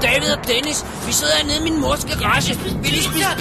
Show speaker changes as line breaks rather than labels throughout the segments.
Dennis. Vi sidder hernede i min mors garage. Vi lige spise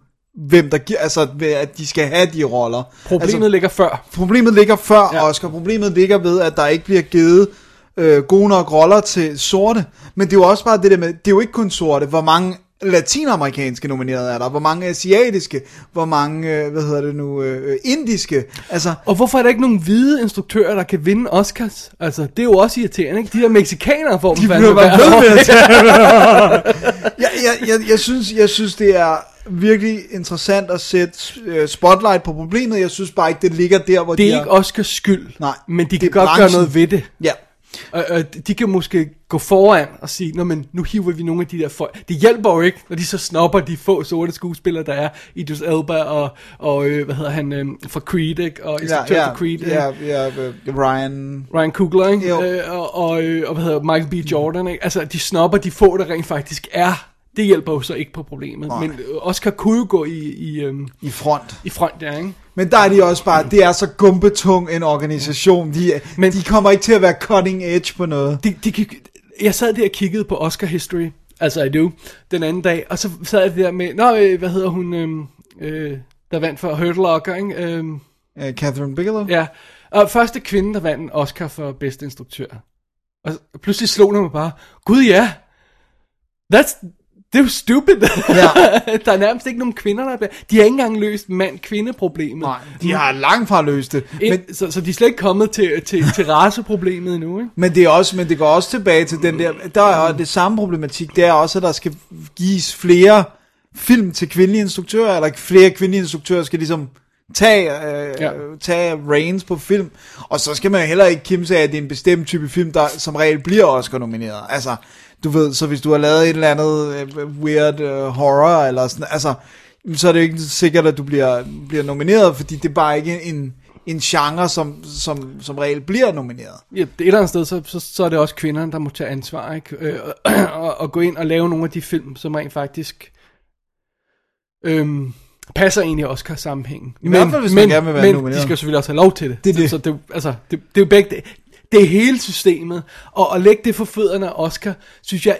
hvem der giver, altså ved, at de skal have de roller.
Problemet
altså,
altså, ligger før.
problemet ligger før
Ja.
ja. Oscar. Problemet ligger ved, at der ikke bliver givet øh, gode nok roller til sorte. Men det er jo også bare det der med, det er jo ikke kun sorte. Hvor mange latinamerikanske nominerede er der? Hvor mange asiatiske? Hvor mange, øh, hvad hedder det nu, øh, øh, indiske? Altså,
Og hvorfor er der ikke nogen hvide instruktører, der kan vinde Oscars? Altså, det er jo også irriterende, ikke? De der mexikanere får dem
de
fandme
bliver bare
hvert år.
ved med at tage jeg, jeg, jeg, jeg, synes, jeg synes, det er virkelig interessant at sætte øh, spotlight på problemet. Jeg synes bare ikke, det ligger der, hvor
Det
de
er ikke Oscars skyld,
Nej,
men de
det
kan
er
godt gøre
branchen.
noget ved det.
Ja,
Og, og de kan måske gå foran og sige, Nå, men nu hiver vi nogle af de der folk. Det hjælper jo ikke, når de så snopper de få sorte skuespillere, der er. Idris Elba og, og øh, hvad hedder han, øh, fra Creed, ikke? Og instruktør
ja,
for Creed. øh,
ja, ja, øh, Ryan...
Ryan Coogler, ikke?
Jo.
Øh, og, og, øh, og hvad hedder Michael B. Jordan, ikke? Altså, de snopper de få, der rent faktisk er. Det hjælper jo så ikke på problemet. Nej. Men øh, Oscar kunne jo gå i, i, øhm,
i front.
i front der, ikke?
Men der er de også bare, det er så gumbetung en organisation. De,
Men-
Men, de kommer ikke til at være cutting edge på noget.
De, de, kan- jeg sad der og kiggede på Oscar History, altså I do, den anden dag, og så sad jeg der med, nå, øh, hvad hedder hun, øhm, øh, der vandt for Hurt Locker, ikke? Øhm,
Uh, Catherine Bigelow?
ja. Og første kvinde, der vandt en Oscar for bedste instruktør. Og så- pludselig slog det mig bare, gud ja, that's, det er jo stupid.
Ja.
der er nærmest ikke nogen kvinder, der er blevet- De har ikke engang løst mand-kvinde-problemet.
Nej, de har langt fra løst det. Men,
Men, så, så de er slet ikke kommet til, til, til raceproblemet endnu, ikke?
men, det er også, men det går også tilbage til den der, der er jo det samme problematik, det er også, at der skal gives flere film til kvindelige instruktører, eller flere kvindelige instruktører skal ligesom tage, øh,
Ja.
ja. tage reins på film, og så skal man jo heller ikke kimse af, at det er en bestemt type film, der som regel bliver Oscar-nomineret. Altså, du ved, så hvis du har lavet et eller andet øh, weird øh, horror, eller sådan, altså, så er det jo ikke sikkert, at du bliver, bliver nomineret, fordi det er bare ikke en, en genre, som, som, som regel bliver nomineret.
Ja, det et eller andet sted, så, så, så er det også kvinderne, der må tage ansvar, ikke? Øh, og, og, og gå ind og lave nogle af de film, som rent faktisk øhm, passer egentlig også kan sammenhængen. I
hvert fald, hvis man gerne vil være
men
nomineret.
de skal jo selvfølgelig også have lov til det.
Det er det.
Så, så det, altså, det, det er jo begge det. Det er hele systemet, og at lægge det for fødderne af Oscar, synes jeg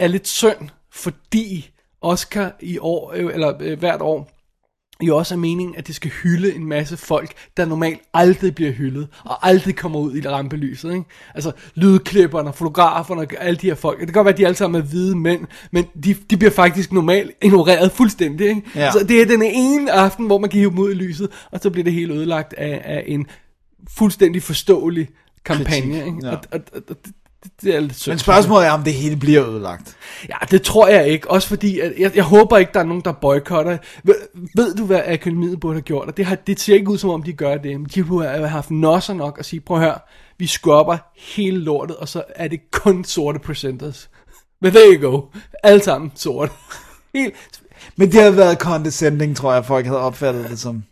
er lidt synd, fordi Oscar i år, øh, eller øh, hvert år, jo også er meningen, at det skal hylde en masse folk, der normalt aldrig bliver hyldet, og aldrig kommer ud i det rampelyset. Ikke? Altså lydklipperne, fotograferne, og alle de her folk. Det kan godt være, at de alle sammen er hvide mænd, men de, de bliver faktisk normalt ignoreret fuldstændig. Ikke?
Ja.
Så det er den ene aften, hvor man kan hive dem ud i lyset, og så bliver det helt ødelagt af, af en fuldstændig forståelig kampagne. Ikke?
ja.
Og, og, og, og det, det er lidt synd.
Men spørgsmålet er, om det hele bliver ødelagt.
Ja, det tror jeg ikke. Også fordi, at jeg, jeg håber ikke, der er nogen, der boykotter. Ved, ved du, hvad akademiet burde have gjort? Og det, har, det ser ikke ud, som om de gør det. Men de burde have haft nosser nok at sige, prøv at høre, vi skubber hele lortet, og så er det kun sorte presenters. Men there you go. Alle sammen sorte. Helt.
Men det har været condescending, tror jeg, folk havde opfattet det som.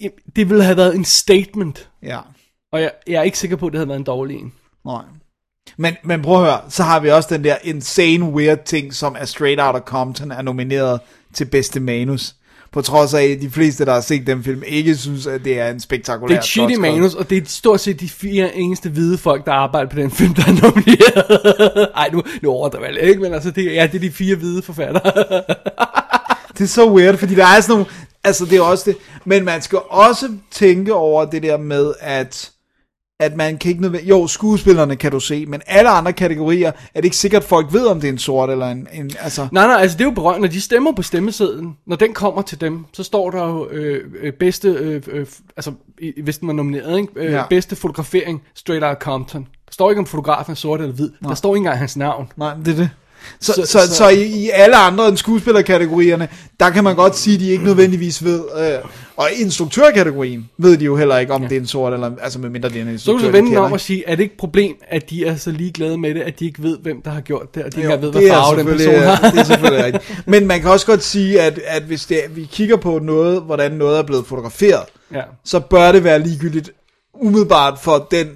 Jamen, Det ville have været en statement.
Ja,
Og jeg, jeg er ikke sikker på, at det havde været en dårlig en.
nej. Men, men prøv at høre, så har vi også den der insane weird ting, som er Straight Outta Compton er nomineret til bedste manus. På trods af, at de fleste, der har set den film, ikke synes, at det er en spektakulær
Det er et shitty
godt skrevet-
manus, og det er stort set de fire eneste hvide folk, der arbejder på den film, der er nomineret. Ej, nu, nu overdriver jeg lidt, ikke? Men altså, det, er- ja, det er de fire hvide forfattere.
Det er så weird, fordi der er sådan nogle... Altså, det er også det. Men man skal også tænke over det der med, at at man kan ikke nødvendigt... Jo, skuespillerne kan du se, men alle andre kategorier, er det ikke sikkert, at folk ved, om det er en sort eller en... en altså,
nej, nej, altså det er jo berømt, når de stemmer på stemmesedlen, når den kommer til dem, så står der jo øh, øh, bedste, øh, øh, altså i- hvis den var nomineret, ikke? Øh, ja.
Ja.
bedste fotografering, Straight Outta Compton. Der står ikke, om fotografen er sort eller hvid. Nej. Der står ikke engang hans navn.
nej, det er det. Så,
Så-
så, så,
så-
så, i, i alle andre end skuespillerkategorierne, der kan man godt sige, at de ikke nødvendigvis ved. Øh, og i instruktørkategorien ved de jo heller ikke, om ja. det er en sort, eller, altså medmindre det er en
Så
instruktør.
kan du
de
vende den
kender,
om
ikke?
og sige, er det ikke et problem, at de er så ligeglade med det, at de ikke ved, hvem der har gjort det, og de ikke
Jo,
engang ved, hvad farve den person
selvfølgelig-
har.
Det er selvfølgelig rigtigt. Men man kan også godt sige, at, at hvis det, er- vi kigger på noget, hvordan noget er blevet fotograferet,
Ja.
så bør det være ligegyldigt umiddelbart for den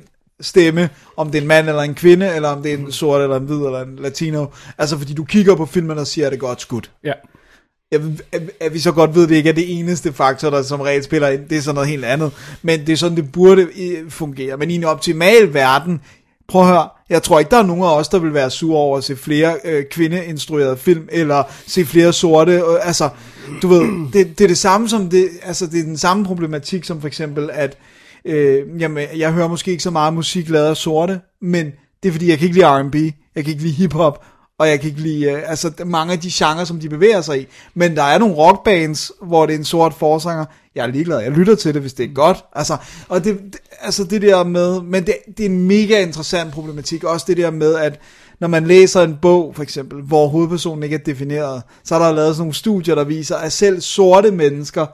stemme, om det er en mand eller en kvinde, eller om det er en sort eller en hvid eller en latino. Altså fordi du kigger på filmen og siger, at det er godt skudt.
ja.
Jeg, at, at vi så godt ved, at det ikke er det eneste faktor, der som regel spiller ind, det er sådan noget helt andet. Men det er sådan, det burde øh, fungere. Men i en optimal verden, prøv at høre, jeg tror ikke, der er nogen af os, der vil være sure over at se flere øh, kvindeinstruerede film, eller se flere sorte, øh, altså, du ved, det, det er det samme som det, altså, det er den samme problematik som for eksempel, at øh, jamen, jeg hører måske ikke så meget musik lavet af sorte, men det er fordi, jeg kan ikke lide R&B, jeg kan ikke lide hiphop, og jeg kan ikke lide øh, altså, mange af de genrer, som de bevæger sig i. Men der er nogle rockbands, hvor det er en sort forsanger. Jeg er ligeglad, jeg lytter til det, hvis det er godt. Altså, og det, det- altså det der med, men det, det er en mega interessant problematik, også det der med, at når man læser en bog, for eksempel, hvor hovedpersonen ikke er defineret, så er der lavet sådan nogle studier, der viser, at selv sorte mennesker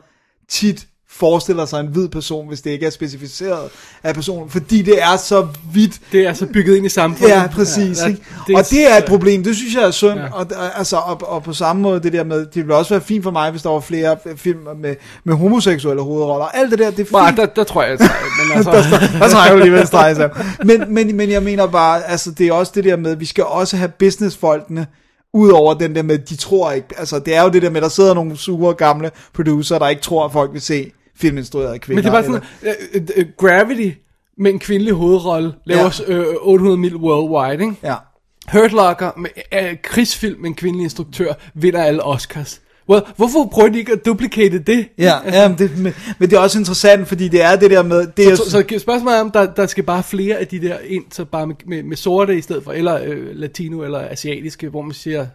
tit forestiller sig en hvid person, hvis det ikke er specificeret af personen, fordi det er så vidt
Det er så bygget ind i samfundet.
Ja, præcis. Ja,
der-
ikke? og det er et problem, det synes jeg er synd. Ja. Og, og- altså, og, og på samme måde det der med, det ville også være fint for mig, hvis der var flere f- film med, med homoseksuelle hovedroller. Alt det der, det er
Bare,
fint.
der, der tror jeg, at men altså,
Der tager jeg jo alligevel streg, så. Men, men, men jeg mener bare, altså det er også det der med, vi skal også have businessfolkene, ud over den der med, de tror ikke, altså det er jo det der med, der sidder nogle sure gamle producer, der ikke tror, at folk vil se filminstruerede kvinder.
men det er bare
eller-
sådan, øh, øh, øh, Gravity med en kvindelig hovedrolle laver ja. øh, 800 mil worldwide, ikke?
Ja.
Hurt Locker med øh, krigsfilm med en kvindelig instruktør vinder alle Oscars. Well, hvorfor prøver de ikke at duplikate det?
Ja, ja men, det, men, men det er også interessant, fordi det er det der med... Det er,
Så, så spørgsmålet er, om der, der skal bare flere af de der ind, så bare med, med, med sorte i stedet for, eller øh, latino, eller asiatiske, hvor man siger...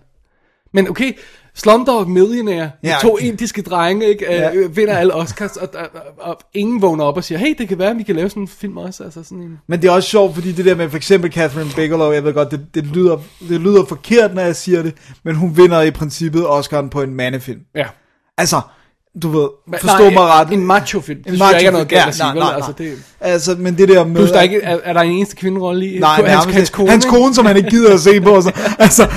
Men okay, Slumdog Millionaire, med
Ja.
to indiske drenge, ikke,
Ja.
øh, øh, vinder alle Oscars, og, og, og, og ingen vågner op og siger, hey, det kan være, vi kan lave sådan en film også, altså sådan en...
Men det er også sjovt, fordi det der med for eksempel Catherine Bigelow, jeg ved godt, det, det, lyder, det lyder forkert, når jeg siger det, men hun vinder i princippet Oscar'en på en mandefilm.
Ja.
Altså, du ved,
Men-
forstå
nej,
mig ret.
En macho-film, det synes jeg ikke er noget galt at sige, vel? Altså, det,
altså, men det der med...
plus, der er, ikke, er, er der en eneste kvinderolle i?
Nej,
hans,
nærmest
hans
ikke.
kone,
hans
ikke?
kone, som han ikke gider at se på. Så. Altså,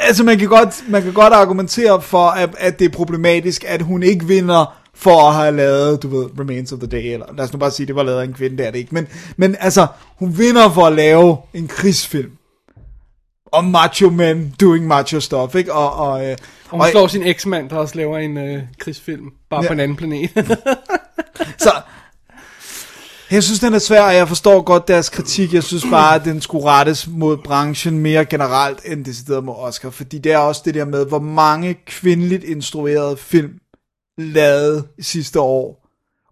altså man, kan godt, man kan godt argumentere for, at, at det er problematisk, at hun ikke vinder for at have lavet, du ved, Remains of the Day, eller lad os nu bare sige, det var lavet af en kvinde, det er det ikke, men, men altså, hun vinder for at lave en krigsfilm, om macho men doing macho stuff, ikke? Og, og, øh,
Og hun slår sin eksmand, der også laver en øh, krigsfilm, bare ja.
Ja.
på en anden planet.
Så jeg synes, den er svær, og jeg forstår godt deres kritik. Jeg synes bare, at den skulle rettes mod branchen mere generelt, end decideret mod Oscar. Fordi det er også det der med, hvor mange kvindeligt instruerede film lavet sidste år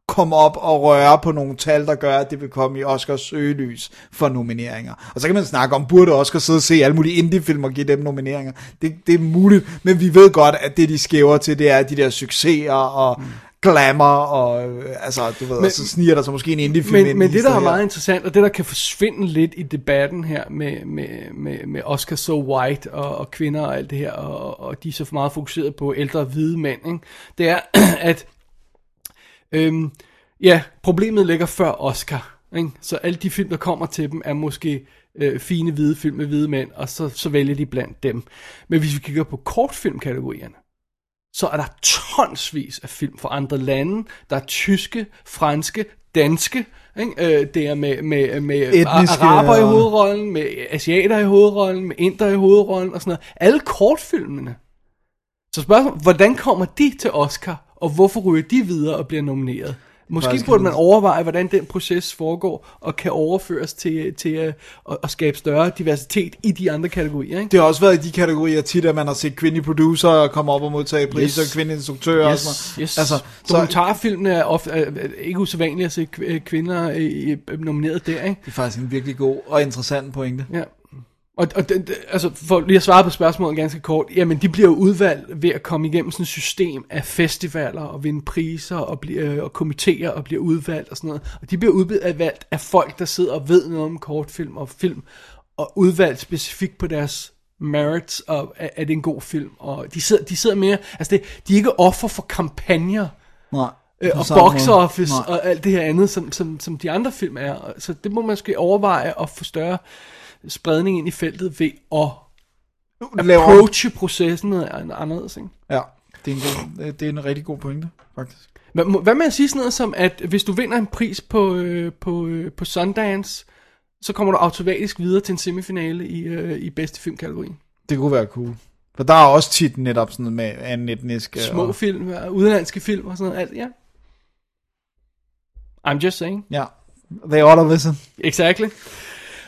kom op og røre på nogle tal, der gør, at det vil komme i Oscars søgelys for nomineringer. Og så kan man snakke om, burde Oscar sidde og se alle mulige indie-film og give dem nomineringer? Det, det er muligt, men vi ved godt, at det de skæver til, det er de der succeser og
Mm.
glamour, og øh, altså, du ved, men, så sniger der så måske en indie-film
men,
ind
men
i
det, der er
stedet
meget
her.
interessant, og det, der kan forsvinde lidt i debatten her med, med, med, med Oscar So White og, og kvinder og alt det her, og, og de er så meget fokuseret på ældre hvide mænd, ikke? det er, at øhm, ja, problemet ligger før Oscar. Ikke? Så alle de film, der kommer til dem, er måske øh, fine hvide film med hvide mænd, og så, så vælger de blandt dem. Men hvis vi kigger på kortfilmkategorierne, så er der tonsvis af film fra andre lande. Der er tyske, franske, danske. Ikke? Øh, det er med, med, med
Etniske,
araber i
og-
hovedrollen, med asiater i hovedrollen, med inder i hovedrollen og sådan noget. Alle kortfilmene. Så spørgsmålet, hvordan kommer de til Oscar, og hvorfor ryger de videre og bliver nomineret? Måske
Faktisk
burde man overveje, hvordan den proces foregår, og kan overføres til, til øh, at, at skabe større diversitet i de andre kategorier. Ikke?
Det har også været i de kategorier tit, at man har set kvindelige producer komme op og modtage priser,
Yes.
yes. kvindelige instruktører og sådan noget.
yes.
Altså,
Altså,
så,
Dokumentarfilmene er, ofte, er, er ikke usædvanligt at se kv- øh, kvinder øh, øh, nomineret der, ikke?
det er faktisk en virkelig god og interessant pointe.
Ja. Og, og den, den- altså, for lige at svare på spørgsmålet ganske kort, jamen de bliver jo udvalgt ved at komme igennem sådan et system af festivaler og vinde priser og, blive, øh, og komiteer og bliver udvalgt og sådan noget. Og de bliver udvalgt af folk, der sidder og ved noget om kortfilm og film og udvalgt specifikt på deres merits, og er, er det en god film, og de sidder, de sidder mere, altså det, de er ikke offer for kampagner,
Nej.
øh,
på
og
samme
box
måde.
office
Nej.
og alt det her andet, som, som, som de andre film er. Og Så det må man måske overveje at få større spredning ind i feltet ved at
Laver-
approache processen noget an- anderledes. Ikke?
Ja, det er, en god, øh, det er en rigtig god pointe, faktisk.
Hvad, må- hvad med at sige sådan noget som, at hvis du vinder en pris på, øh, på, øh, på Sundance, så kommer du automatisk videre til en semifinale i, øh, i bedste filmkategorien.
Det kunne være cool. For der er også tit netop sådan noget med anden etnisk... øh,
Små
og-
film, øh, udenlandske film og sådan noget. Alt, ja. I'm just saying.
Ja. They ought to listen.
Exactly.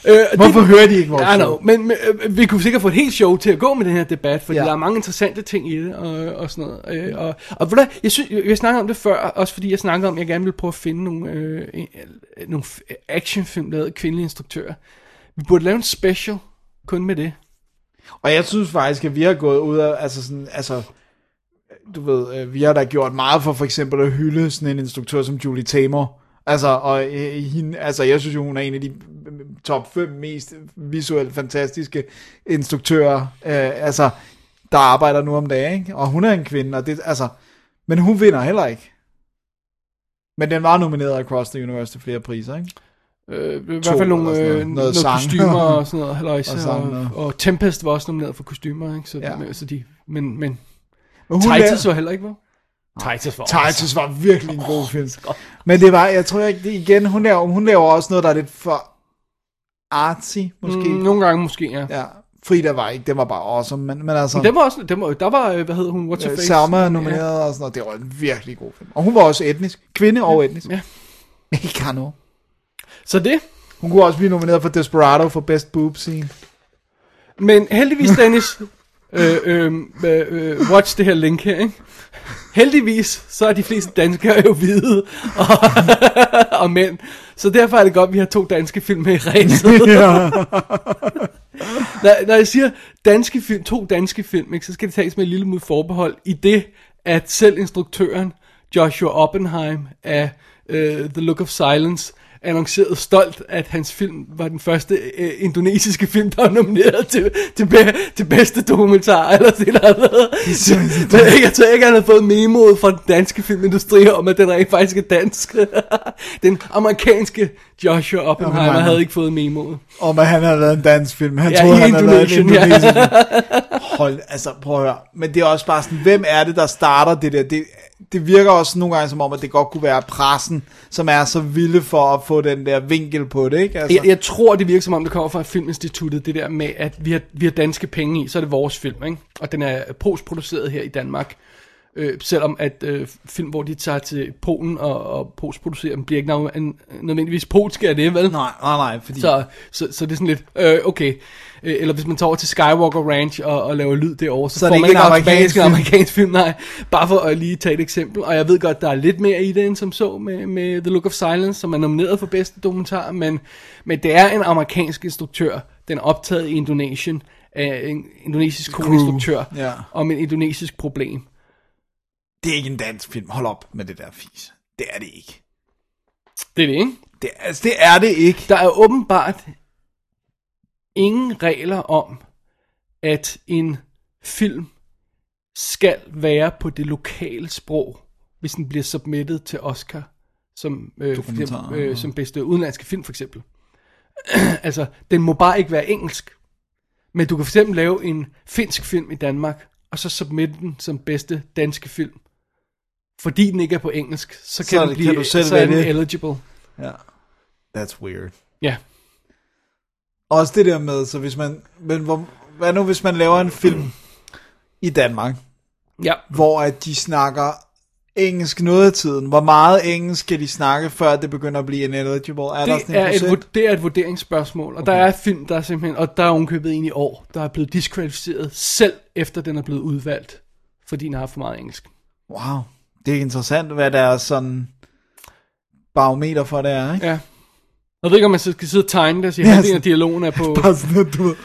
Øh, og
Hvorfor hører de ikke vores
Ja, no,
show?
men, men øh, vi kunne sikkert få et helt show til at gå med den her debat, fordi
Ja.
ja. der er mange interessante ting i det og, og sådan noget. Øh, og, og ved du, hvad, jeg, synes, jeg, jeg snakkede om det før, også fordi jeg snakkede om, at jeg gerne ville prøve at finde nogle, øh, en- øh, nogle f- actionfilm lavet af kvindelige instruktører. Vi burde lave en special kun med det.
Og jeg synes faktisk, at vi har gået ud af, altså sådan, altså, du ved, øh, vi har da gjort meget for for eksempel at hylde sådan en instruktør som Julie Tamer. Altså, og øh, hende, altså, jeg synes jo, hun er en af de øh, top 5 mest visuelt fantastiske instruktører, øh, altså, der arbejder nu om dagen, ikke? Og hun er en kvinde, og det, altså, men hun vinder heller ikke. Men den var nomineret Across the Universe til flere priser, ikke?
Øh, I hvert
To
fald
eller
nogle
sådan noget.
øh, noget,
Noget
noget
sang.
kostymer og sådan noget. Halløjse,
Og
og,
sang,
og, og Tempest var også nomineret for kostymer, ikke? Så,
Ja.
ja. så de, men, men
Men hun
Titus var heller ikke, var? Titus var også-
Titus var virkelig en god film. Men det var, jeg tror ikke, det igen, hun laver, hun laver også noget, der er lidt for artsy, måske.
Mm,
Mm, no.
nogle gange måske, ja.
Ja, Frida var ikke, det var bare awesome, men, men altså,
Men Den var også, den var, der var, øh, hvad hedder hun, What's Her
øh,
Face?
Selma er nomineret og sådan noget, det var en virkelig god film. Og hun var også etnisk, kvinde og etnisk.
ja.
Ikke kan noget.
Så det.
Hun kunne også blive nomineret for Desperado for Best Boob Scene.
Men heldigvis, Dennis, øh, øh, øh, øh, watch det her link her, ikke? Heldigvis, så er de fleste danskere jo hvide og, og mænd. Så derfor er det godt, at vi har to danske film med i ræset.
ja.
Når, når jeg siger danske film, to danske film, ikke, så skal det tages med et lille mod forbehold i det, at selv instruktøren Joshua Oppenheim af uh, The Look of Silence annoncerede stolt, at hans film var den første øh, indonesiske film, der var nomineret til, til, be, til bedste dokumentar, eller sådan noget. Men ikke- Jeg tror ikke, han havde fået memoet fra den danske filmindustri om, at den rent faktisk er dansk. den amerikanske Joshua Oppenheimer
Oppenheimer.
havde ikke fået memoet.
Om at han havde lavet en dansk film. Han
Ja,
troede,
i
han havde lavet en
Indonesien, ja.
indonesisk film. Hold, altså prøv at høre. Men det er også bare sådan, hvem er det, der starter det der? Det, det virker også nogle gange som om, at det godt kunne være pressen, som er så vilde for at få den der vinkel på det, ikke? Altså,
Jeg, jeg tror, det virker som om, det kommer fra Filminstituttet, det der med, at vi har, vi har danske penge i, så er det vores film, ikke? Og den er postproduceret her i Danmark. Øh, selvom at øh, film, hvor de tager til Polen og, og postproducerer dem, bliver ikke nav- en, nødvendigvis polske af det, vel?
Nej, nej, nej, fordi...
Så, så, så det er sådan lidt, øh, okay. Øh, Eller hvis man tager over til Skywalker Ranch og, og laver lyd derovre, så,
Så er
så
det
får
ikke
man en
en amerikansk
amerikansk,
film.
amerikansk film. Nej, bare for at lige tage et eksempel. Og jeg ved godt, der er lidt mere i det, end som så med, med The Look of Silence, som er nomineret for bedste dokumentar. Men, men det er en amerikansk instruktør. Den er optaget i Indonesien af en indonesisk koninstruktør
ja.
om en indonesisk problem.
Det er ikke en dansk film. Hold op med det der fis. Det er det ikke.
Det er det, ikke?
Det, er- altså, det er det ikke.
Der er åbenbart ingen regler om, at en film skal være på det lokale sprog, hvis den bliver submittet til Oscar som, øh, for
Dokumentar,
eksempel,
ja.
øh, som bedste udenlandske film, for eksempel. altså, den må bare ikke være engelsk. Men du kan for eksempel lave en finsk film i Danmark, og så submitte den som bedste danske film. Fordi den ikke er på engelsk, så kan,
Så
den
kan
blive,
du selv
så er den
vælge.
eligible.
Ja. That's weird.
Ja.
Også det der med, så hvis man... Men hvor, hvad nu, hvis man laver en film i Danmark,
Ja.
hvor at de snakker engelsk noget af tiden. Hvor meget engelsk skal de snakke, før det begynder at blive ineligible? Er der
det
sådan en
er, et,
procent?
vur- det er et vurderingsspørgsmål, og okay. der er film, der er simpelthen, og der er ovenkøbet en i år, der er blevet diskvalificeret, selv efter den er blevet udvalgt, fordi den har haft for meget engelsk.
Wow, det er interessant, hvad der er sådan barometer for det er, ikke?
Ja. Jeg ved ikke, om man så skal sidde og tegne det og sige,
Ja,
at halvdelen
sådan-
af dialogen er på...
Bare sådan, at du ved.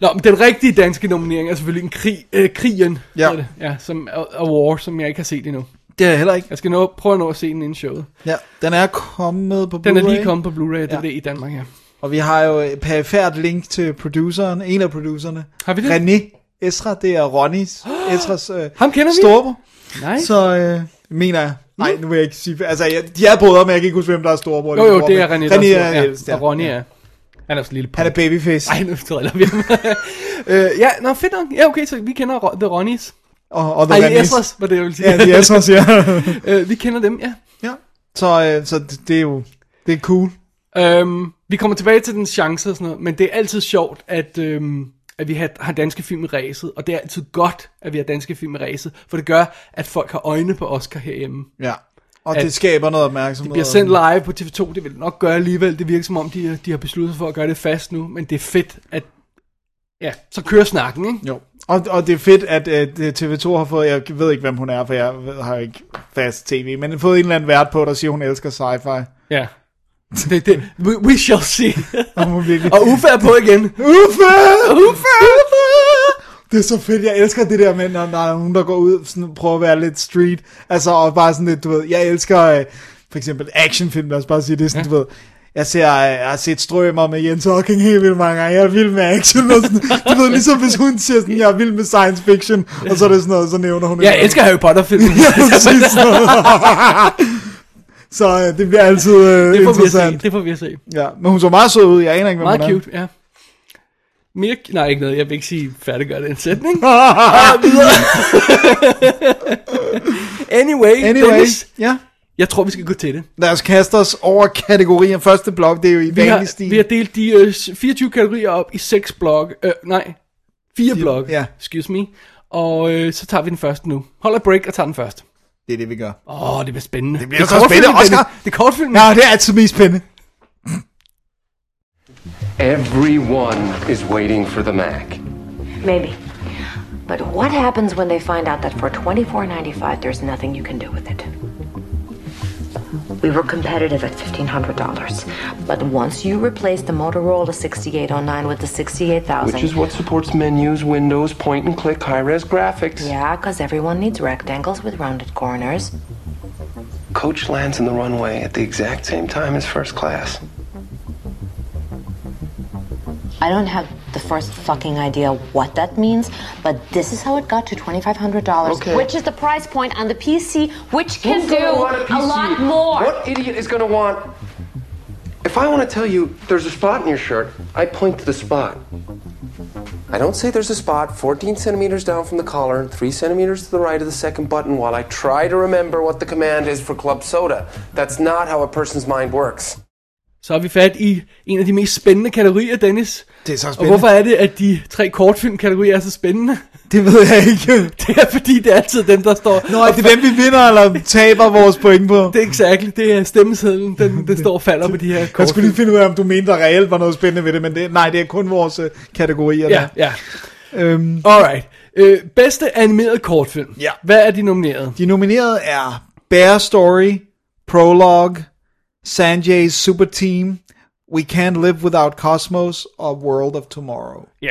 Nå, men den rigtige danske nominering er selvfølgelig en krig, øh, krigen,
Ja.
hedder det. ja som, og, og War, som jeg ikke har set endnu.
Det er jeg heller ikke.
Jeg skal nå, prøve at nå at se den inden showet.
Ja, den er kommet på
Den er
Blu-ray.
lige kommet på Blu-ray, og det
Ja.
er det i Danmark, ja.
Og vi har jo et perifært link til produceren, en af producerne.
Har vi det?
René Esra, det er Ronnys, Esras øh,
Ham kender vi.
storebror.
Nej. Så,
Så øh, mener jeg. Nej, nu vil jeg ikke sige... Altså, jeg, de er brødre, men jeg kan ikke huske, hvem der er storebror.
jo, jo,
Lillebror,
det er René,
men
der
René
sidder-
er ældst,
ja. Og Ronny er... Han er også en lille
Han er babyface.
Ej, nu driller vi ham. øh, ja, nå, fedt nok. Ja, okay, så vi kender Ro- The Ronnies.
Og, og
Ej,
The Rennies.
Esras, var det, jeg ville sige.
Ja, de Esras, ja.
øh, vi kender dem, ja.
ja. Så, øh, så det, det er jo... Det er cool.
Øhm, vi kommer tilbage til den chance og sådan noget, men det er altid sjovt, at, øhm, at vi har, har danske film i ræset, og det er altid godt, at vi har danske film i ræset, for det gør, at folk har øjne på Oscar herhjemme.
Ja. Og
At
det skaber noget opmærksomhed.
Det bliver sendt live på TV2, det vil det nok gøre alligevel, det virker som om, de, de har besluttet sig for at gøre det fast nu, men det er fedt, at ja, så kører snakken, ikke?
Jo. Og, og det er fedt, at øh, det TV2 har fået, jeg ved ikke, hvem hun er, for jeg ved- har ikke fast tv, men har fået en eller anden vært på, der siger, hun elsker sci-fi.
Ja. Det, det, we, we shall see.
Og hun virkelig...
og Uffe er på igen.
Uffe!
Uffe!
Det er så fedt, jeg elsker det der med, når der er nogen, der går ud sådan, prøver at være lidt street, altså og bare sådan lidt, du ved, jeg elsker øh, for eksempel actionfilm, lad os bare sige det, er sådan, ja. du ved, jeg, ser, øh, jeg har set strømmer med Jens Hocking helt vildt mange gange, jeg er vild med action, og sådan, du ved, ligesom hvis hun siger sådan, jeg er vild med science fiction, og så er det sådan noget, så nævner hun
Jeg elsker Harry Potter-filmen.
ja, præcis. så øh, det bliver altid øh,
det, får vi at se.
interessant.
det får vi at se.
Ja, men hun så meget sød ud, jeg aner ikke, hvem
Meget
hun er.
cute, ja. Mere, nej, ikke noget. Jeg vil ikke sige færdiggør den sætning. anyway, anyway.
Anyway,
Dennis,
ja.
jeg tror, vi skal gå til det.
Lad os kaste os over kategorier. Første blok, det er jo i
Vi
vanlig
har,
stil.
vi har delt de øh, 24 kategorier op i 6 blog. Øh, nej, 4 blog.
ja.
Excuse me. Og øh, så tager vi den første nu. Hold et break og tager den første.
Det er det, vi gør.
Åh, oh, det bliver spændende. Det
bliver så spændende, Oscar.
Det er kortfilm.
Ja, det er altid mest spændende.
Everyone is waiting for the Mac.
Maybe. But what happens when they find out that for $24.95, there's nothing you can do with it? We were competitive at $1,500. But once you replace the Motorola 6809 with the 68000.
Which is what supports menus, windows, point and click, high res graphics.
Yeah, because everyone needs rectangles with rounded corners.
Coach lands in the runway at the exact same time as first class.
I don't have the first fucking idea what that means, but this is how it got to $2,500,
Okay.
which is the price point on the PC, which can
Who's
do
gonna want
a
PC?
lot more.
What idiot is gonna want? If I want to tell you there's a spot in your shirt, I point to the spot. I don't say there's a spot 14 centimeters down from the collar and 3 centimeters to the right of the second button while I try to remember what the command is for club soda. That's not how a person's mind works.
Så er vi fat i en af de mest spændende kategorier, Dennis.
Det er så
Og
spændende.
hvorfor er det, at de tre kortfilmkategorier er så spændende?
Det ved jeg ikke.
Det er fordi, det er altid dem, der står...
Nå, er det hvem vi vinder, eller taber vores point på?
Det er exakt, det er stemmesedlen, den, den står og falder på de her
Jeg
kort.
skulle lige finde ud af, om du mente, der reelt var noget spændende ved det, men det, nej, det er kun vores øh, kategorier.
Ja,
Ja.
ja.
Øhm,
Alright. Øh, bedste animeret kortfilm.
Ja.
Hvad er de nomineret?
de nominerede er Bear Story, Prologue, Sanjay's Super Team, We Can't Live Without Cosmos og World of Tomorrow.
Ja.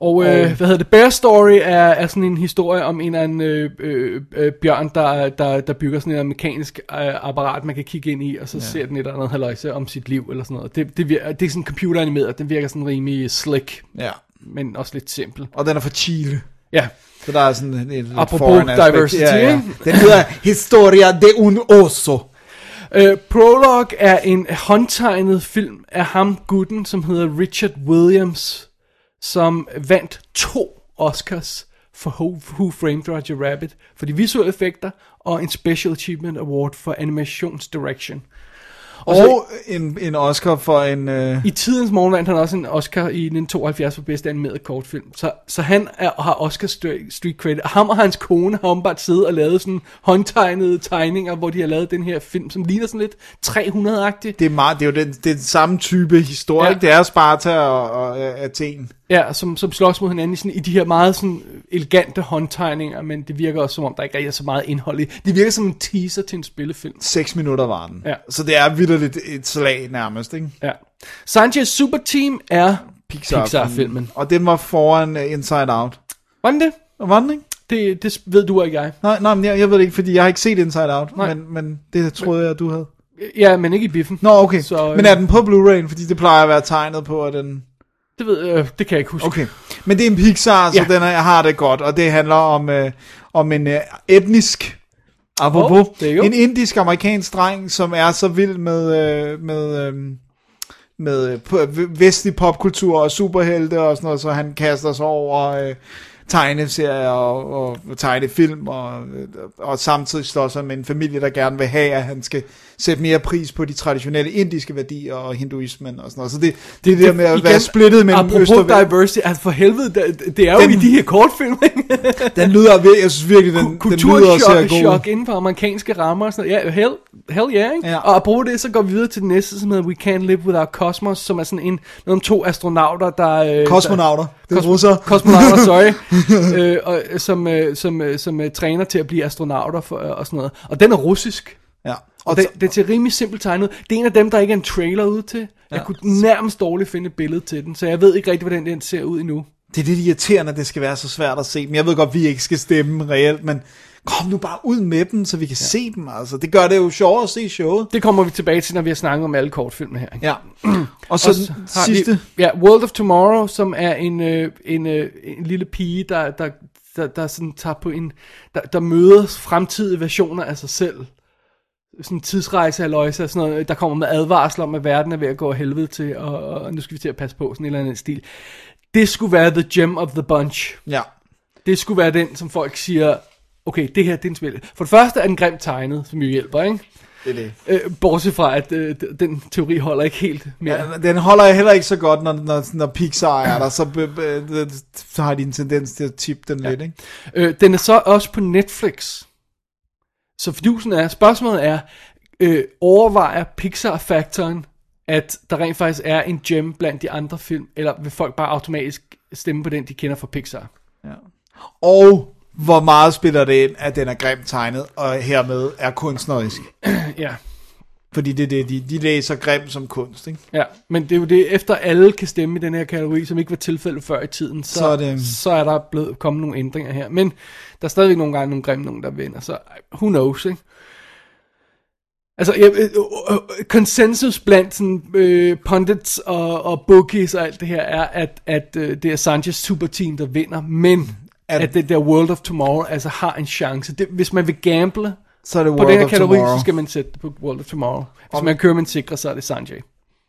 Og øh, hvad hedder det? Bear Story er, er sådan en historie om en eller anden øh, øh, øh, bjørn, der, der, der bygger sådan en mekanisk øh, apparat, man kan kigge ind i, og så ja. ser den et eller andet haløjse om sit liv, eller sådan noget. Det, det, virker, det er sådan computeranimeret, den virker sådan rimelig slick,
Ja.
men også lidt simpel.
Og den er fra Chile.
Ja,
Så der er sådan en, en lidt
Apropos
foreign aspect.
diversity, ikke?
Den hedder Historia de un oso.
Øh, Prologue er en håndtegnet film af ham gutten, som hedder Richard Williams, som vandt to Oscars for Who, Who Framed Roger Rabbit for de visuelle effekter og en Special Achievement Award for animationsdirection.
Og
så-
en, en Oscar for en... Øh,
I tidens morgen vandt han også en Oscar i 1972 for bedste animeret kortfilm. Så, så han er, har Oscar street, street credit. Og ham og hans kone har åbenbart siddet og lavet sådan håndtegnede tegninger, hvor de har lavet den her film, som ligner sådan lidt 300-agtig.
det, er meget, det er jo den, det er den samme type historie.
Ja.
Ja. Det er Sparta og, og øh, Athen.
Ja, som, som slås mod hinanden i, sådan, i de her meget sådan, øh, elegante håndtegninger, men det virker også som om, der ikke rigtig er så meget indhold i. Det virker som en teaser til en spillefilm.
6 minutter var den.
Ja.
Så det er vidderligt et slag nærmest, ikke?
Ja. Sanchez Super Team er
Pixar-
Pixar-filmen.
Og den var foran uh, Inside Out.
Var den det?
Og Var den ikke?
det? Det ved du og ikke jeg.
Nej, nej men jeg, jeg ved det ikke, fordi jeg har ikke set Inside Out.
Nej.
Men, men det troede jeg, du havde.
Ja, men ikke i biffen.
Nå, okay.
Så,
Så,
øh,
Men er den på Blu-ray? Fordi det plejer at være tegnet på, at den...
Det, ved, øh, det kan jeg ikke huske.
Okay. Men det er en Pixar, så
Ja.
ja. den er, jeg har det godt. Og det handler om, øh, om en øh, etnisk... Apropos,
Oh, there you go.
en indisk-amerikansk dreng, som er så vild med, øh, med, øh, med øh, på- vestlig popkultur og superhelte og sådan noget, så han kaster sig over øh, tegneserier og, og, og tegnefilm, og, øh, og samtidig står sig med en familie, der gerne vil have, at han skal sætte mere pris på de traditionelle indiske værdier og hinduismen og sådan noget. Så det, det er det der med at være splittet mellem
Apropos
øst og vest.
diversity, altså for helvede, det, det er jo den,
Den-
i de her kortfilm, ikke?
Den lyder, vir- jeg synes virkelig, den, den lyder også
Kulturchok
god.
chok inden for amerikanske rammer og sådan noget. Ja, hell, hell yeah, ikke?
Ja.
Og apropos det, så går vi videre til den næste, som hedder We Can't Live Without Cosmos, som er sådan en, noget om to astronauter, der... Øh,
Kosmonauter. Det er
Kosmo-
russer.
Kosmonauter, sorry. øh, og, øh, som, øh, som, øh, som øh, træner til at blive astronauter for, øh, og sådan noget. Og den er russisk.
Ja.
Og det, det er til rimelig simpelt tegnet. ud. Det er en af dem, der ikke er en trailer ude til. Jeg kunne nærmest dårligt finde et billede til den, så jeg ved ikke rigtig, hvordan den ser ud endnu.
Det er lidt irriterende, at det skal være så svært at se dem. Jeg ved godt, vi ikke skal stemme reelt, men kom nu bare ud med dem, så vi kan ja. se dem. Altså. Det gør det jo sjovere at se showet.
Det kommer vi tilbage til, når vi har snakket om alle kortfilmene her. Ikke?
Ja. Og så,
Og
den
har
sidste.
Vi, ja, World of Tomorrow, som er en, øh, en, øh, en lille pige, der, der, der, der sådan tager på en, der, der møder fremtidige versioner af sig selv. Sådan tidsrejse af løjse og sådan noget, der kommer med advarsler om, at verden er ved at gå af helvede til, og, og nu skal vi til at passe på sådan en eller anden stil. Det skulle være The Gem of the Bunch.
Ja.
Det skulle være den, som folk siger, okay, det her det er en spil. For det første er den grimt tegnet, som jo hjælper, ikke?
Det er det.
Øh, bortset fra, at øh, den teori holder ikke helt mere.
Ja, den holder jeg heller ikke så godt, når, når, når Pixar er der, så, be- be- det- så har de en tendens til at tippe den ja. lidt, ikke?
Øh, den er så også på Netflix. Så fidusen er, spørgsmålet er, øh, overvejer Pixar-faktoren, at der rent faktisk er en gem blandt de andre film, eller vil folk bare automatisk stemme på den, de kender fra Pixar?
Og hvor meget spiller det ind, at den er grimt tegnet, og hermed er kunstnerisk.
Ja.
Fordi det er det, de, de læser grim som kunst, ikke?
Ja, men det er jo det, efter alle kan stemme i den her kategori, som ikke var tilfældet før i tiden, så, så,
Så
er,
er
det...
det-
så er der blevet kommet nogle ændringer her. Men der er stadigvæk nogle gange nogle grimme nogen, der vinder, så who knows, ikke? Altså, jeg, øh, øh, øh, konsensus blandt sådan, øh, pundits og, og bookies og alt det her er, at, at øh, det er Sanchez superteam, der vinder, men at,
At-
at det der World of Tomorrow altså har en chance. Det, hvis man vil gamble
Så er det
på
World
den her
of
kategori,
Tomorrow.
så skal man sætte det på World of Tomorrow. Hvis man kører med en sikre, så er det Sanjay.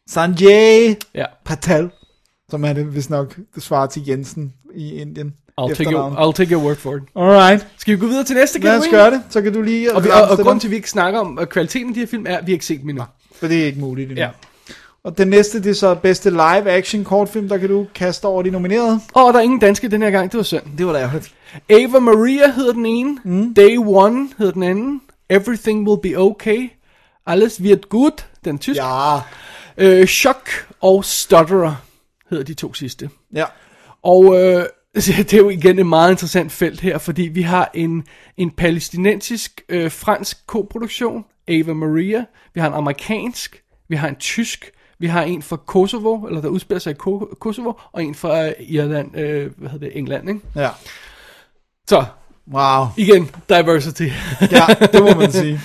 Sanjay
Ja.
Patel, som er det, hvis nok det svarer til Jensen i Indien.
I'll take, your,
Efternavn.
I'll take your word for it.
Alright,
Skal vi gå videre til næste
lad os
kategori?
gøre det. Så kan du lige...
Og, vi, og, og grunden til, at vi ikke snakker om øh, kvaliteten af de her film, er, at vi ikke har set dem endnu.
For det er ikke muligt endnu.
Ja.
Ja. Og den næste, det er så bedste live-action kortfilm, der kan du kaste over de nominerede.
Og der er ingen danske den her gang, det var synd.
Det var da ærgerligt.
Ava Maria hedder den ene, mm. Day One hedder den anden, Everything Will Be Okay, Alles wird gut, den tysk,
Ja,
øh, Shock og Stutterer hedder de to sidste.
ja.
Og øh, det er jo igen et meget interessant felt her, fordi vi har en, en palæstinensisk øh, fransk koproduktion, Ava Maria, vi har en amerikansk, vi har en tysk, vi har en fra Kosovo, eller der udspiller sig i Ko- Kosovo, og en fra øh, Irland, øh, hvad hedder det, England, ikke?
Ja.
Så,
Wow.
igen, diversity.
Ja, det må man sige.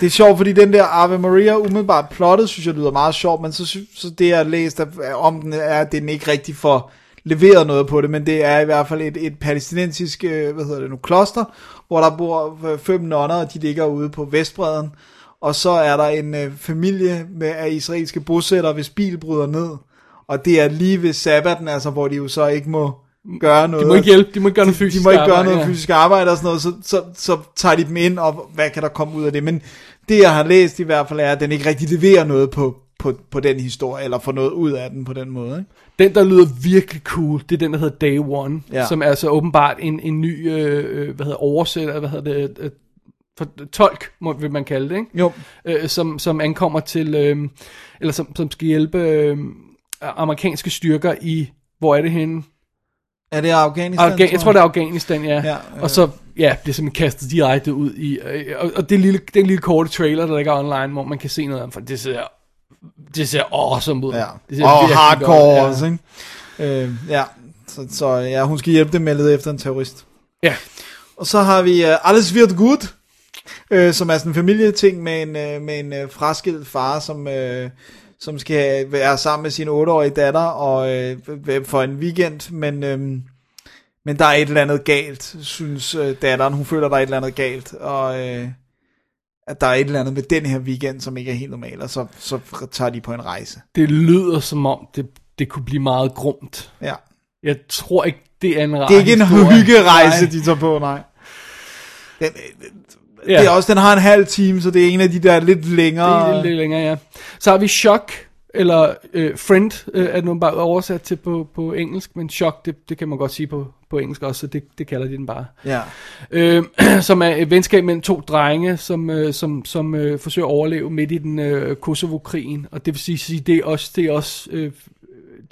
Det er sjovt, fordi den der Ave Maria, umiddelbart plottet, synes jeg lyder meget sjovt, men så, sy- så det, jeg har læst af- om den, er, at den ikke rigtig får leveret noget på det, men det er i hvert fald et, et palæstinensisk, øh, hvad hedder det nu, kloster, hvor der bor øh, fem nonner, og de ligger ude på Vestbreden, og så er der en øh, familie med af israelske bosættere, hvis bil bryder ned, og det er lige ved sabbaten, altså, hvor de jo så ikke må gøre noget.
Mm, De må ikke hjælpe, de må ikke gøre noget fysisk
De må ikke gøre
arbejde,
noget
ja.
fysisk arbejde og sådan noget, så, så, så tager de dem ind, og hvad kan der komme ud af det? Men det, jeg har læst i hvert fald, er, at den ikke rigtig leverer noget på, på, på den historie, eller får noget ud af den på den måde. Ikke?
Den, der lyder virkelig cool, det er den, der hedder Day One, ja.
Ja.
som er altså åbenbart en, en ny, øh, øh, hvad hedder oversætter, hvad hedder det, øh, for, tolk, må, vil man kalde det, ikke?
Jo.
øh, som, som ankommer til, øh, eller som, som skal hjælpe øh, amerikanske styrker i, hvor er det henne?
Er det Afghanistan?
Afghan, jeg tror, det er Afghanistan, ja. ja
Ja,
øh.
øh.
Og så ja, bliver simpelthen kastet direkte ud i, øh, og, og det lille, den lille korte trailer, der ligger online, hvor man kan se noget af, dem, for det ser, det ser awesome ud. Det
Ja.
ser
Og
virkelig
hardcore
godt ud,
også, ikke? Øh, ja. Så, så ja, hun skal hjælpe dem med at lede efter en terrorist.
Ja.
Og så har vi uh, Alles øh, wird gut, øh, som er sådan en familieting med en, øh, med en øh, fraskilt far, som, øh, som skal være sammen med sin 8-årige datter og, øh, øh, for en weekend, men... Øh, men der er et eller andet galt, synes øh, datteren. Hun føler, der er et eller andet galt, og øh, at der er et eller andet med den her weekend, som ikke er helt normal, og så, så tager de på en rejse.
Det lyder som om, det, det kunne blive meget grumt.
Ja.
Jeg tror ikke, det er en rar
Det er ikke en
historie.
hyggerejse,
Nej.
de tager på, nej. Den, øh,
Ja.
det er også, den har en halv time, så det er en af de der lidt længere...
Det er lidt, lidt længere, ja. Så har vi Shock, eller øh, Friend, øh, er det nu bare oversat til på, på engelsk, men Shock, det, det kan man godt sige på, på engelsk også, så det, det kalder de den bare.
Ja.
Øh, som er et venskab mellem to drenge, som, øh, som, som øh, forsøger at overleve midt i den øh, Kosovo-krigen, og det vil sige- sige, det er også, det er også øh,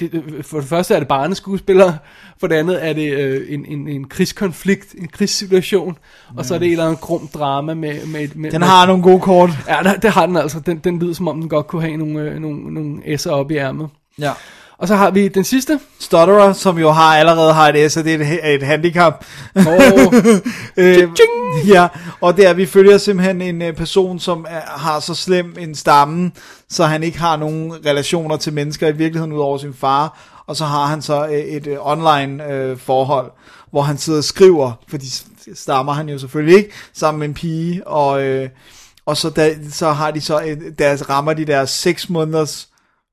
det, øh, for det første er det barneskuespillere, for det andet er det øh, en, en, en krigskonflikt, en krigssituation, og så er det et eller andet grum drama med... med, med
Den
med,
har nogle gode kort.
Ja, der, det har den altså. Den, den lyder som om, den godt kunne have nogle, øh, nogle, nogle S'er op i ærmet.
Ja.
Og så har vi den sidste.
Stutterer, som jo har allerede har et S, og det er et, et handicap.
Og,
Øh, ja, og det er, at vi følger simpelthen en øh, person, som er, har så slem en stamme, så han ikke har nogen relationer til mennesker i virkeligheden udover sin far, og så har han så øh, et øh, online øh, forhold, hvor han sidder og skriver, fordi s- stammer han jo selvfølgelig ikke, sammen med en pige, og, øh, og så, da, så har de så øh, deres, rammer de deres seks måneders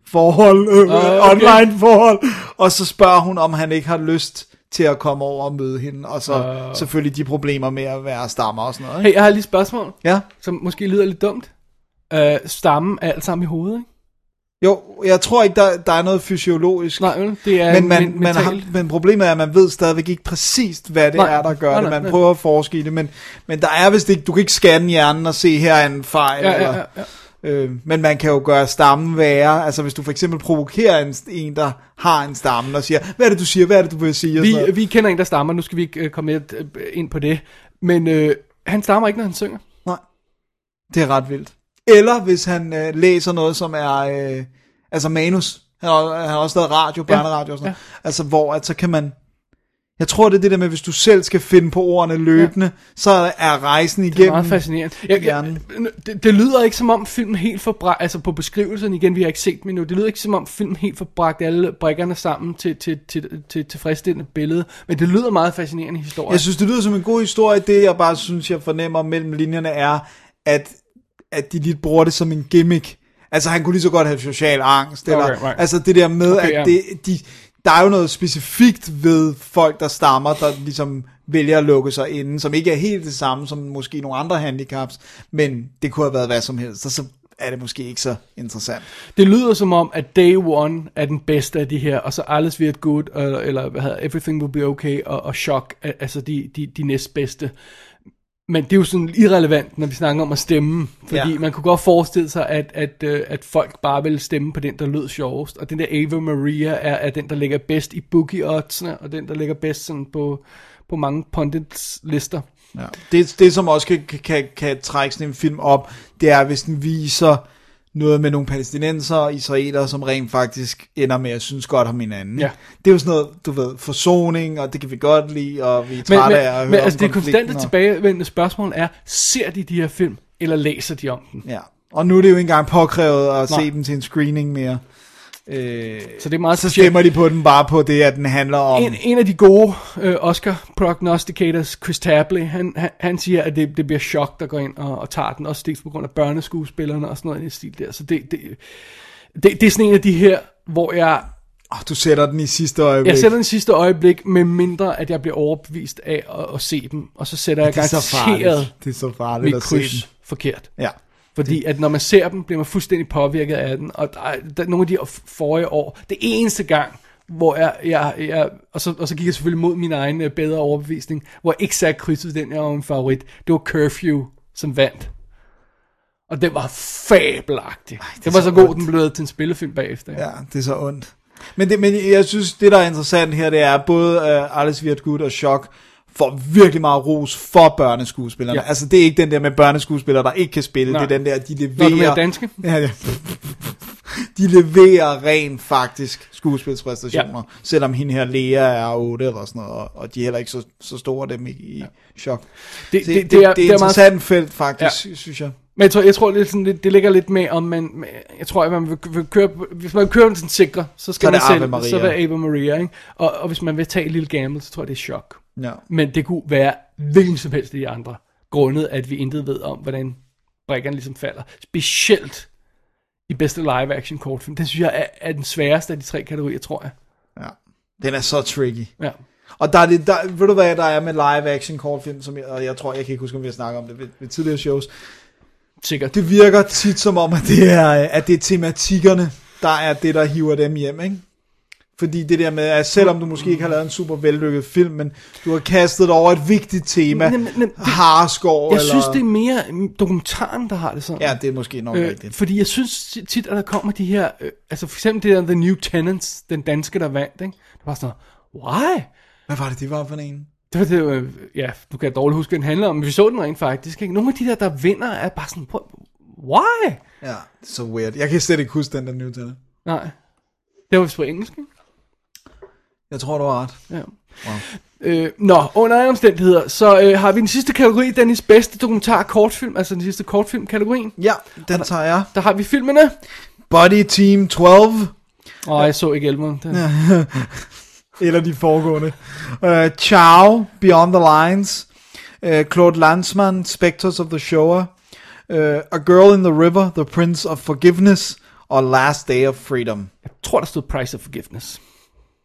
forhold, øh, okay.
okay.
online forhold, og så spørger hun, om han ikke har lyst til at komme over og møde hende, og så øh. selvfølgelig de problemer med at være stammer og sådan noget. Ikke?
hey, jeg har lige et spørgsmål,
Ja,
som måske lyder lidt dumt. Øh, stammen er alt sammen i hovedet, ikke?
jo, jeg tror ikke, der, der er noget fysiologisk,
Nej, vel? det er
men, man,
men-
man har,
mentalt.
men problemet er, at man ved stadigvæk ikke præcist, hvad det
Nej,
er, der gør
nej,
det.
nej,
Man
nej.
prøver at forske i det, men, men der er vist ikke, du kan ikke scanne hjernen og se, her er en fejl.
Ja, ja,
eller,
ja, ja.
Øh, men man kan jo gøre stammen værre. Altså hvis du for eksempel provokerer en, en der har en stamme, og siger, hvad er det, du siger, hvad er det, du vil sige? og sådan noget.
Vi, vi kender en, der stammer. Nu skal vi ikke øh, komme lidt, øh, ind på det. Men øh, han stammer ikke, når han synger.
Nej. Det er ret vildt. Eller hvis han øh, læser noget, som er... Øh, altså manus. Han har, han har også lavet radio, børneradio og sådan noget. Ja. Altså hvor at så kan man... Jeg tror, det er det der med, hvis du selv skal finde på ordene løbende, ja. så er rejsen
Det er
igennem...
meget fascinerende. Jeg, jeg, det, det lyder ikke som om filmen helt forbragt, altså på beskrivelsen igen, vi har ikke set den endnu, det lyder ikke som om filmen helt forbragt alle brikkerne sammen til, til, til, til tilfredsstillende billede, men det lyder meget fascinerende historie.
Jeg synes, det lyder som en god historie. Det, jeg bare synes, jeg fornemmer mellem linjerne, er, at, at de lidt bruger det som en gimmick. Altså, han kunne lige så godt have social angst. Eller,
Okay, right.
Altså, det der med, okay,
Okay,
at
ja.
det, de, der er jo noget specifikt ved folk, der stammer, der ligesom vælger at lukke sig inden, som ikke er helt det samme som måske nogle andre handicaps, men det kunne have været hvad som helst, og så er det måske ikke så interessant.
Det lyder som om, at Day One er den bedste af de her, og så Alles Wird Good, eller, eller hvad hedder, Everything Will Be Okay, og, og Shock, er- altså de, de, de næstbedste. Men det er jo sådan irrelevant, når vi snakker om at stemme, fordi
Ja.
ja. man kunne godt forestille sig, at, at, øh, at folk bare ville stemme på den, der lød sjovest, og den der Ava Maria er, er den, der ligger bedst i boogie oddsene, og den, der ligger bedst sådan på, på mange pundits lister.
Ja. Det, det, som også kan, kan, kan trække sådan en film op, det er, hvis den viser noget med nogle palæstinenser og israelere, som rent faktisk ender med at synes godt om hinanden.
Ja.
Det er jo sådan noget, du ved, forsoning, og det kan vi godt lide, og vi er
Men,
trætte
men,
af at
men
høre
altså
om
det konstante
konflikten, og...
tilbagevendende spørgsmål er, ser de de her film, eller læser de om dem?
Ja. Og nu er det jo ikke engang påkrævet at Nej.
Nej.
se dem til en screening mere. Øh,
Så det er meget
så
specielt.
stemmer de på den bare på det, at den handler om...
En, en af de gode øh, Oscar-prognosticators, Chris Tabley, han, han, han siger, at det, det bliver chok, der går ind og, og tager den, også dels på grund af børneskuespillerne og sådan noget i den stil der. Så det, det, det, det er sådan en af de her, hvor jeg,
Oh, du sætter den i sidste øjeblik.
jeg sætter den sidste øjeblik, med mindre at jeg bliver overbevist af at, at se dem, og så sætter jeg
det er så farligt.
garanteret
Det er så farligt
mit
at se den.
kryds forkert.
Ja.
Fordi at når man ser dem, bliver man fuldstændig påvirket af den. Og der, er- der, nogle af de forrige år, det eneste gang, hvor jeg, jeg, jeg og, så, og så gik jeg selvfølgelig mod min egen øh, bedre overbevisning, hvor jeg ikke sagde krydset den, jeg var en favorit. Det var Curfew, som vandt. Og den var fabelagtig. Den var så,
så
god,
ondt.
den blev lavet til en spillefilm bagefter. Ja.
Ja, det er så øh, ondt. Men, det, men jeg synes, det der er interessant her, det er at både uh, Alles wird gut og Chok får virkelig meget ros for børneskuespillerne. Ja.
Ja.
Altså, det er ikke den der med børneskuespillere, der ikke kan spille.
Nej.
Det er den der, de
Når du
leverer...
er danske.
Ja, ja. De leverer rent faktisk skuespilspræstationer, ja. selvom hende her Lea er 8 eller sådan noget, og- og de er heller ikke så, så store dem i, i ja. chok.
Det-
Se,
det- det er-
det
det
er
er
et
meget-
interessant felt faktisk, ja. synes jeg.
Men jeg tror, jeg tror lidt sådan, det, det ligger lidt med, om man, med- jeg tror, at man vil, vil køre, på- hvis man kører den sådan sikre, så
Så er
skal
det
man
Ave
selv,
Maria.
så er det Ave Maria, ikke? Og, og hvis man vil tage et lille gamble, så tror jeg, det er chok.
Ja.
Men det kunne være hvilken som helst af de andre, grundet at vi intet ved om, hvordan brækkerne ligesom falder. Specielt i bedste live action kortfilm. Den synes jeg er, er den sværeste af de tre kategorier, tror jeg.
ja. Den er så tricky.
Ja.
Og der er det, der, ved du hvad der er med live action kortfilm, som jeg, og jeg tror, jeg kan ikke huske, om vi har snakket om det ved, ved tidligere shows.
Sikkert.
Det virker tit som om, at det er, øh, at det er tematikkerne, der er det, der hiver dem hjem, ikke? Fordi det der med, at selvom du måske ikke har lavet en super vellykket film, men du har kastet dig over et vigtigt tema,
Men- men- men det-
harskov
Jeg
eller...
synes, det er mere mm, dokumentaren, der har det sådan.
Ja, det er måske nok øh,
Øh,
rigtigt.
fordi jeg synes tit, at der kommer de her, øh, altså for eksempel det der The New Tenants, den danske, der vandt, ikke? Det var sådan noget, why?
Hvad var det, det var for en?
Det var det, øh, ja, du kan dårligt huske, hvad den handler om, men vi så den rent faktisk, ikke? Nogle af de der, der vinder, er bare sådan, prøv- why?
Ja, det er så weird. Jeg kan slet ikke huske den der nye til
Nej. Det var vist på engelsk, ikke?
Jeg tror, du har ret.
Ja. Wow. Øh, nå, under alle omstændigheder, så øh, har vi den sidste kategori, Dennis bedste dokumentar kortfilm, altså den sidste kortfilm-kategorien.
Ja, den tager jeg.
Der har vi filmene.
Body Team 12.
Åh, jeg så ikke elveren. Den. Ja.
eller de foregående. Uh, Ciao, Beyond the Lines, uh, Claude Lanzmann, Spectres of the Shoah, uh, A Girl in the River, The Prince of Forgiveness, og Last Day of Freedom.
Jeg tror, der stod Price of Forgiveness.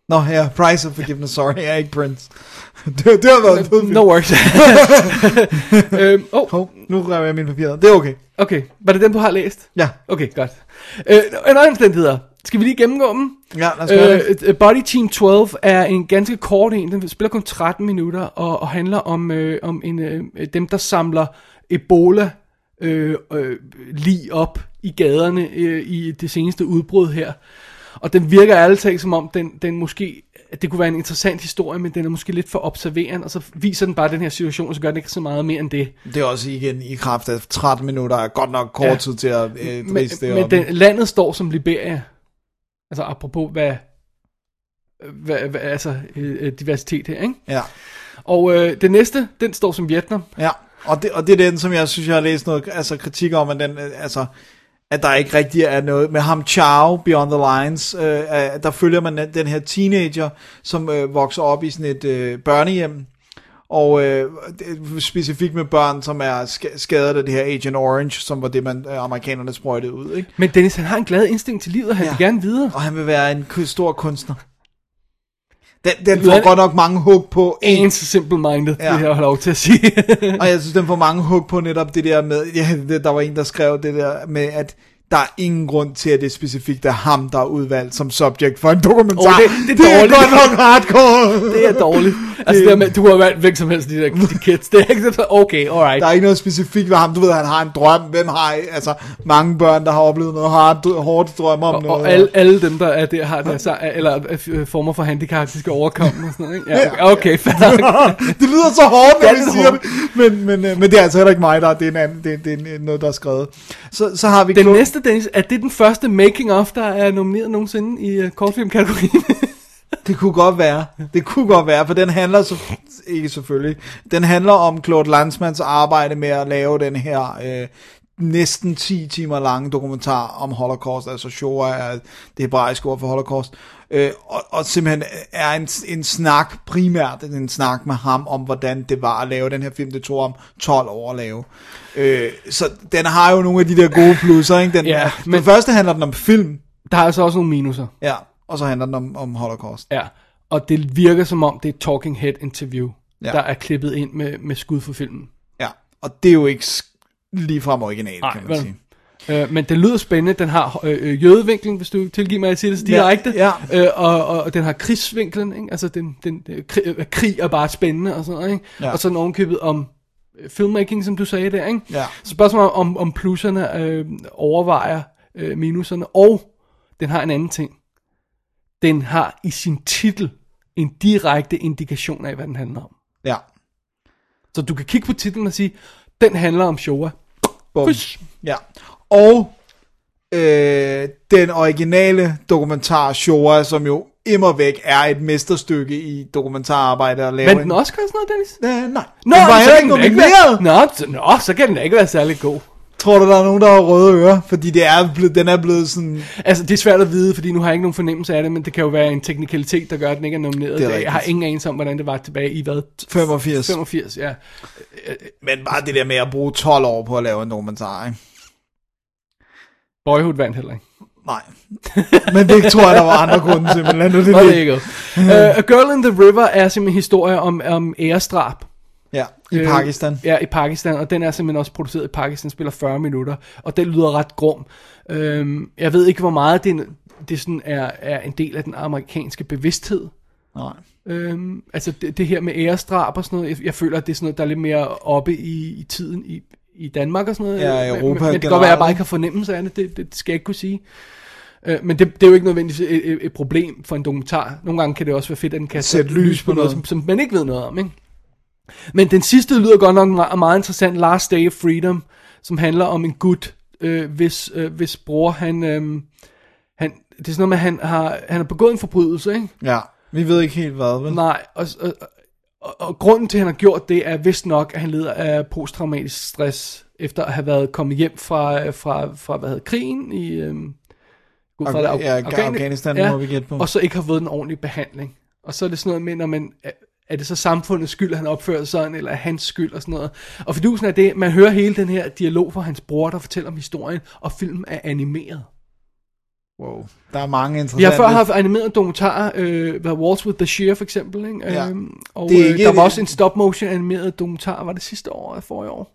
Nå ja, Price of Forgiveness, sorry, jeg er ikke Prince. det, det har været en fed film.
No worries. øhm, oh,
Hov, nu rev jeg mine papirer. Det er okay.
okay. Var det den, du har læst?
Ja,
Okay, godt. Øh, under alle omstændigheder, skal vi lige gennemgå dem?
ja lad os gøre det.
Øh, Body Team 12 er en ganske kort en. Den spiller kun 13 minutter og, og handler om, øh, om en, øh, dem, der samler Ebola øh, øh, lige op i gaderne øh, i det seneste udbrud her. Og den virker ærligt talt som om, den, den måske, at det kunne være en interessant historie, men den er måske lidt for observerende, og så viser den bare den her situation, og så gør den ikke så meget mere end det.
Det er også igen i kraft af 13 minutter, er godt nok kort
Ja.
tid til at øh,
Men,
driste det
men
op.
den, landet står som Liberia. Altså apropos hvad, hvad, hvad altså øh, øh, diversitet her, ikke?
Ja.
Og øh, det næste, den står som Vietnam.
Ja, og det, og det er den, som jeg synes, jeg har læst noget altså, kritik om, at, den, øh, altså, at der ikke rigtig er noget med ham Chow, Beyond the Lines, øh, øh, der følger man den- den her teenager, som øh, vokser op i sådan et øh, børnehjem, og øh, det er specifikt med børn, som er ska- skadet af det her Agent Orange, som var det, man øh, amerikanerne sprøjtede ud, ikke?
Men Dennis, han har en glad instinkt til livet, og han
Ja.
ja. vil gerne videre.
og han vil være en k- stor kunstner. Den, den
lyder-
får godt nok mange hug på en
En så simple-minded, ja.
Ja.
det her har lov til at sige.
Og jeg synes, den får mange hug på netop det der med, ja, det, der var en, der skrev det der med, at der er ingen grund til, at det specifikt er ham, der er udvalgt som subject for en dokumentar.
Åh, Oh, det- det er dårligt.
godt nok hardcore.
det er dårligt. Altså, det der med, du har valgt hvem som helst, de der de kids. Det er ikke så, okay, alright.
Der er ikke noget specifikt ved ham. Du ved, han har en drøm. Hvem har altså mange børn, der har oplevet noget hardt, hårdt drømme om
Og,
noget?
og alle, alle dem, der er der, har der, så, eller øh, former for handicap, de skal overkomme og sådan noget, ikke? Ja, okay, okay fair nok.
det lyder så hårdt, når
Ja,
vi
det er
siger det.
hårdt.
Men, men, øh, men det er altså heller ikke mig, der er, det er, en anden, det, det er noget, der er skrevet. Så, så har vi
Den
Klo-
næste, Dennis, er det den første making-of, der er nomineret nogensinde i uh, kortfilmkategorien?
Det kunne godt være. Det kunne godt være, for den handler så, ikke selvfølgelig. Den handler om Claude Landsmans arbejde med at lave den her øh, næsten 10 timer lange dokumentar om Holocaust, altså Shoah er det hebraiske ord for Holocaust. Øh, og, og simpelthen er en, en snak, primært en snak med ham om, hvordan det var at lave den her film. Det tog om 12 år at lave. Øh, så den har jo nogle af de der gode plusser. Ikke? Den,
Ja,
men... Den
men-
første handler den om film,
der er altså også nogle minuser.
ja, og så handler den om, om Holocaust.
Ja, og det virker som om, det er et talking head interview,
Ja.
ja. der er klippet ind med, med skud for filmen.
Ja, og det er jo ikke lige frem originalt,
Nej,
kan man
vel.
sige.
Øh, men den lyder spændende, den har øh, øh, jødevinklen, hvis du tilgiver mig at sige det så
Ja,
direkte,
ja.
Øh, og, og, og den har krigsvinklen, ikke? altså den, den, øh, krig, øh, krig er bare spændende og sådan noget, ikke?
Ja.
Ja. og så nogen købet om øh, filmmaking, som du sagde der, ikke?
Ja.
Så spørgsmålet er, om, om plusserne øh, overvejer øh, minuserne, og den har en anden ting, den har i sin titel en direkte indikation af, hvad den handler om.
Ja,
Så du kan kigge på titlen og sige, den handler om Showa.
Bum.
Fys.
Ja. Og øh, den originale dokumentar Showa, som jo immer væk er et mesterstykke i dokumentararbejde og lave.
Vandt den Oscar og sådan noget, Dennis?
Øh, nej.
Nå,
den var
så
heller
kan
ikke
den da
nomineret.
være- Nå, så, nå, så kan den da ikke være særlig god.
Tror du, der er nogen, der har røde ører? Fordi det er blevet, den er blevet sådan...
Altså, det er svært at vide, fordi nu har jeg ikke nogen fornemmelse af det, men det kan jo være en teknikalitet, der gør, at den ikke er nomineret.
Det er
Det er jeg har
rigtigt.
ingen anelse om, hvordan det var tilbage i hvad?
85.
85, ja.
Men bare det der med at bruge 12 år på at lave en dokumentar, ikke?
Boyhood vandt heller ikke.
Nej. Men det tror jeg, der var andre grunde til, men lad nu det
Var det
ligge.
ikke? Uh, A Girl in the River er simpelthen en historie om, om ærestrab.
Ja, i
Øh,
Pakistan.
Ja, i Pakistan, og den er simpelthen også produceret i Pakistan, spiller 40 minutter, og den lyder ret grum. Øhm, jeg ved ikke, hvor meget det, det sådan er, er en del af den amerikanske bevidsthed.
Nej.
Øhm, altså det, det her med æresdrab og sådan noget, jeg, jeg føler, at det er sådan noget, der er lidt mere oppe i, i tiden i, i Danmark og sådan noget.
Ja, i
Men-
Europa
Men, men det kan
generelt,
godt være, at jeg bare
ikke?
ikke har fornemmelse af det, det, det, det skal jeg ikke kunne sige. Øh, men det, det er jo ikke nødvendigvis et, et, et problem for en dokumentar. Nogle gange kan det også være fedt, at den kan
Sætte lys på noget.
som, som man ikke ved noget om. Ikke? Men den sidste lyder godt nok meget, meget interessant, Last Day of Freedom, som handler om en gut, øh, hvis, øh, hvis bror, han, øh, han... Det er sådan noget med, at han har, han har begået en forbrydelse, ikke?
Ja, vi ved ikke helt hvad, vel?
Nej, og, og, og, og grunden til, at han har gjort det, er vist nok, at han lider af posttraumatisk stress, efter at have været kommet hjem fra, øh, fra, fra hvad hedder, krigen i... Øhm, ud fra
Af-
det, Af-
ja,
Afghani-
Afghanistan, må vi gætte på.
Og så ikke har fået den ordentlige behandling. Og så er det sådan noget med, når man, er- er det så samfundets skyld, at han opfører sig sådan, eller er hans skyld og sådan noget. Og fidusen er det, man hører hele den her dialog fra hans bror, der fortæller om historien, og filmen er animeret.
Wow. Der er mange interessante...
Jeg har før haft animeret dokumentarer, øh, hvad Waltz with the Shear for eksempel, ikke?
Ja.
Øhm, og
Det er
øh,
ikke-
der var også en stop motion animeret dokumentar, var det sidste år eller forrige år?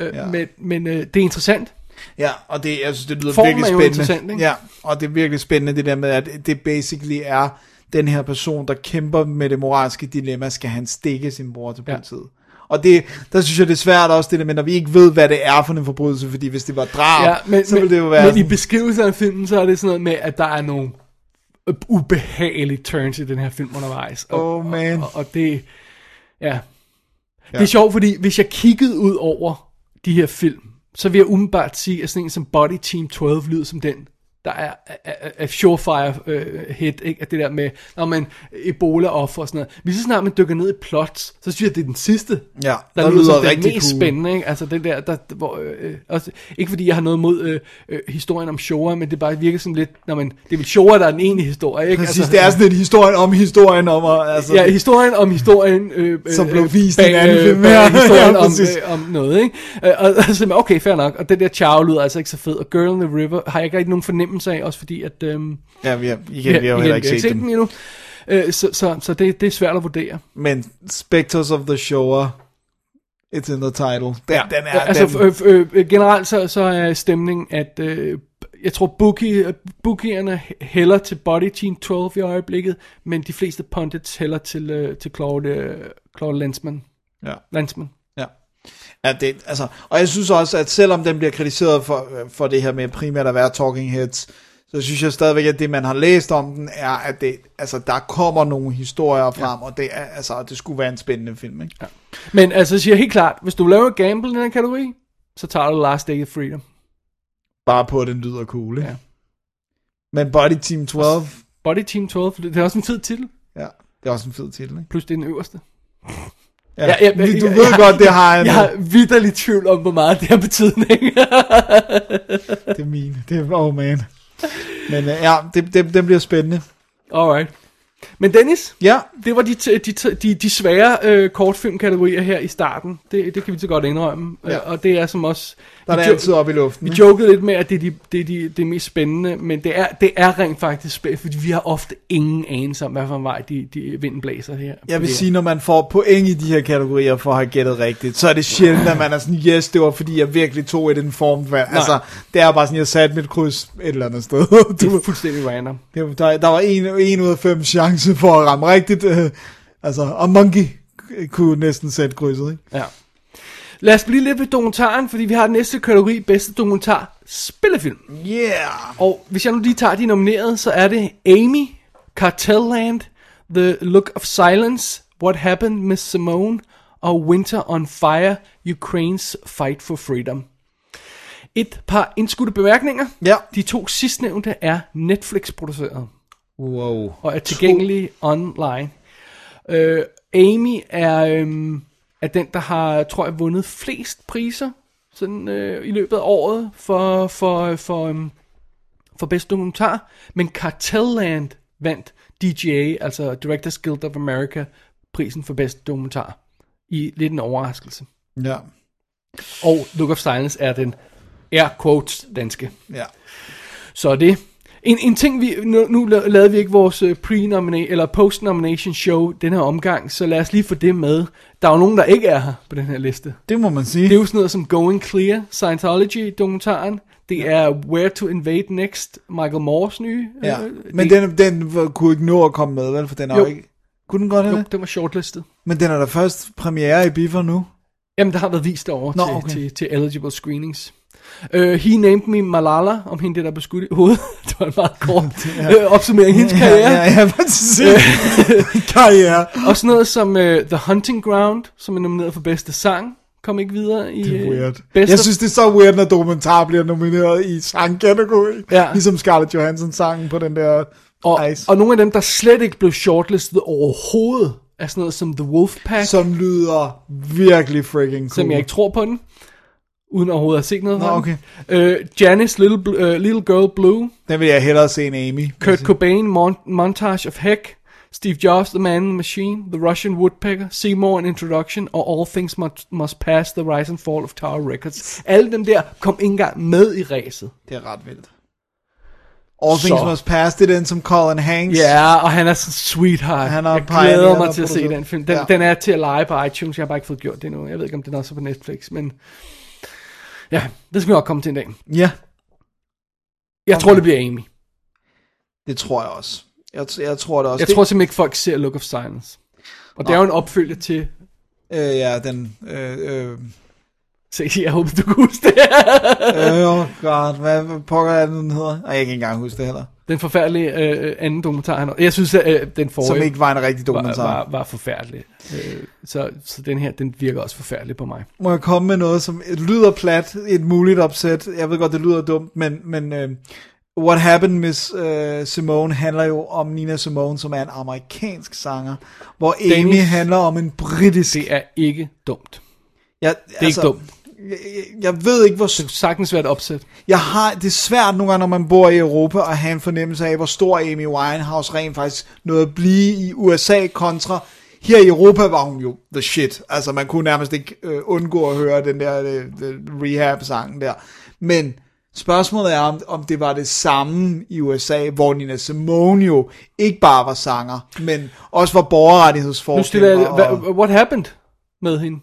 Øh,
Ja.
Men, men øh, det er interessant.
Ja, og det, jeg synes, det lyder
Formen
virkelig
er jo interessant,
spændende.
ikke?
Ja, og det er virkelig spændende det der med, at det basically er den her person, der kæmper med det moralske dilemma, skal han stikke sin bror til
Ja.
politiet. Og det, der synes jeg, det er svært også det der med, når vi ikke ved, hvad det er for en forbrydelse, fordi hvis det var drab,
Ja, men,
så ville det jo
men
være...
i beskrivelsen af filmen, så er det sådan noget med, at der er nogle ubehagelige turns i den her film undervejs. Og,
Oh, man.
Og, og, og det, ja. ja. Det er sjovt, fordi hvis jeg kiggede ud over de her film, så vil jeg umiddelbart sige, at sådan en som Body Team 12 lyder som den, der er, er, er, er surefire øh, hit, ikke? At det der med, når man ebola offer og sådan noget. Lige så snart man dykker ned i plots, så synes jeg, at det er den sidste,
Ja,
der,
der
lyder,
lyder
som den
rigtig
mest
cool.
spændende. Ikke? Altså det der, der hvor, øh, øh, også, ikke fordi jeg har noget mod øh, øh, historien om Showa, men det bare virker sådan lidt, når man, det er vel Showa, der er den egentlige historie. Ikke?
Præcis, altså, det er sådan lidt historien om historien om... Og, altså,
Ja, historien om historien øh, øh,
Som blev
øh,
vist i en anden film.
bag
Ja,
historien
ja,
om,
præcis.
øh, om noget, ikke? Øh, og, og så er okay, fair nok. Og den der Chow lyder altså ikke så fed. Og Girl in the River har jeg ikke rigtig nogen fornemmelse af, også fordi at... Øh,
ja vi har, igen, vi har jo heller ikke set dem.
den endnu. Øh, så så, så det, det er svært at vurdere.
Men Spectres of the Shower, it's in the title. Den, ja. den er...
altså,
den,
f- øh, øh, generelt så, så er stemningen, at øh, jeg tror, bookie, øh, bookierne hælder til Body Team 12 i øjeblikket, men de fleste pundits hælder til, øh, til Claude, øh, Claude Landsman.
ja.
Landsman.
Ja. Ja, det, altså, og jeg synes også, at selvom den bliver kritiseret for, øh, for det her med primært at være talking heads, så synes jeg stadigvæk, at det, man har læst om den, er, at det, altså, der kommer nogle historier frem, ja. og det, er, altså, det skulle være en spændende film. Ikke? Ja.
Men altså, jeg siger helt klart, hvis du laver et gamble i den her kategori, så tager du Last Day of Freedom.
Bare på, at den lyder cool. Ikke?
Ja.
Ja. Men Body Team 12,
Body Team 12, for det det er også en fed titel,
ja, det er også en fed titel. Ikke?
plus det er den øverste.
Ja,
Ja,
ja,
ja,
ja, ja, du
ja,
ved
ja,
godt, det har en,
Jeg har vidderligt tvivl om, hvor meget det har betydning.
det er min, det er, oh man. Men øh, ja, det, det, den bliver spændende.
Alright. Men Dennis,
Ja,
det var de, t- de, t- de, de svære øh, kortfilmkategorier her i starten. Det, det kan vi så godt indrømme.
Ja.
Ja. Og det er som også...
der er
vi
det
jo-
altid op i luften.
Vi
ikke?
jokede lidt med, at det er, de, det, er de, det er mest spændende, men det er, det er rent faktisk spændende, fordi vi har ofte ingen anelse om, hvad for en vej de, de vinden blæser her.
Jeg vil
Det er-
sige, når man får point i de her kategorier for at have gættet rigtigt, så er det sjældent, at man er sådan, yes, det var fordi, jeg virkelig tog et informed valg. Altså, det er bare sådan, jeg satte mit kryds et eller andet sted.
Det er
Du,
fuldstændig random.
det- der, der var en, en ud af fem chance for at ramme rigtigt. øh, Altså, og Monkey kunne næsten sætte krydset, ikke?
Ja. Lad os blive lidt ved dokumentaren, fordi vi har den næste kategori, bedste dokumentar, spillefilm.
Yeah!
Og hvis jeg nu lige tager de nominerede, så er det Amy, Cartel Land, The Look of Silence, What Happened, Miss Simone og Winter on Fire, Ukraines Fight for Freedom. Et par indskudte bemærkninger.
Ja.
De to sidstnævnte er Netflix-produceret
Wow.
og er tilgængelig online. Øh, Amy er, øhm, er den, der har, tror jeg, vundet flest priser sådan, øh, i løbet af året for, for, for, øhm, for bedste dokumentar. Men Cartelland vandt DGA, altså Directors Guild of America, prisen for bedste dokumentar. I lidt en overraskelse.
Ja.
Og Look of Silence er den air quotes danske.
Ja.
Så er det. En, en ting, vi, nu, nu la- lavede vi ikke vores øh, pre-nomination, eller post-nomination show den her omgang, så lad os lige få det med. Der er jo nogen, der ikke er her på den her liste.
Det må man sige.
Det er jo sådan noget som Going Clear, Scientology-dokumentaren. Det er Where to Invade Next, Michael Moores nye. øh,
ja. Men
det-
den, den kunne ikke nå at komme med, vel? For den er jo
Jo.
ikke... Kunne den godt have
Jo,
det?
den var shortlistet.
Men den er da først premiere i biffer nu.
Jamen, der har været vist over
Nå,
Nå, til,
okay.
okay. til, til eligible screenings. Uh, he named me Malala, om hende, der blev skudt i hovedet. det var en meget kort ja. uh, opsummering af hendes karriere.
Ja, ja, ja præcis. Karriere.
Og sådan noget som uh, The Hunting Ground, som er nomineret for bedste sang, kom ikke videre i
Det er
øh,
weird.
bedste...
Jeg synes, det er så weird, når dokumentar bliver nomineret i sangkategori.
Ja.
Ligesom Scarlett Johansson-sangen på den der
og,
Ice,
og nogle af dem, der slet ikke blev shortlistet overhovedet, er sådan noget som The Wolfpack, så,
som lyder virkelig freaking cool.
som jeg ikke tror på den, uden overhovedet at have set noget
Nå,
fra
okay.
den. Uh, Janice, Little, Bl- uh, Little Girl Blue,
Den vil jeg hellere se end Amy.
Kurt Cobain, Mon- Montage of Heck, Steve Jobs, The Man and the Machine, The Russian Woodpecker, Seymour, An Introduction, og All Things Must, Must Pass, The Rise and Fall of Tower Records. Alle dem der kom ikke engang med i ræset.
Det er ret vildt. All
Så.
Things Must Pass, det er den som Colin Hanks.
Ja, og han er sådan en sweetheart.
Han er
jeg
pioneer,
glæder
der
mig til at se
producent.
den film. Den,
Ja.
ja. den er til at lege på iTunes. Jeg har bare ikke fået gjort det endnu. Jeg ved ikke, om den også er på Netflix, men... Ja, det skal vi nok komme til en dag.
ja.
Jeg tror, det bliver Amy.
Det tror jeg også. Jeg, t- jeg tror det også.
Jeg tror simpelthen ikke, folk ser Look of Silence. Og det er jo en opfølger til...
det, øh, ja, den... Øh, øh,
Se, jeg håber, du kan huske det.
øh, oh god, hvad, hvad pokker er det, den hedder? Ej, jeg kan ikke engang huske det heller.
Den forfærdelige øh, anden dokumentar. han- Jeg synes, at øh, den forrige
Som ikke var en rigtig
var,
dokumentar.
var, var forfærdelig. Øh, så, så den her, den virker også forfærdelig på mig.
må jeg komme med noget, som et lyder plat, et muligt opsæt. Jeg ved godt, det lyder dumt, men, men øh, What Happened Miss øh, Simone handler jo om Nina Simone, som er en amerikansk sanger, hvor Amy
Danish.
handler om en britisk.
Det er ikke dumt.
jeg,
Det er altså, ikke dumt.
Jeg, jeg- jeg ved ikke, hvor...
Det kunne sagtens være et opsæt.
Jeg har, det er svært nogle gange, når man bor i Europa, at have en fornemmelse af, hvor stor Amy Winehouse rent faktisk nåede at blive i USA kontra. Her i Europa var hun jo the shit. Altså, man kunne nærmest ikke øh, undgå at høre den der øh, øh, rehab-sangen der. Men spørgsmålet er, om, om det var det samme i USA, hvor Nina Simone jo ikke bare var sanger, men også var borgerrettighedsforkæmper.
Nu stiller jeg,
og-
hva, what happened med hende?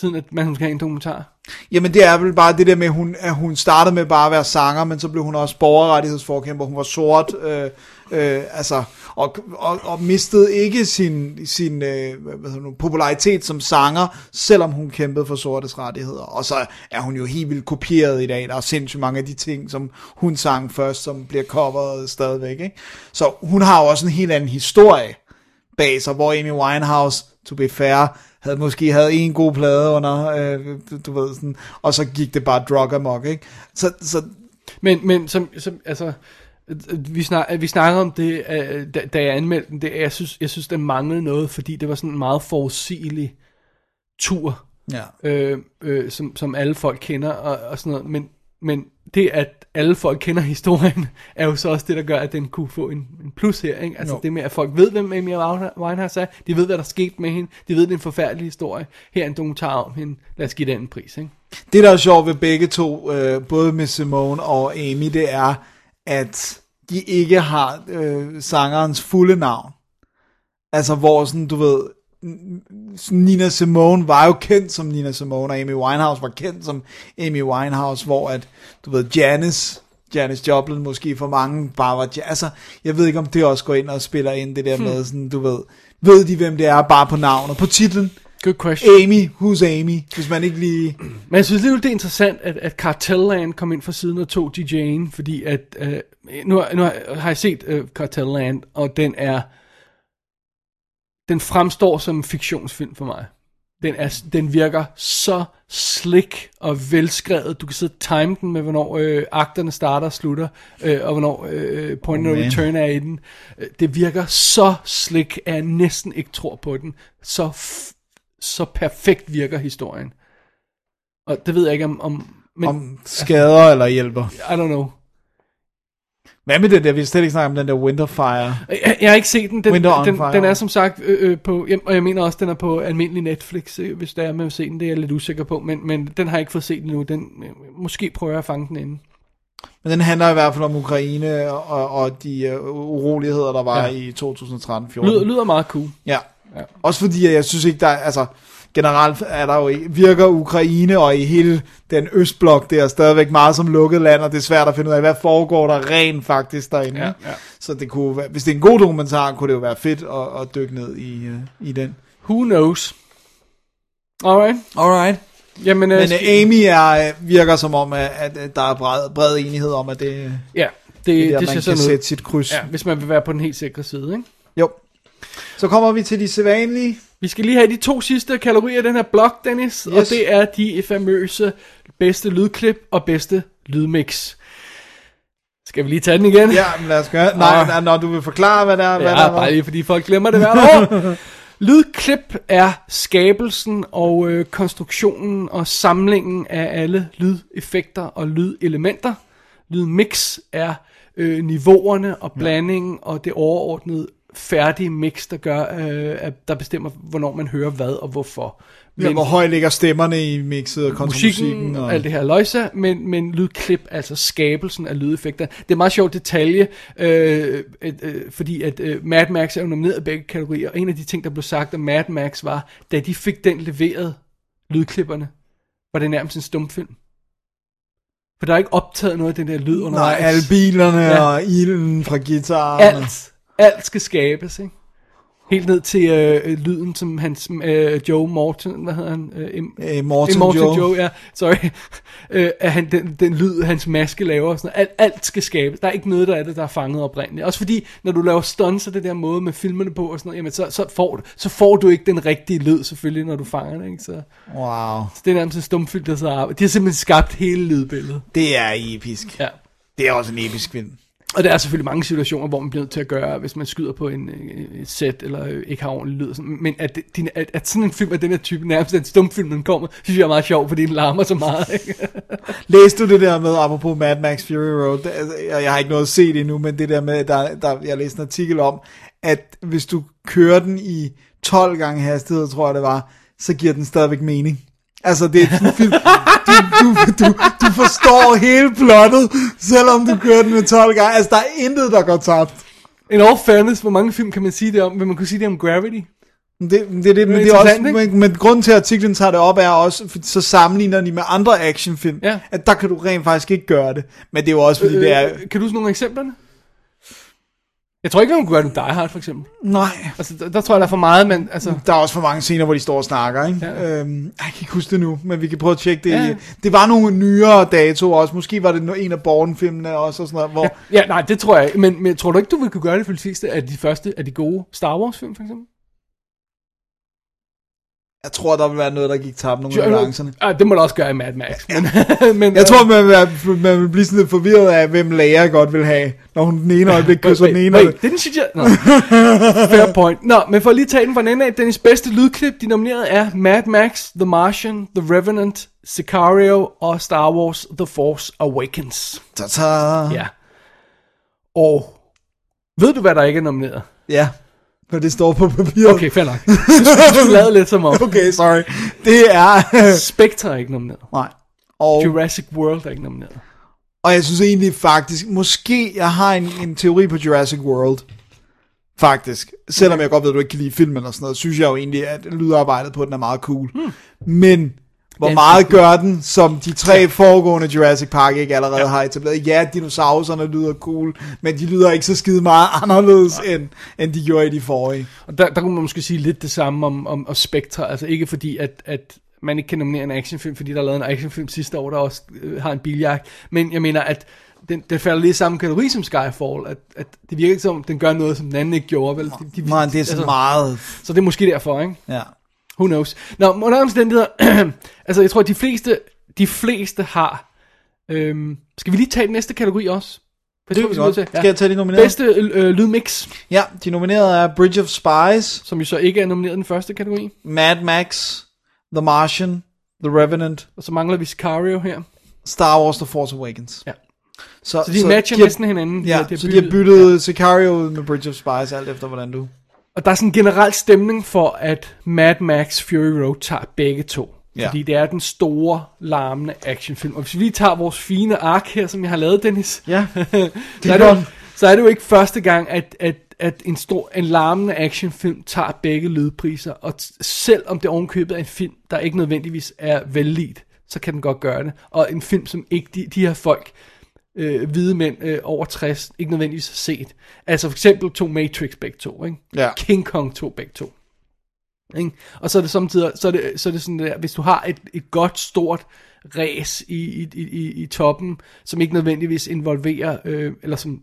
Siden at man skal have en dokumentar.
Jamen det er vel bare det der med, at hun, at hun startede med bare at være sanger, men så blev hun også borgerrettighedsforkæmper. Hun var sort, øh, øh, altså, og, og, og mistede ikke sin, sin øh, hvad hedder det nu, popularitet som sanger, selvom hun kæmpede for sortes rettigheder. Og så er hun jo helt vildt kopieret i dag. Der er sindssygt mange af de ting, som hun sang først, som bliver coveret stadigvæk. Ikke? Så hun har jo også en helt anden historie bag sig, hvor Amy Winehouse, to be fair, havde måske havde en god plade under, øh, du- du ved sådan, og så gik det bare drug amok, ikke? Så, så
Men, men som, som, altså, øh, vi, snak, øh, vi snakker om det, øh, da, da jeg anmeldte den. Det, jeg, synes, jeg synes, den manglede noget, fordi det var sådan en meget forudsigelig tur,
ja.
øh, øh, som, som alle folk kender og, og sådan noget. Men, men det, at alle folk kender historien, er jo så også det, der gør, at den kunne få en, en plus her. Ikke? Altså
Jo.
jo. det med, at folk ved, hvem Amy Winehouse er. De ved, hvad der skete med hende. De ved, det er en forfærdelig historie. Her er en dokumentar om hende. Lad os give den en pris. Ikke?
Det, der er sjovt ved begge to, øh, både med Simone og Amy, det er, at de ikke har øh, sangerens fulde navn. Altså, hvor sådan, du ved, Nina Simone var jo kendt som Nina Simone, og Amy Winehouse var kendt som Amy Winehouse, hvor at, du ved, Janis, Janis Joplin måske for mange bare var, Ja- altså, jeg ved ikke om det også går ind og spiller ind, det der med sådan, du ved, ved de hvem det er, bare på navnet, på titlen,
Good question.
Amy, who's Amy, hvis man ikke lige...
Men jeg synes alligevel, det er interessant, at, at Cartelland kom ind fra siden og tog DJ'en, fordi at, øh, nu, har- nu har- har jeg set øh, Cartelland, og den er, den fremstår som en fiktionsfilm for mig. Den, er, den virker så slik og velskrevet. Du kan sidde og time den med, hvornår øh, akterne starter og slutter, øh, og hvornår øh, point oh, of return er i den. Øh, Det virker så slik, at jeg næsten ikke tror på den. Så, f- så perfekt virker historien. Og det ved jeg ikke om... om men,
Om skader eller hjælper.
I don't know.
Hvad med den der, vi slet ikke snakker om den der Winterfire.
Jeg, jeg har ikke set den. Den,
Winter on
den,
Fire.
den er som sagt øh, øh, på, jeg- og jeg mener også, den er på almindelig Netflix, øh, hvis der er med at se den. Det er jeg lidt usikker på, men, men den har jeg ikke fået set endnu. Den, øh, måske prøver jeg at fange den inden.
Men den handler i hvert fald om Ukraine og, og de øh, uroligheder, der var
Ja.
ja. i 2013-14.
Lyder, lyder meget cool.
Ja. ja. Også fordi, at jeg synes ikke, der er- altså, generelt er der jo, ikke- virker Ukraine og i hele den østblok der stadigvæk meget som lukket land, og det er svært at finde ud af, hvad foregår der rent faktisk derinde.
Ja, ja.
Så det kunne, være- hvis det er en god dokumentar, kunne det jo være fedt at, at dykke ned i, øh, i den.
Who knows? Alright.
Alright.
Jamen, øh,
Men
skal-
øh, Amy er, øh, virker som om, at, at øh, der er bred, bred enighed om, at det, øh, det,
ja, det,
er
det,
der,
det
man
ser
kan
sådan ud.
sætte sit kryds.
Ja, hvis man vil være på den helt sikre side, ikke?
Jo. Så kommer vi til de sædvanlige.
Vi skal lige have de to sidste kategorier i den her blok, Dennis. Yes. Og
Yes.
det er de famøse bedste lydklip og bedste lydmix. Skal vi lige tage den igen?
Ja, men lad os gøre. Nej,
Ah.
nej, når du vil forklare, hvad der er. hvad
Ja,
der er.
bare lige fordi folk glemmer det hvert år. Lydklip er skabelsen og øh, konstruktionen og samlingen af alle lydeffekter og lydelementer. Lydmix er øh, niveauerne og blandingen og det overordnede færdige mix, der gør, øh, at der bestemmer, hvornår man hører hvad og hvorfor. Men
Ja, hvor højt ligger stemmerne i mixet og kontramusikken.
musikken og
og...
alt det her løjse, men, men lydklip, altså skabelsen af lydeffekter. Det er en meget sjov detalje, øh, øh, øh, fordi at øh, Mad Max er jo nomineret i begge kategorier, og en af de ting, der blev sagt om Mad Max var, da de fik den leveret, lydklipperne, var det nærmest en stumfilm. For der er ikke optaget noget af den der lyd
Nej,
undervejs.
alle bilerne
Ja.
ja. og ilden fra guitaren.
Alt, alt skal skabes, ikke? Helt ned til øh, øh, lyden, som hans øh, Joe Morton, hvad hedder han? Øh, M-
Øh, Morton,
Immortal Joe.
Joe.
Joe, ja, sorry. Øh, at han, den, den lyd, hans maske laver og sådan noget. Alt, alt skal skabes. Der er ikke noget, der er det, der er fanget oprindeligt. Også fordi, når du laver stunts og det der måde med filmerne på og sådan noget, jamen så, så, får, du, så får du ikke den rigtige lyd selvfølgelig, når du fanger det, ikke? Så,
Wow,
så det er nærmest en stumfilm, der sidder og arbejder. De har simpelthen skabt hele lydbilledet.
det er episk.
Ja.
Det er også en episk film.
Og der er selvfølgelig mange situationer, hvor man bliver nødt til at gøre, hvis man skyder på en, øh, et sæt, eller øh, ikke har ordentlig lyd. og Sådan. Men at, det- din, at, at, sådan en film af den her type, nærmest en stumfilm, den kommer, synes jeg er meget sjov, fordi den larmer så meget. Ikke?
Læste du det der med, apropos Mad Max Fury Road, det, altså, jeg, jeg har ikke noget at se det endnu, men det der med, der, der, jeg læste en artikel om, at hvis du kører den i 12 gange hastighed, tror jeg det var, så giver den stadigvæk mening. Altså, det er sådan en film, du, du, du, du forstår hele plottet, selvom du kører den med 12 gange. Altså, der er intet, der går tabt.
In all fairness, hvor mange film kan man sige det om? Vil man kunne sige det om Gravity?
Men Det, men det, er det, men det er også,
interessant,
men, men grunden til, at artiklen tager det op, er også, for så sammenligner de med andre actionfilm,
Ja.
at der kan du rent faktisk ikke gøre det. Men det er jo også, fordi øh, det er...
Øh, kan du huske nogle af eksemplerne? Jeg tror ikke, man kunne gøre det med Die Hard, for eksempel.
Nej,
Altså, der, der tror jeg, der er for meget, men altså...
der er også for mange scener, hvor de står og snakker, ikke?
Ja.
Ja. Øhm, jeg kan ikke huske det nu, men vi kan prøve at tjekke det.
Ja.
Ja. Det var nogle nyere datoer også. Måske var det no- en af Bourne-filmene også, og sådan noget, hvor...
Ja, ja, nej, det tror jeg ikke. Men, men tror du ikke, du ville kunne gøre det for de fleste af de første af de gode Star Wars-film, for eksempel?
Jeg tror, der vil være noget, der gik tabt nogle af balancerne.
Ah, det må du også gøre i Mad Max. Men, men,
Jeg tror, man vil, være- man vil blive sådan lidt forvirret af, hvem Leia godt vil have, når hun den ene øjeblik kysser den ene.
Wait, didn't she just... Nå. Fair point. Nå, men for at lige tage den fra den ende af, Dennis bedste lydklip, de nominerede er Mad Max, The Martian, The Revenant, Sicario og Star Wars The Force Awakens.
Ta-ta.
Ja. Og ved du, hvad der ikke er nomineret?
Ja, for det står på papiret.
Okay, fair nok. Du lavede lidt som om.
Okay, sorry. Det er...
Spectre er ikke nomineret.
Nej. Og,
Jurassic World er ikke nomineret.
og jeg synes egentlig faktisk, måske jeg har en, en teori på Jurassic World. Faktisk. Selvom jeg godt ved, at du ikke kan lide filmen og sådan noget, synes jeg jo egentlig, at lydarbejdet på den er meget cool. Hmm. Men hvor
Den er
meget gør den, som de tre foregående Jurassic Park ikke allerede ja. har etableret? Ja, dinosaurerne lyder cool, men de lyder ikke så skide meget anderledes, end, end de gjorde i de forrige.
Og der, der kunne man måske sige lidt det samme om, om, om Spectre, altså ikke fordi, at, at man ikke kan nominere en actionfilm, fordi der er lavet en actionfilm sidste år, der også øh, har en biljagt, men jeg mener, at den, den falder lige i samme kategori som Skyfall, at, at det virker ikke som, den gør noget, som den anden ikke gjorde, vel? De, de,
Nej, det er så
altså,
meget...
Så det er måske derfor, ikke?
Ja.
Who knows? Nå, under alle omstændigheder, altså jeg tror, at de fleste, de fleste har... Øhm, skal vi lige tage den næste kategori også? For
Det
jeg tror,
kan vi
er nødt
godt.
til-
Skal jeg tage de nominerede?
Bedste øh, lydmix,
Ja, de nominerede er Bridge of Spies,
som jo så ikke er nomineret i den første kategori.
Mad Max, The Martian, The Revenant,
Og så mangler vi Sicario her.
Star Wars The Force Awakens.
Ja.
Så,
Så de matcher
har-
næsten hinanden.
Ja,
de har
så de har byttet Sicario ud med Bridge of Spies, alt efter hvordan du...
Og der er sådan en generel stemning for, at Mad Max Fury Road tager begge to.
Ja.
Fordi det er den store, larmende actionfilm. Og hvis vi lige tager vores fine ark her, som jeg har lavet, Dennis.
Ja,
så, er det
gør
jo,
den.
så er det jo ikke første gang, at, at, at en, stor, en larmende actionfilm tager begge lydpriser. Og t- selvom det ovenkøbet er en film, der ikke nødvendigvis er vellidt, så kan den godt gøre det. Og en film, som ikke de, de her folk, øh, hvide mænd øh, over 60, ikke nødvendigvis har set. Altså for eksempel to Matrix begge to, ikke?
Ja.
King Kong to begge to. Ikke? Og så er det samtidig, så er det, så er det sådan der, hvis du har et, et godt stort ræs i, i, i, i- i toppen, som ikke nødvendigvis involverer, øh, eller som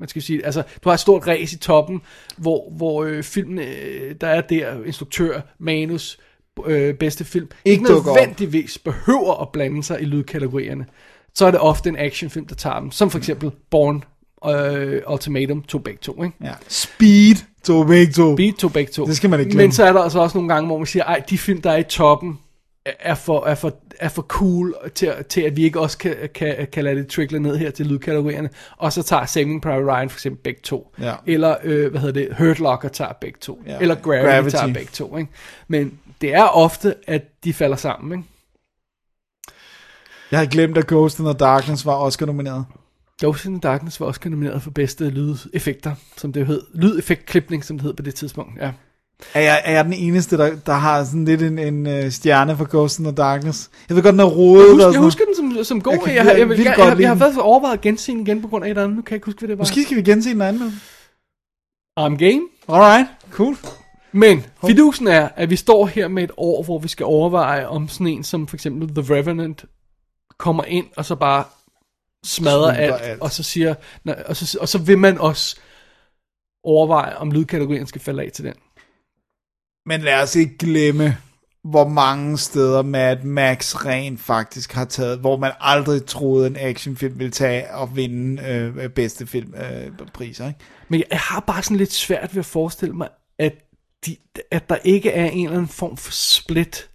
man skal sige, altså, du har et stort ræs i toppen, hvor, hvor øh, filmen, øh, der er der, instruktør, manus, øh, bedste film,
Ikke dukker op.
nødvendigvis behøver at blande sig i lydkategorierne, så er det ofte en actionfilm, der tager dem, som for eksempel Born øh, Ultimatum, to begge to, ikke?
ja. Speed, to begge to.
Beat to begge to.
Det skal man ikke glemme.
Men så er der altså også nogle gange, hvor man siger, ej, de film, der er i toppen, er- er for, er for, er for cool til, til, at vi ikke også kan, kan, kan lade det trickle ned her til lydkategorierne. Og så tager Saving Private Ryan for eksempel begge to.
Ja.
Eller, øh, hvad hedder det, Hurt Locker tager begge to.
Ja.
Eller Gravity,
Gravity.
Gravity tager begge to. Ikke? Men det er ofte, at de falder sammen. Ikke?
Jeg har glemt, at Ghost in the Darkness var Oscar-nomineret.
Ghost in the Darkness var også nomineret for bedste lydeffekter, som det jo hed. Lydeffektklipning, som det hed på det tidspunkt. Ja.
Er jeg, er jeg den eneste, der, der har sådan lidt en, en øh, stjerne for Ghost in the Darkness? Jeg ved godt, den er rodet
husker,
og
jeg
sådan
husker den som, som god.
Jeg
Jeg,
kan
jeg, har- jeg,
virkelig
jeg, jeg,
godt
jeg, jeg,
lide
jeg har
den.
faktisk overvejet at gense den igen på grund af et eller andet. Nu kan jeg ikke huske, hvad det var.
Måske skal vi gense en anden.
Arm Game.
Alright, cool.
Men fidusen er, at vi står her med et år, hvor vi skal overveje, om sådan en som for eksempel The Revenant kommer ind og så bare smadrer
Smadrer
alt,
alt.
alt, og så siger, nej, og så, og så vil man også overveje, om lydkategorien skal falde af til den.
Men lad os ikke glemme, hvor mange steder Mad Max rent faktisk har taget, hvor man aldrig troede, en actionfilm ville tage og vinde øh, bedste filmpriser. Øh, priser, ikke?
Men jeg har bare sådan lidt svært ved at forestille mig, at, de, at der ikke er en eller anden form for split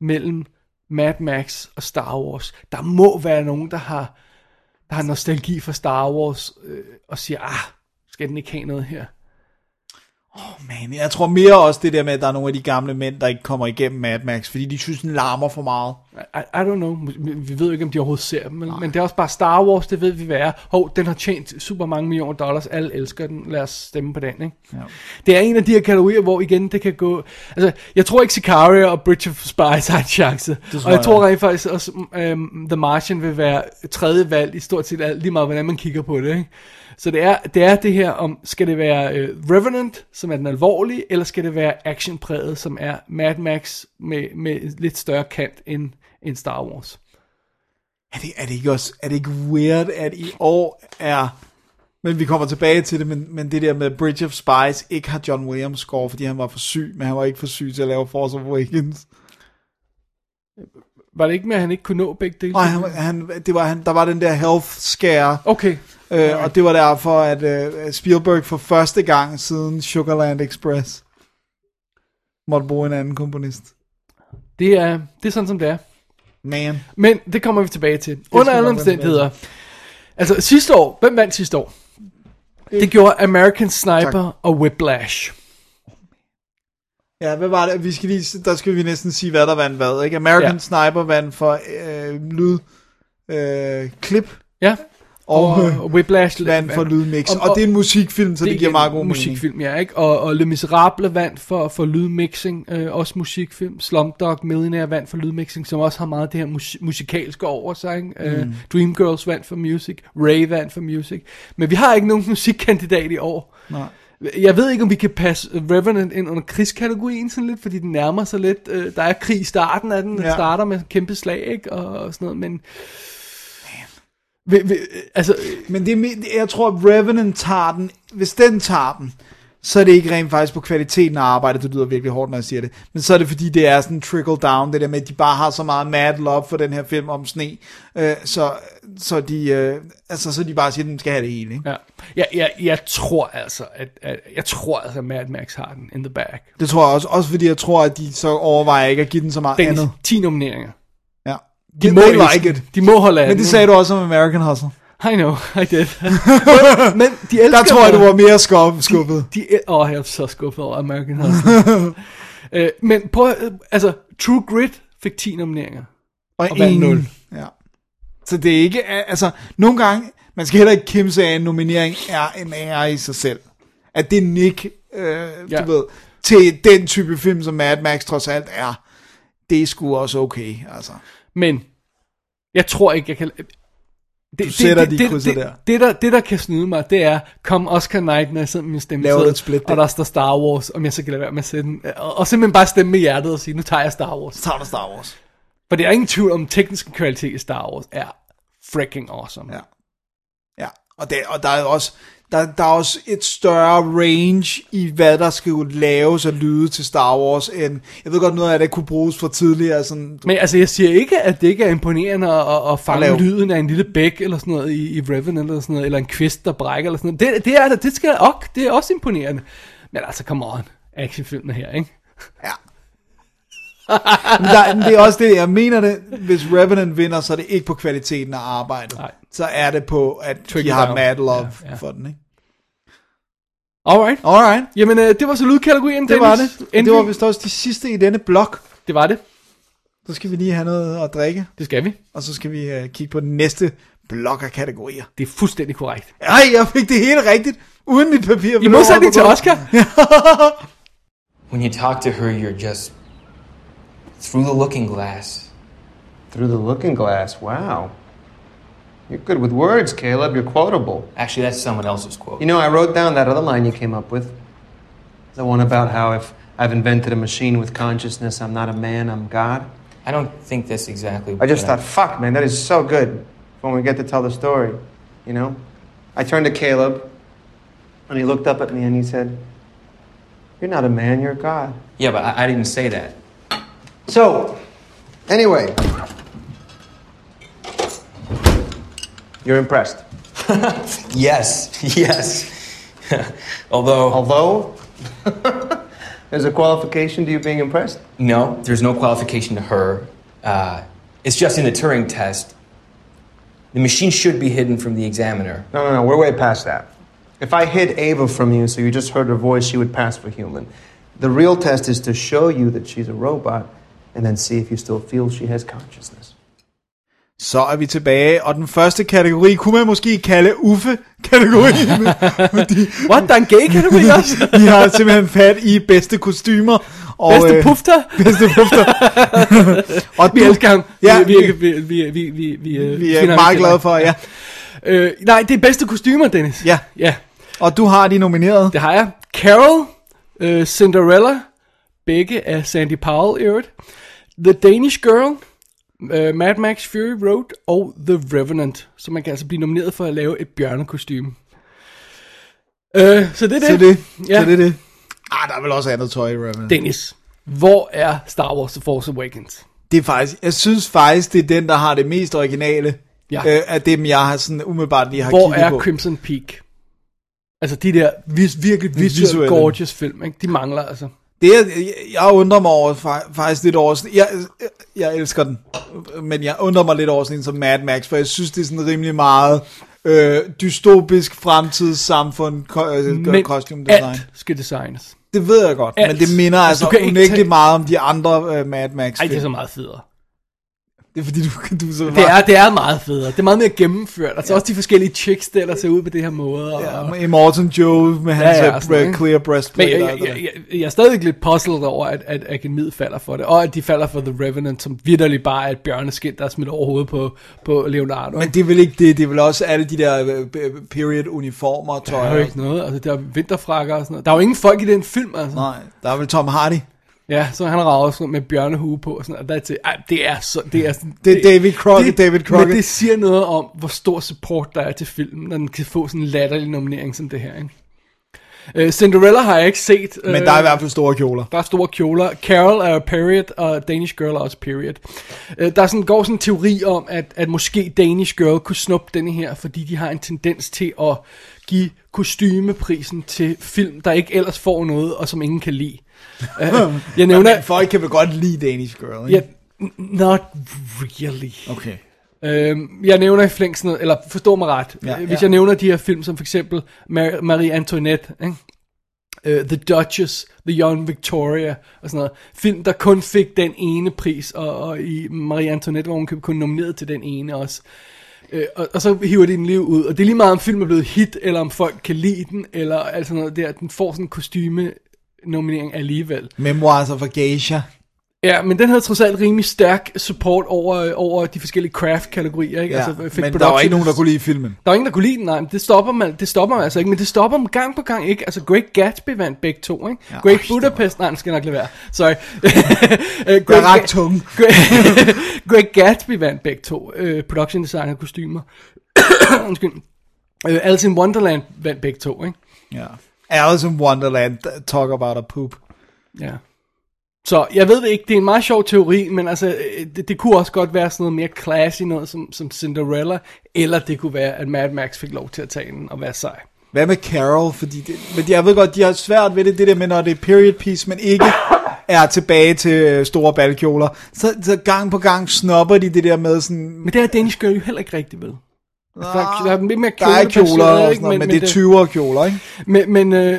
mellem Mad Max og Star Wars. Der må være nogen, der har, der har nostalgi for Star Wars øh, og siger, ah, skal den ikke have noget her?
Man, jeg tror mere også det der med, at der er nogle af de gamle mænd, der ikke kommer igennem Mad Max, fordi de synes, den larmer for meget.
I, I don't know. Vi- Vi ved jo ikke, om de overhovedet ser dem. Men, men det er også bare Star Wars, det ved vi hvad er. Hov, den har tjent super mange millioner dollars. Alle elsker den. Lad os stemme på den, ikke? Ja. Det er en af de her kategorier, hvor igen, det kan gå... Altså, jeg tror ikke Sicario og Bridge of Spies har en chance. Og jeg
jeg
tror rent faktisk også, um, The Martian vil være tredje valg i stort set alt, lige meget hvordan man kigger på det, ikke? Så det er, det er det her om, skal det være uh, Revenant, som er den alvorlige, eller skal det være actionpræget, som er Mad Max med, med lidt større kant end, end Star Wars?
Er det, er det ikke også, er det ikke weird, at i år er, men vi kommer tilbage til det, men, men det der med Bridge of Spies ikke har John Williams score, fordi han var for syg, men han var ikke for syg til at lave Force Awakens.
Var det ikke med, at han ikke kunne nå begge dele?
Nej, han, han, det var, han, der var den der health scare,
Okay.
øh, og det var derfor, at øh, Spielberg for første gang siden Sugarland Express måtte bruge en anden komponist.
Det er, det er sådan, som det er.
Man.
Men det kommer vi tilbage til. Under
skal
alle
vi nok vende
omstændigheder. Altså sidste år, hvem vandt sidste år?
Øh.
Det gjorde American Sniper og Whiplash.
Ja, hvad var det? Vi skal lige, der skal vi næsten sige, hvad der vandt hvad, ikke? American ja.
Ja.
Sniper vandt for øh, lyd, øh, klip
Ja.
og,
Og,
øh,
og Whiplash
vandt for lydmix. Og, og, det er en musikfilm, så det, det giver
igen
meget god mening.
musikfilm, ja, ikke? Og, og Le Miserable vandt for, for lydmixing, øh, også musikfilm. Slumdog Millionaire vandt for lydmixing, som også har meget af det her mus- musikalske over sig. Ikke? Øh,
Mm.
Dreamgirls vandt for music, Ray vandt for music. Men vi har ikke nogen musikkandidat i år.
Nej.
Jeg ved ikke, om vi kan passe Revenant ind under krigskategorien sådan lidt, fordi den nærmer sig lidt. Øh, der er krig i starten af den, den
Ja.
ja. starter med kæmpe slag, ikke? Og, og sådan noget, men... øh, Vi, vi, altså,
Men det, er me- jeg tror, at Revenant tager den. Hvis den tager den, så er det ikke rent faktisk på kvaliteten af arbejdet, det lyder virkelig hårdt, når jeg siger det, men så er det fordi, det er sådan trickle down, det der med, at de bare har så meget mad love for den her film om sne, øh, så, så, de, øh, altså, så de bare siger, at den skal have det hele. Ikke?
Ja. Jeg, jeg, jeg tror altså, at, at, jeg tror altså, at Mad Max har den in the bag.
Det tror jeg også, også fordi jeg tror, at de så overvejer ikke at give den så meget
Den
andet.
10 nomineringer.
Ja.
De
They
må
like it.
De må holde af
Men
den.
det sagde du også om American Hustle.
I know, I did.
men
de elsker
Der tror jeg,
mig.
du var mere skuff- skuffet.
De, åh, oh, jeg er så skuffet over American Hustle. øh, men prøv, at- altså, True Grit fik 10 nomineringer.
Og,
og vandt
ingen-
nul.
Ja. Så det er ikke, altså, nogle gange, man skal heller ikke kæmpe sig af, at en nominering er en ære i sig selv. At det er Nick, øh,
Ja.
ja. du ved, til den type film, som Mad Max trods alt er, det er sgu også okay, altså.
Men jeg tror ikke, jeg kan... Det, det-
sætter de krydser
det,
der.
Det, det, der, det, der kan snyde mig, det er, kom Oscar Night, når jeg sidder med min stemme
Laver
side,
du et split,
og
det?
der står Star Wars, om jeg så kan lade være med at sætte den. Og, og simpelthen bare stemme med hjertet og sige, nu tager jeg Star Wars.
Så tager du Star Wars.
For det er ingen tvivl om, teknisk kvalitet i Star Wars er freaking awesome.
Ja. Ja, og, det, og der er jo også, der, der er også et større range i, hvad der skal jo laves og lyde til Star Wars, end, jeg ved godt noget af det kunne bruges fra tidligere, sådan,
Men altså, jeg siger ikke, at det ikke er imponerende at, at, at fange
At lave.
lyden af en lille bæk eller sådan noget i, i Revenant eller sådan noget, eller en kvist, der brækker eller sådan noget. Det, det, er, det, skal, ok, det er også imponerende. Men altså, come on. Actionfilmene her, ikke?
Ja. Men der, men det er også det, jeg mener det. Hvis Revenant vinder, så er det ikke på kvaliteten af arbejdet.
Nej.
Så er det på, at
Trickle
de har
down.
mad love
Ja, ja.
for den, ikke?
Alright.
Alright.
Jamen, øh, det var så lydkategorien,
Det var det.
Dennis.
Og
Endelig.
det var vist også de sidste i denne blok.
det var det.
Så skal vi lige have noget at drikke,
Det skal vi.
og så skal vi uh, kigge på den næste blok af kategorier.
Det er fuldstændig korrekt.
Ej, jeg fik det hele rigtigt, uden mit papir.
I modsætning til Oscar.
When you talk to her, you're just through the looking glass.
Through the looking glass, wow. You're good with words, Caleb. You're quotable.
Actually, that's someone else's quote.
You know, I wrote down that other line you came up with. The one about how if I've invented a machine with consciousness, I'm not a man, I'm God.
I don't think that's exactly.
I just thought,
what
fuck, man, that is so good when we get to tell the story, you know? I turned to Caleb, and he looked up at me and he said, You're not a man, you're God.
Yeah, but I, I didn't say that.
So, anyway, you're impressed.
Yes, yes. Although,
Although, there's a qualification to you being impressed.
no, there's no qualification to her. Uh, it's just in the Turing test. The machine should be hidden from the examiner.
No, no, no, we're way past that. If I hid Ava from you so you just heard her voice, she would pass for human. The real test is to show you that she's a robot and then see if you still feel she has consciousness.
Så er vi tilbage, og den første kategori kunne man måske kalde Uffe-kategorien. Mm.
What, der er en gay-kategori også?
Vi har simpelthen fat i bedste kostymer. Og,
Bedste
øh,
pufter.
Bedste pufter. og
Vi
du-
elsker ham.
Ja,
vi, vi,
vi,
vi, vi, vi, vi, vi, øh,
vi
finder
er
ham
meget
ikke
glade
heller.
for, ja.
Øh, nej, det er bedste kostymer, Dennis.
Ja.
Ja,
Og du har de nomineret.
det har jeg. Carol, øh, Cinderella, begge af Sandy Powell i øvrigt. The Danish Girl, øh, Mad Max Fury Road og The Revenant. Så man kan altså blive nomineret for at lave et bjørnekostyme. Øh, så det er det.
Så det,
Ja.
så det er det. Ah, der er vel også andet tøj i Revenant. Det,
Dennis, hvor er Star Wars The Force Awakens?
det er faktisk, jeg synes faktisk, det er den, der har det mest originale.
Ja.
Øh, af dem, jeg har sådan umiddelbart lige har
Hvor
kigget
er
på.
Crimson Peak? Altså de der vis, virkelig visuelt
visuelle.
gorgeous film, ikke? de mangler altså.
Det, jeg, jeg- jeg undrer mig over, fa- faktisk lidt over, sådan- jeg, jeg- jeg elsker den, men jeg undrer mig lidt over sådan en som Mad Max, for jeg synes, det er sådan rimelig meget øh, dystopisk fremtidssamfund, ko- øh,
Men
costume design.
alt skal designes.
Det ved jeg godt,
Alt.
alt. men det minder
Altså,
altså,
du kan ikke
altså unægteligt
tage-
meget om de andre uh, Mad Max
Ej,
film.
det er så meget federe.
det er fordi, du, du er så
Det er, det er meget federe. Det er meget mere gennemført. Altså også de forskellige chicks, der ellers ser ud på det her måde. Og...
Ja, med Immortan Joe med hans
Ja,
ja,
ja, og sådan noget,
ja,
ikke?
clear
Men
breastplate.
jeg,
og alt
jeg,
det
jeg,
der.
jeg, jeg er stadig lidt puzzled over, at, at akademiet falder for det. Og at de falder for The Revenant, som vidderligt bare er et bjørneskind, der er smidt over hovedet på, på Leonardo.
Men det er vel ikke det, det er vel også alle de der øh, period-uniformer og
der
tøj.
er jo
og-
ikke noget. Altså, der er vinterfrakker og sådan noget. Der er jo ingen folk i den film, altså.
Nej, der er vel Tom Hardy.
Ja, så han rager også rundt med bjørnehue på og sådan noget. og that's it. Ej, det er så... Det er, sådan,
Det er David Crockett, David Crockett.
Men det siger noget om, hvor stor support der er til filmen, når den kan få sådan en latterlig nominering som det her, ikke? Øh, Cinderella har jeg ikke set. øh,
Men der er i hvert fald store kjoler.
Der er store kjoler. Carol er period, og Danish Girl er også period. Øh, Der er sådan, går sådan en teori om, at, at måske Danish Girl kunne snuppe denne her, fordi de har en tendens til at give kostymeprisen til film, der ikke ellers får noget, og som ingen kan lide. Øh, jeg
Men
nævner...
folk kan vel godt lide Danish Girl, ikke?
Ja, n- not really.
Okay.
Øhm, jeg nævner i flæng sådan noget, eller forstå mig ret,
Ja,
ja,
ja.
hvis jeg nævner de her film, som for eksempel Mar- Marie Antoinette, ikke? Uh, The Duchess, The Young Victoria og sådan noget. Film, der kun fik den ene pris, og, og i Marie Antoinette var hun kun nomineret til den ene også. Øh, og, og så hiver de den liv ud, og det er lige meget om filmen er blevet hit, eller om folk kan lide den, eller alt sådan noget der. Den får sådan en kostyme nominering alligevel.
Memoirs of a Geisha.
Ja, men den havde trods alt rimelig stærk support over, over de forskellige craft-kategorier, ikke?
Ja,
Altså,
altså,
fik
men der var ikke
production-
nogen, der kunne lide filmen.
der var ingen, der kunne lide den, nej, men det stopper man, det stopper man altså ikke, men det stopper man gang på gang ikke. Altså, Great Gatsby vandt begge to, ikke? Ja, Great Budapest, nej, den skal jeg nok lade være, sorry. Øh, Great,
ret tunge.
Great, Great Gatsby vandt begge to, øh, production design og kostymer. Undskyld. Øh, Alice in Wonderland vandt begge to, ikke?
Ja. Alice in Wonderland, talk about a poop.
Ja. Så jeg ved det ikke, det er en meget sjov teori, men altså, øh, det, det kunne også godt være sådan noget mere classy, noget som, som Cinderella, eller det kunne være, at Mad Max fik lov til at tage den og være sej.
Hvad med Carol? Fordi det, men jeg ved godt, de har svært ved det, det der med, når det er period piece, men ikke er tilbage til øh, store balkjoler. Så, så gang på gang snopper de det der med sådan,
Men det er Danish Girl jo heller ikke rigtig ved. Altså, der, er- der er lidt mere
der
kjole,
er kjoler og sådan noget, men, men det er 20'er kjoler, ikke?
Men, men, øh,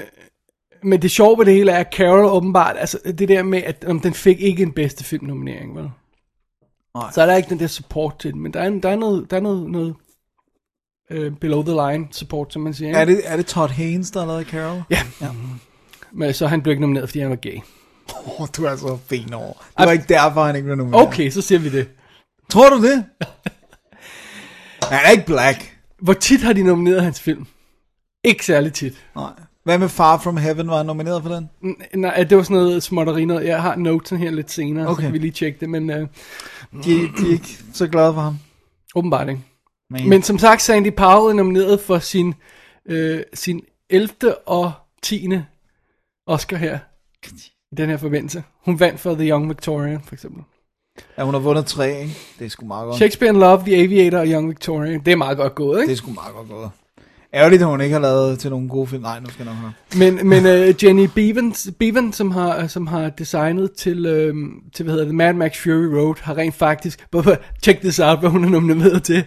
men det sjove ved det hele er, at Carol åbenbart, altså det der med, at om den fik ikke en bedste filmnominering, vel? Nej. Så er der ikke den der support til den, men der er, en- der er noget, der er noget, noget øh, below the line support, som man siger. ikke?
Er det, er det Todd Haynes, der har lavet Carol?
Ja. ja. Men så han blev ikke nomineret, fordi han var gay.
Åh, oh, du er så fin over. Det var ikke derfor, han ikke blev nomineret.
Okay, så siger vi det.
Tror du det? Han er ikke black.
Hvor tit har de nomineret hans film? Ikke særlig tit.
Nej. Hvad med Far From Heaven? Var han nomineret for den?
N- Nej, det var sådan noget småtteri noget. Jeg har noten her lidt senere, okay. så
Okay.
kan vi lige tjekke det, men øh,
De, de er ikke så glade for ham.
åbenbart ikke. Men som sagt, Sandy Powell er nomineret for sin, øh, sin 11. og 10. Oscar her, i den her forbindelse. Hun vandt for The Young Victorian, for eksempel.
Ja, hun har vundet tre, ikke? Det er sgu meget godt.
Shakespeare in Love, The Aviator og Young Victorian. Det er meget godt gået,
Det
ikke?
er sgu meget godt gået. Ærgerligt, at hun ikke har lavet til nogle gode film. Nej, nu skal jeg nok have.
Men, men øh, Jenny Bevan, Bevan som, har, øh, som har designet til, øh, til hvad hedder det, Mad Max Fury Road, har rent faktisk, check this out, hvad hun er nomineret til.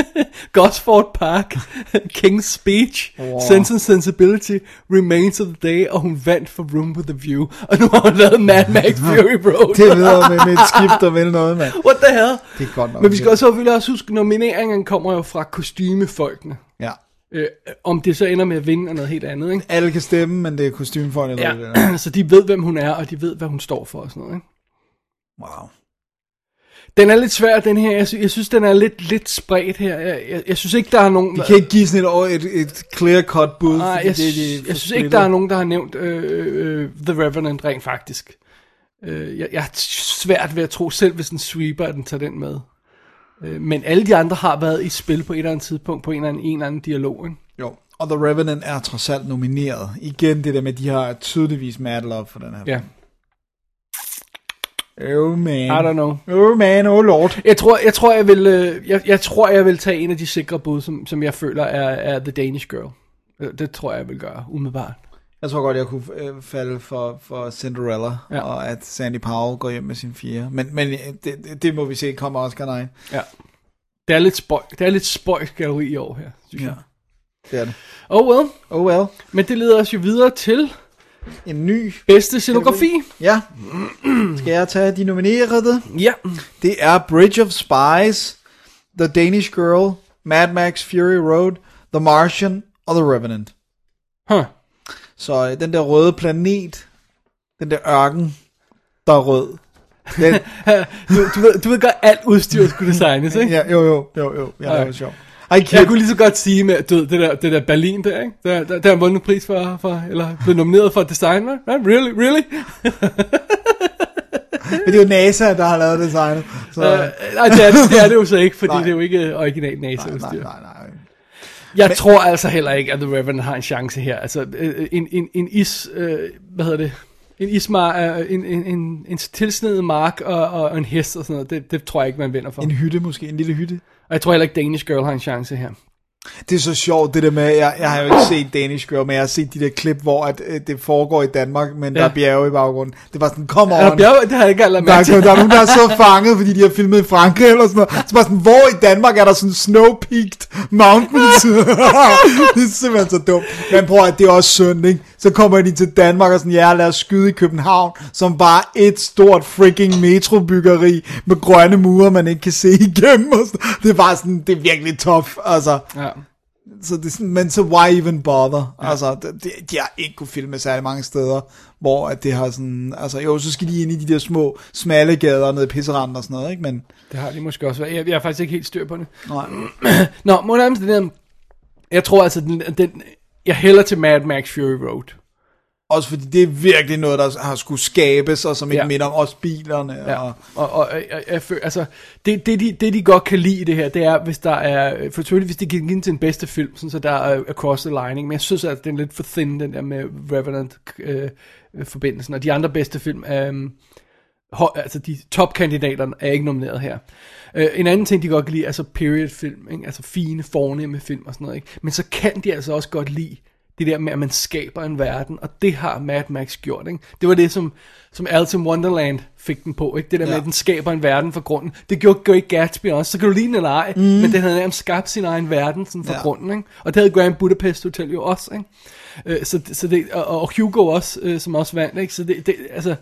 Gosford Park, King's Speech, wow. Sense and Sensibility, Remains of the Day, og hun vandt for Room with a View. Og nu har hun lavet Mad Max Fury Road.
Det videre med, med et skift og vel noget, mand.
What the hell?
Det er godt nok.
Men vi skal også selvfølgelig også huske, nomineringen kommer jo fra kostymefolkene.
Ja.
Øh, om det så ender med at vinde er noget helt andet, ikke?
Alle kan stemme, men det er kostymefolk, der ved det. der.
Ja, så de ved, hvem hun er, og de ved, hvad hun står for og sådan noget. Ikke?
Wow.
Den er lidt svær, den her. Jeg, sy- jeg synes, den er lidt, lidt spredt her. Jeg, jeg, jeg synes ikke, der er nogen...
De kan ikke give sådan et, år- et, et clear-cut bud.
Nej,
fordi
Ah, jeg,
det,
sy-
for
jeg synes ikke,
splittet.
der er nogen, der har nævnt øh, øh, The Revenant rent faktisk. Øh, jeg, jeg har svært ved at tro selv, hvis en sweeper, at den tager den med. Øh, men alle de andre har været i spil på et eller andet tidspunkt, på en eller anden, en eller anden dialog. Ikke?
Jo, og The Revenant er trods alt nomineret. Igen det der med, at de har tydeligvis mad love for den her.
Ja,
film. Oh man.
I don't know.
Oh man, oh lord.
Jeg tror, jeg tror, jeg vil, øh, jeg, jeg tror, jeg vil tage en af de sikre bud, som, som jeg føler er, er The Danish Girl. Øh, Det tror jeg, jeg vil gøre, umiddelbart.
Jeg tror godt, jeg kunne øh, falde for, for Cinderella,
Ja.
ja. og at Sandy Powell går hjem med sin fire. Men, men øh, det, det, det må vi se, kommer Oscar 9.
Ja. Det er lidt spøj, det er lidt spøjs galleri i år her, synes ja. jeg.
Det er det.
Oh well.
Oh well.
Men det leder os jo videre til
En ny.
bedste scenografi.
Ja. Skal jeg tage de nominerede?
Ja.
Det er Bridge of Spies, The Danish Girl, Mad Max Fury Road, The Martian og The Revenant.
Huh.
Så øh, den der røde planet, den der ørken, der er rød. Den,
Du, du, ved, du ved godt, alt udstyr skulle designes, ikke?
ja, jo, jo, jo, jo, ja, det
Okay.
var sjovt. Ej, kid.
Jeg kunne lige så godt sige med, du ved, det der, det der Berlin der, ikke? Der, der, der har vundet pris for, for, eller blevet nomineret for designer. Yeah, really, really?
Men det er jo NASA, der har lavet designet. Så,
Øh, nej, det er, det er det jo så ikke, fordi
Nej.
det er jo ikke original NASA-udstyr.
nej, nej, nej.
Jeg men... tror altså heller ikke, at The Revenant har en chance her. Altså, øh, en, en, en is... Øh, hvad hedder det? En ismar, øh, en, en, en, en tilsnedet mark og, og en hest og sådan noget, det, det tror jeg ikke, man vinder for.
En hytte måske, en lille hytte.
Og jeg tror heller ikke, Danish Girl har en chance her.
Det er så sjovt det der med, jeg, jeg har jo ikke set Danish Girl, men jeg har set de der klip, hvor at, øh, det foregår i Danmark, men ja. der
Ja.
er bjerge i baggrunden. Det var sådan, kom on.
Er der bjerg? Det har jeg ikke engang lagt
Der,
mærke
er-
til.
der er nogen, der er så fanget, fordi de har filmet i Frankrig eller sådan noget. Så bare sådan, hvor i Danmark er der sådan snow-peaked mountains? det er simpelthen så dumt. Men prøv at det er også synd, ikke? Så kommer de til Danmark og sådan, ja, lad os skyde i København, som bare et stort freaking metrobyggeri med grønne mure, man ikke kan se igennem. Og sådan. Det er bare sådan, det er virkelig tough, altså.
Ja.
Så det er sådan, men så why even bother? Ja. Altså, de, de, de har ikke kunne filme særlig mange steder, hvor at det har sådan, altså jo, så skal de ind i de der små, smalle gader nede i pisseranden og sådan noget, ikke? Men,
Det har de måske også været. Jeg, jeg er faktisk ikke helt styr på det.
nej.
Nå, må jeg det der... Jeg tror altså, den, den, jeg hælder til Mad Max Fury Road.
Også fordi det er virkelig noget, der har skulle skabes, og som ikke ja.
Ja.
minder om også bilerne. Ja. Og,
Og, og, og jeg, jeg føler, altså, det, det, de, det de godt kan lide i det her, det er, hvis der er, for selvfølgelig, hvis de kan give den til en bedste film, sådan, så der er øh, Across the Line, ikke? men jeg synes, at den er lidt for thin, den der med Revenant-forbindelsen, og de andre bedste film, øhm, høj, altså de topkandidaterne er ikke nomineret her. Øh, en anden ting, de godt kan lide, er så period-film, ikke? altså fine, fornemme film og sådan noget, ikke? men så kan de altså også godt lide det der med, at man skaber en verden, og det har Mad Max gjort. Ikke? Det var det, som, som Alice in Wonderland fik den på. Ikke? Det der med,
Ja.
at den skaber en verden fra grunden. Det gjorde Great Gatsby også. Så kan du lide den eller ej, mm. men den havde nærmest skabt sin egen verden sådan fra
Ja.
ja. grunden. Ikke? Og det havde Grand Budapest Hotel jo også. Ikke? Øh, så, så det, og, og Hugo også, øh, som også vandt. Ikke? Så det, det, altså,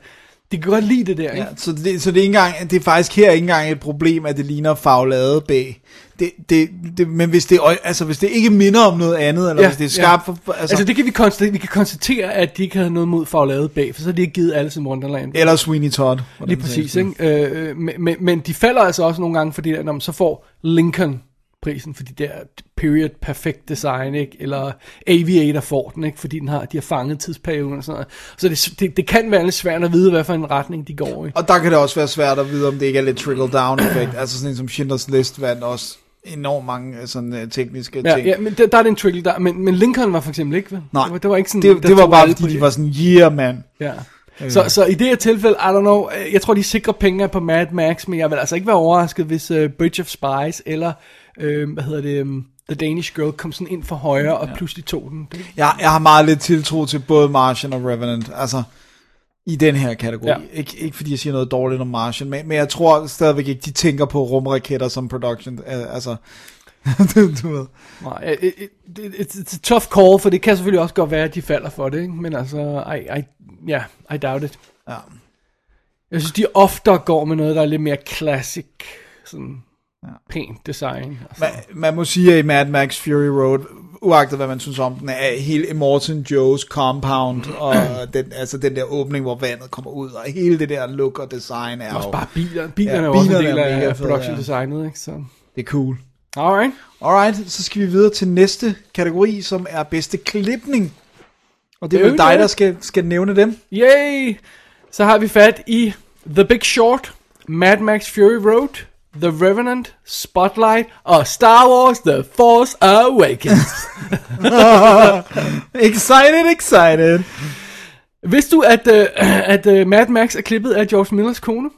de kan godt lide det der. Ikke?
ja, så, det, så det, er ikke engang, det er faktisk her ikke engang et problem, at det ligner faglade bag. Det, det, det, men hvis det, altså, hvis det ikke minder om noget andet, eller ja, hvis det er skarpt... Ja. For,
altså, altså, det kan vi konstatere, vi kan konstatere, at de ikke havde noget mod for at lave det bag, for så har de ikke givet alle som Wonderland.
Eller Sweeney Todd. hvordan
Lige
det
præcis,
er.
ikke? Øh, øh, men, men, men de falder altså også nogle gange, fordi der, når man så får Lincoln prisen, fordi det er period perfect design, ikke? Eller Aviator får den, ikke? Fordi den har, de har fanget tidsperioden og sådan noget. Så det, det, det kan være lidt svært at vide, hvad for en retning de går i.
Og der kan det også være svært at vide, om det ikke er lidt trickle-down-effekt. altså sådan en som Schindlers List vandt også enormt mange øh, sådan, øh, tekniske
Ja,
ting.
ja, men der, der er det en trickle der, men, men Lincoln var for eksempel ikke, vel?
Nej,
det var, det var ikke sådan,
det,
der
det var
tog
bare
alle
fordi, de
på-
var sådan, yeah, man.
Ja.
Øh.
Så, så i det her tilfælde, I don't know, øh, jeg tror de sikrer penge på Mad Max, men jeg vil altså ikke være overrasket, hvis uh, Bridge of Spies eller, øh, hvad hedder det, um, The Danish Girl kom sådan ind fra højre og pludselig tog den. Det,
Jeg, jeg har meget lidt tiltro til både Martian og Revenant, altså i den her kategori. Ja.
Ja.
Ik- ikke fordi jeg siger noget dårligt om Martian, men, men jeg tror stadigvæk ikke, de tænker på rumraketter som production. øh, Altså, du, du ved.
nej, øh, øh, det, it's, it's a tough call, for det kan selvfølgelig også godt være, at de falder for det, ikke? men altså, I, I, yeah, I doubt it.
Ja.
Jeg synes, de oftere går med noget, der er lidt mere classic, sådan ja. pænt design. Altså.
Man, man må sige, at i Mad Max Fury Road, uagtet hvad man synes om den, er hele Immortan Joe's compound, og den, altså den der åbning, hvor vandet kommer ud, og hele det der look og design er
også
jo,
bare biler. Bilerne
Ja,
er jo også en
bilerne
del
er mega
af
fede,
production
ja.
designet, ikke? Så,
det er cool.
alright.
Alright, så skal vi videre til næste kategori, som er bedste klipning. Og det er
Det er
vel
jo
dig,
det.
der skal, skal nævne dem.
Yay! Så har vi fat i The Big Short, Mad Max Fury Road, The Revenant, Spotlight og Star Wars The Force Awakens.
Excited, excited.
Vidste du, at, øh, at øh, Mad Max er klippet af George Millers kone?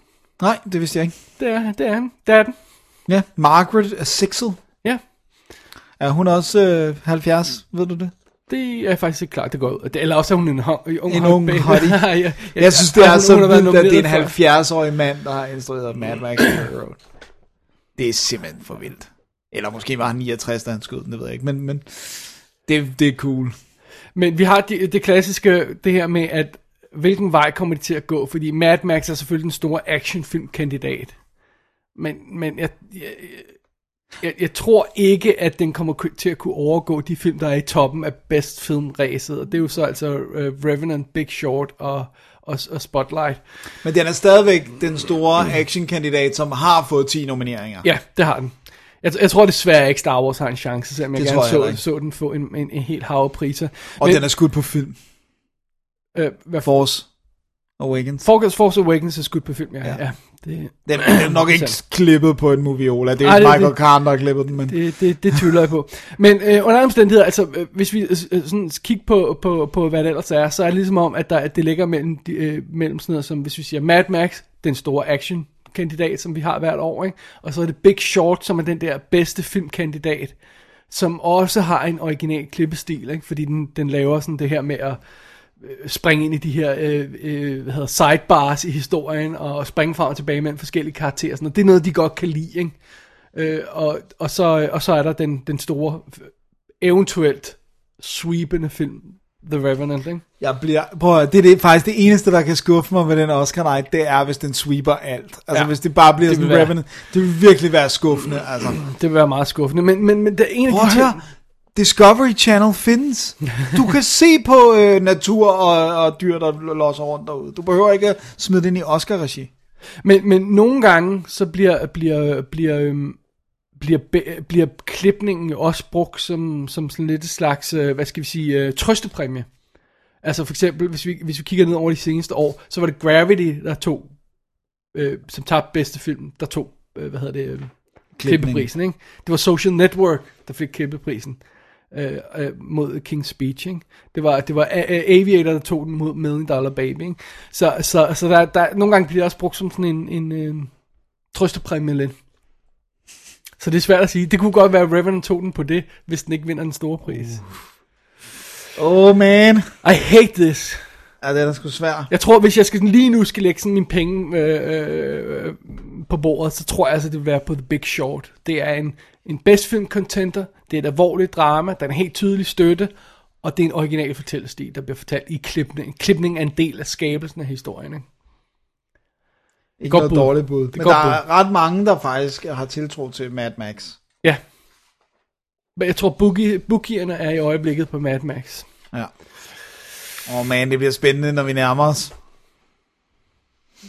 Nej, det vidste jeg ikke.
Det er, det er han. Det er den.
Ja, Margaret Sixel.
Ja,
Er hun også øh, 70, ved du det?
det er faktisk ikke klart, det går ud. Det- Eller også er hun en, hon, en
En
hot
ung
babe.
hottie.
Ja, ja,
Jeg, jeg synes, det
ja,
er
hun-
så
hun har været
vildt, at det er en
nomineret før.
70-årig mand, der har instrueret Mad Max Fury Road. Det er simpelthen for vildt. Eller måske var han 69, da han skød den, det ved jeg ikke. Men, men det, det er cool.
Men vi har det, det klassiske, det her med, at hvilken vej kommer de til at gå? Fordi Mad Max er selvfølgelig den store actionfilmkandidat. Men, men jeg, jeg, jeg, jeg tror ikke, at den kommer ku- til at kunne overgå de film, der er i toppen af bedst filmræset. Og det er jo så altså uh, Revenant, Big Short og, og, og Spotlight.
Men den er stadigvæk den store actionkandidat, som har fået 10 nomineringer.
Ja, det har den. Jeg, jeg tror desværre ikke, Star Wars har en chance, selvom jeg
Det
gerne
tror jeg heller
så,
ikke.
så den få en, en, en helt hav af priser.
Og
Men-
den er skudt på film.
Øh, hvad for?
Force. Awakens.
Forgærs Force Awakens er skudt på film, ja. ja. ja. Det,
Den er nok ikke klippet på en moviola. Det er
Ej,
Ej,
det-
Michael
det-
Kahn, der har klippet den, men...
Det, det, det tvivler jeg på. Men øh, under alle omstændigheder, altså, øh, hvis vi øh, øh, sådan kigger på, på, på, hvad det ellers er, så er det ligesom om, at, der, at det ligger mellem, de, øh, mellem sådan noget som, hvis vi siger Mad Max, den store action kandidat, som vi har hvert år, ikke? og så er det Big Short, som er den der bedste filmkandidat, som også har en original klippestil, ikke? fordi den, den laver sådan det her med at øh, springe ind i de her øh, øh, hvad hedder, sidebars i historien, og springe frem og tilbage mellem forskellige karakterer, sådan, og det er noget, de godt kan lide. Ikke? Øh, og, og, så, og så er der den, den store, eventuelt sweepende film, The Revenant, ikke?
Jeg bliver, prøv at, høre, det er det, faktisk det eneste, der kan skuffe mig med den Oscar night, det er, hvis den sweeper alt. Altså,
Ja,
ja, hvis det bare bliver
det
det
vil
sådan
være-
Revenant, det vil virkelig være skuffende, altså.
Det vil være meget skuffende, men, men, men det er en af
Prøv
de
at
ting...
høre, Discovery Channel findes. Du kan se på øh, natur og, og dyr, der losser rundt derude. Du behøver ikke at smide den i Oscar-regi.
Men, men nogle gange, så bliver, bliver, bliver, øhm, bliver, be- bliver klipningen jo også brugt som, som sådan lidt et slags, øh, hvad skal vi sige, øh, trøstepræmie. Altså for eksempel, hvis vi, hvis vi kigger ned over de seneste år, så var det Gravity, der tog, øh, som tabte bedste film, der tog, øh, hvad hedder det, øh, klippeprisen. Ikke? Det var Social Network, der fik klippeprisen øh, øh, mod King's Speech. Ikke? Det var, det var A- A- Aviator, der tog den mod Million Dollar Baby. Ikke? Så, så, så der, der, nogle gange bliver det også brugt som sådan en, en øh, trøstepræmie lidt. Så det er svært at sige. Det kunne godt være, at Revenant tog den på det, hvis den ikke vinder den store pris.
Oh man.
Uh. I hate this.
Ja, det er da sgu svært.
Jeg tror, hvis jeg skal sådan lige nu skal lægge sådan mine penge øh, øh, på bordet, så tror jeg altså, det vil være på The Big Short. Det er en, en best film contender, det er et alvorligt drama, der er en helt tydelig støtte, og det er en original fortællestil, der bliver fortalt i klipning. Klipning er en del af skabelsen af historien. Ikke?
Ikke
godt
noget
bud.
dårligt bud.
er
Men der
godt
er ret mange, der faktisk har tiltro til Mad Max.
Ja. Men jeg tror, bookie, bookierne er i øjeblikket på Mad Max.
Ja. Åh oh man, det bliver spændende, når vi nærmer os.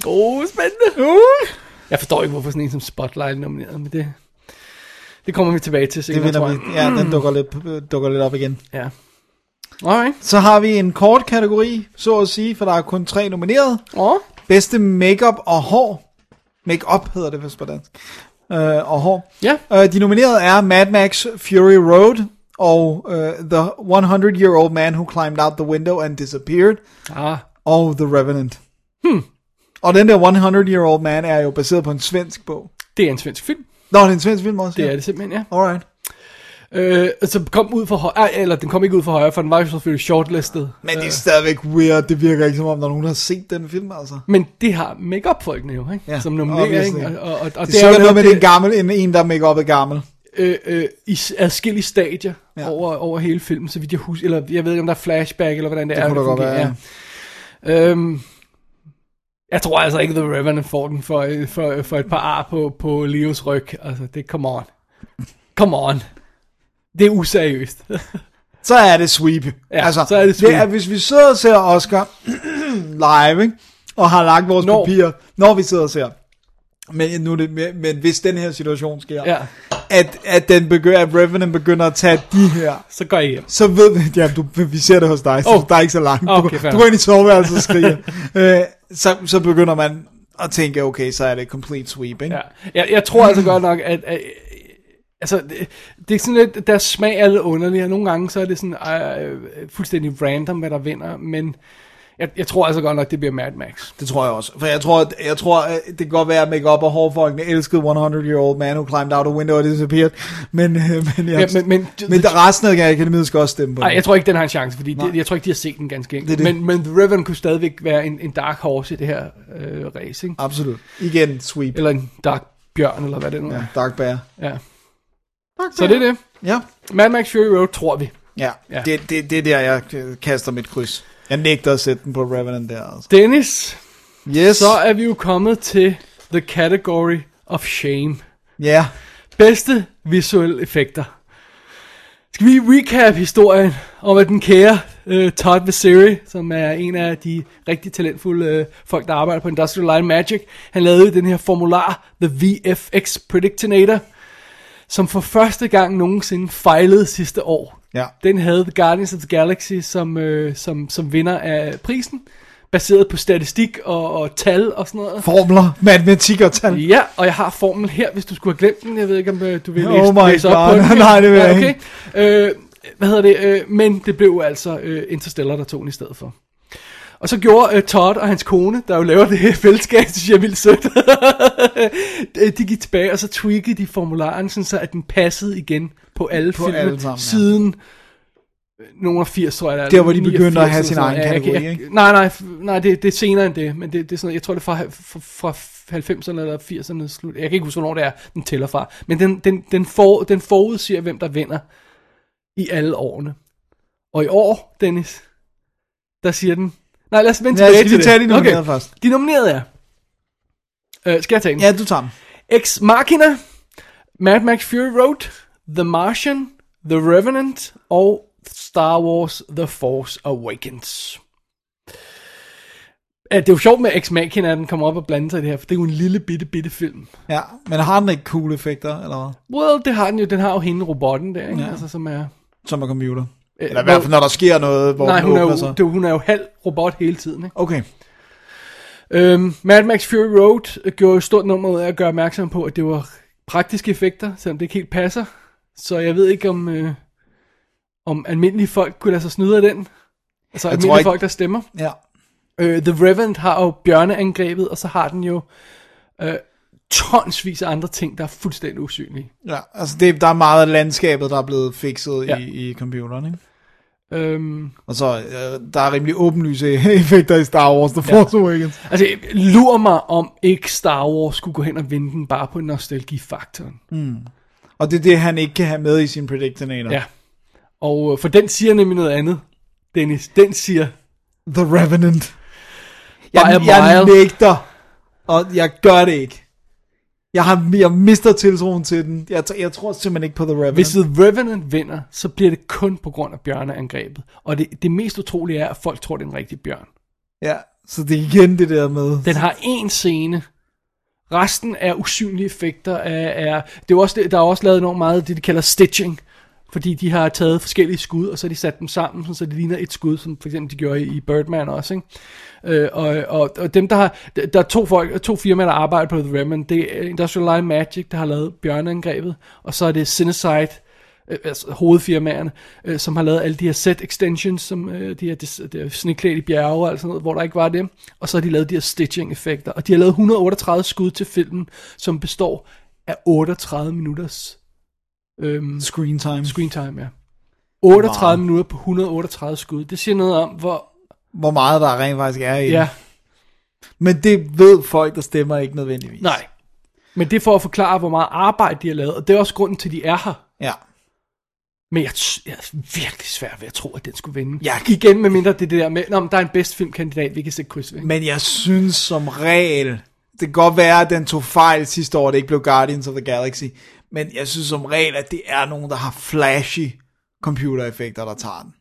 Åh, oh, spændende. Uh. Jeg forstår ikke, hvorfor sådan en som Spotlight er nomineret, men det, det kommer vi tilbage til
Det
senere,
vinder
tror jeg.
vi. Ja, den dukker lidt, dukker lidt op igen.
Ja. Alright.
Så har vi en kort kategori, så at sige, for der er kun tre nomineret.
Åh.
Bedste makeup og hår. Makeup hedder det vist på dansk. Øh, og hår.
Ja.
Øh, de nominerede er Mad Max Fury Road og øh, The 100-Year-Old Man Who Climbed Out the Window and Disappeared
Ah,
og The Revenant. Hmm. Og den der 100-Year-Old Man er jo baseret på en svensk bog.
det er en svensk film.
Nå, det er en svensk film også.
Det
ja.
er det simpelthen, ja.
Alright.
Øh, så kom ud for højre, eller den kom ikke ud for højre, for den var jo selvfølgelig shortlistet. Øh,
Men det er stadigvæk weird. Det virker ikke som om, der er nogen, der har set den film, altså.
Men det har make up folkene jo, ikke?
Ja,
Som nominerer,
obviously.
ikke? Og, og, og, og
Det, det er jo noget med, det er
det,
en, gammel, en, en der er make-up er gammel.
øh, øh, i s- adskillige stadier ja.
Ja.
over, over hele filmen, så vidt jeg husker, eller jeg ved ikke, om der er flashback, eller hvordan det,
Det
er.
kunne da godt
fungerer,
være,
ja. Øhm, jeg tror altså ikke, The Revenant får den for, øh, for, for et par ar på, på Leos ryg. Altså, det, come on. Come on. Det er useriøst.
Så er det sweep. Altså,
Ja, så er det
Det
sweep.
er, hvis vi sidder og ser Oscar live, ikke? og har lagt vores
Når.
når. papirer, når vi sidder og ser. Men, nu er det, men, men hvis den her situation sker,
ja,
at, at, den begynder, at Revenant begynder at tage de her,
så går jeg hjem.
så ved vi, ja, du, vi ser det hos dig, så
Oh.
oh. der er ikke så langt. Du,
Okay, fair.
du går ind i soveværelset og skriger. øh, så, så begynder man at tænke, okay, så er det complete sweep, ikke?
Ja. Jeg, jeg tror altså godt nok, at... at Altså, det, det er sådan lidt, deres smag er lidt underlig, og nogle gange så er det sådan øh, øh, fuldstændig random, hvad der vinder, men jeg, jeg tror altså godt nok, det bliver Mad Max.
Det tror jeg også. For jeg tror, at- jeg tror at det kan godt være, at make-up og hårfolkene elskede 100-year-old man who climbed out a window and disappeared. Men, øh, men, jeg,
Ja, men, men,
men der resten af akademiet skal også stemme på
Ej, jeg
det.
tror ikke, den har en chance, fordi det, jeg tror ikke, de har set den ganske enkelt.
Det er det.
Men, men The Revenant kunne stadigvæk være en, en dark horse i det her øh, race, ikke?
Absolut. Igen, sweep.
Eller en dark bjørn, eller hvad det nu er.
Ja, Dark Bear.
Ja. Så det er det.
Ja.
Mad Max Fury Road, tror vi.
Ja,
Ja.
ja. Det, det, det er der, jeg øh, kaster mit kryds. Jeg nægter at sætte den på Revenant der. Altså.
Dennis,
Yes.
så er vi jo kommet til the category of shame.
Ja.
Bedste visuelle effekter. Skal vi recap historien om, at den kære øh, Todd Vaseri, som er en af de rigtig talentfulde øh, folk, der arbejder på Industrial Light and Magic, han lavede den her formular, The VFX Predictinator, som for første gang nogensinde fejlede sidste år.
Ja.
Den havde The Guardians of the Galaxy som, øh, som, som vinder af prisen, baseret på statistik og, og tal og sådan noget.
Formler, matematik og tal.
Ja, og jeg har formel her, hvis du skulle have glemt den. Jeg ved ikke, om øh, du vil
Oh
læse,
my
læse op
God.
på den.
Nej, det vil
Ja,
jeg
okay. Øh, hvad hedder det? Øh, men det blev jo altså øh, Interstellar, der tog den i stedet for. Og så gjorde øh, Todd og hans kone, der jo laver det her fællesskab, det synes jeg er vildt sødt. Øh, de gik tilbage, og så tweakede de formularen, sådan så at den passede igen på alle
På
på filmene
alle sammen, ja.
siden øh, nogle af 80, tror jeg. eller
Der, hvor de
89
begyndte at have
eller
sin
sådan
egen
noget. Ja, jeg kan-
kategori,
jeg- Nej, nej, f- nej det, det er senere end det, men det, det er sådan noget, jeg tror det er fra, fra, fra 90'erne eller 80'erne slut. Jeg kan ikke huske, hvornår det er, den tæller fra. Men den, den, den, for, den forudsiger, hvem der vinder i alle årene. Og i år, Dennis, der siger den... Nej, lad os vende
Ja,
tilbage
skal vi
til
tage
det.
de nominerede først?
De nominerede er... Øh, skal jeg tage den?
Ja, du tager dem.
Ex Machina, Mad Max Fury Road, The Martian, The Revenant og Star Wars The Force Awakens. Ja, det er jo sjovt med Ex Machina, at den kommer op og blander sig i det her, for det er jo en lille bitte, bitte film.
Ja, men har den ikke cool effekter, eller hvad?
Well, det har den jo. Den har jo hende, robotten der, ikke? Ja. Altså, som er...
Som er computer.
Øh,
Eller i hvert fald, når der sker noget, hvor
Nej,
den
hun er,
åbner
jo,
sig.
det, er jo- hun er jo halv robot hele tiden, ikke?
Okay,
Øhm, Mad Max Fury Road øh, gjorde jo stort nummer ud af at gøre opmærksom på, at det var praktiske effekter, selvom det ikke helt passer. Så jeg ved ikke, om, øh, om almindelige folk kunne lade sig snyde af den. Altså
tror
almindelige
ikke-
folk, der stemmer.
ja.
Øh, The Revenant har jo bjørneangrebet, og så har den jo øh, tonsvis af andre ting, der er fuldstændig usynlige.
Ja, altså det, der er meget af landskabet, der er blevet fikset ja.
Ja.
i, i computeren, ikke?
Øhm,
Og så, øh, der er rimelig åbenlyse effekter i Star Wars The Force ja. Awakens.
altså, lur mig, om ikke Star Wars skulle gå hen og vinde den bare på nostalgifaktoren.
Og det er det, han ikke kan have med i sin predictinator.
Ja. Og øh, for den siger nemlig noget andet, Dennis. Den siger,
The Revenant.
By a
Jeg, jeg
mile.
nægter, og jeg gør det ikke. Jeg, har, jeg mister tiltroen til den. Jeg, t- jeg tror simpelthen ikke på The Revenant.
Hvis The Revenant vinder, så bliver det kun på grund af bjørneangrebet. Og det, det mest utrolige er, at folk tror, det er en rigtig bjørn.
Ja, så det er igen det der med...
Den har én scene. Resten er usynlige effekter. Er, er, det er jo også, det- der er også lavet enormt meget af det, de kalder stitching. Fordi de har taget forskellige skud, og så har de sat dem sammen, sådan så det ligner et skud, som for eksempel de gjorde i i Birdman også. Ikke? Øh, og, og, og, dem, der har... der- Der er to, folk, to firmaer, der arbejder på The Revenant. Det er Industrial Light Magic, der har lavet bjørneangrebet. Og så er det Cinecide, øh, altså hovedfirmaerne, øh, som har lavet alle de her set extensions, som øh, de her, de, de her sneklædte bjerge og alt sådan noget, hvor der ikke var det. Og så har de lavet de her stitching effekter, og de har lavet 138 skud til filmen, som består af 38 minutters øhm,
Screen time.
screen time, ja. 38 minutter på 138 skud. Det siger noget om, hvor...
Hvor meget der rent faktisk er i den.
Ja,
Men det ved folk, der stemmer ikke nødvendigvis.
nej. Men det er for at forklare, hvor meget arbejde de har lavet, og det er også grunden til, at de er her.
Ja.
Men jeg, t- jeg er virkelig svær ved at tro, at den skulle vinde.
Ja.
Igen, med mindre det er det der med, Nå, men der er en bedst filmkandidat, vi kan sætte kryds ved.
Men jeg synes som regel, det kan godt være, at den tog fejl sidste år, det ikke blev Guardians of the Galaxy, men jeg synes som regel, at det er nogen, der har flashy computereffekter, der tager den.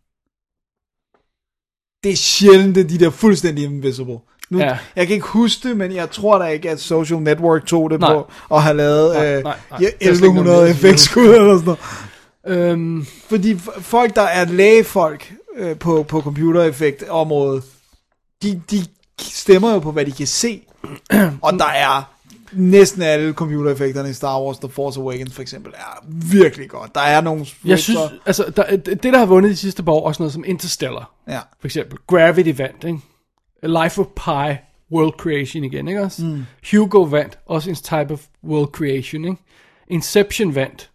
Det er sjældent, at de der fuldstændig invisible. Nu, ja.
Ja.
Jeg kan ikke huske det, men jeg tror da ikke, at Social Network tog det nej.
Nej.
på at have lavet
Nej,
nej, øh,
nej, nej.
ja,
Det er slet ikke
1100
noget med.
effektskud eller sådan noget.
Øhm,
Fordi f- folk, der er lægefolk øh, på, på computereffektområdet, de, de stemmer jo på, hvad de kan se. Og der er næsten alle computereffekterne i Star Wars The Force Awakens for eksempel er virkelig godt. Der er nogle...
jeg synes, altså, der, det, der har vundet de sidste par år, også noget som Interstellar,
Ja.
for eksempel. Gravity vandt, ikke? Life of Pi, World Creation igen, ikke også? Mm. Hugo vandt, også en type of World Creation, ikke? Inception vandt.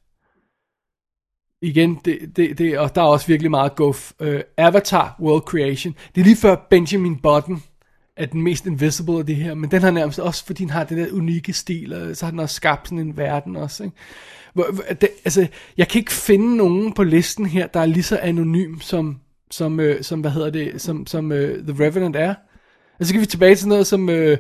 Igen, det, det, det, og der er også virkelig meget guf. Uh, Avatar, World Creation. Det er lige før Benjamin Button er den mest invisible af det her, men den har nærmest også, fordi den har den der unikke stil, og så har den også skabt sådan en verden også, ikke? Hvor, hvor- det, altså, jeg kan ikke finde nogen på listen her, der er lige så anonym som, som, øh, som hvad hedder det, som, som øh, The Revenant er. Og så kan vi tilbage til noget som, øh,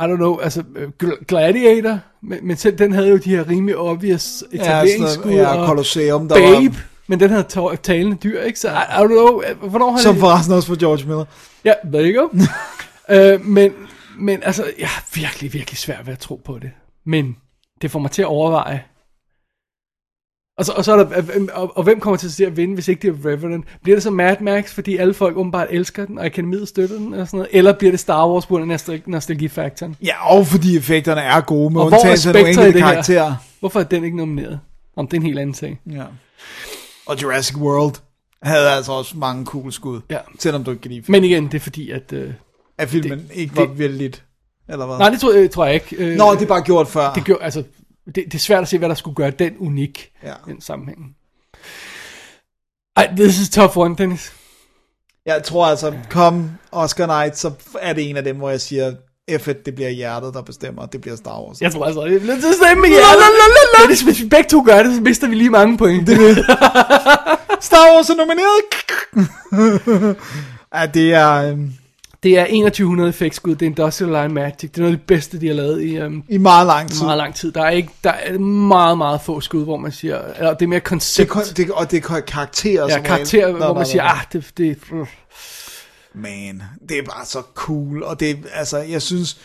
I don't know, altså øh, Gl- Gladiator, men, men selv den havde jo de her rimelig obvious etableringsskud,
ja, Colosseum, der
Babe,
var...
men den havde tå- talende dyr, ikke? Så I, I don't know, øh, hvornår har
Som
de-
forresten også for George Miller.
Ja, there you go. øh, men, men altså, jeg er virkelig, virkelig svært ved at tro på det. Men det får mig til at overveje, Og, så, og, så er der, øh, og, og hvem kommer til at vinde, hvis ikke det er Revenant? Bliver det så Mad Max, fordi alle folk åbenbart elsker den, og akademiet støtter den, eller, sådan noget? eller bliver det Star Wars på grund af nostal- nostalgifaktoren?
Ja, og fordi effekterne er gode, med
Og hvor er
undtagelse af nogle
Spectre i
enkelte
det her?
karakterer.
Hvorfor er den ikke nomineret? Om det er en helt anden sag.
Ja. Og Jurassic World havde altså også mange cool skud.
Ja.
Selvom du ikke kan lide filmen.
Men igen, det er fordi, at... Øh,
At filmen det, ikke var det, vildt, eller hvad?
nej, det tror, øh, tror jeg ikke. Øh,
Nå, det er bare gjort før.
det, gjorde, altså, det, det er svært at se, hvad der skulle gøre den unik
Ja.
i den sammenhæng. Ej, this is tough one, Dennis.
Jeg tror altså, kom Oscar Night, så er det en af dem, hvor jeg siger, F it, det bliver hjertet, der bestemmer, det bliver Star Wars.
Jeg tror altså, det er lidt til stemme med hjertet. Dennis, hvis vi begge to gør det, så mister vi lige mange point. Det vil.
Star Wars er nomineret! ja, det er øhm,
Det er 2100 effektskud, det er Industrial Line Magic. Det er noget af det bedste, de har lavet i øhm,
i meget lang tid.
meget lang tid. Der er, ikke, der er meget, meget få skud, hvor man siger, eller det er mere
Det,
koncept.
er kun- det, og det er karakterer
Ja, karakter, hvor man siger, ah, det, det,
Man, det er bare så cool, og det er- altså, jeg synes,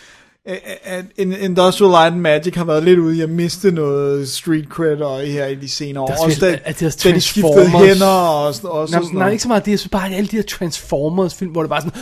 at- at at Industrial Light and Magic har været lidt ude i at miste noget street cred og her i de senere år.
Der er
Også
selvfølgelig-
da,
at deres
da de skiftede
Transformers-
hænder og, og
Nej,
sådan
nej,
noget.
ikke så meget det. Jeg synes bare, at alle de her Transformers-film, hvor det bare er sådan,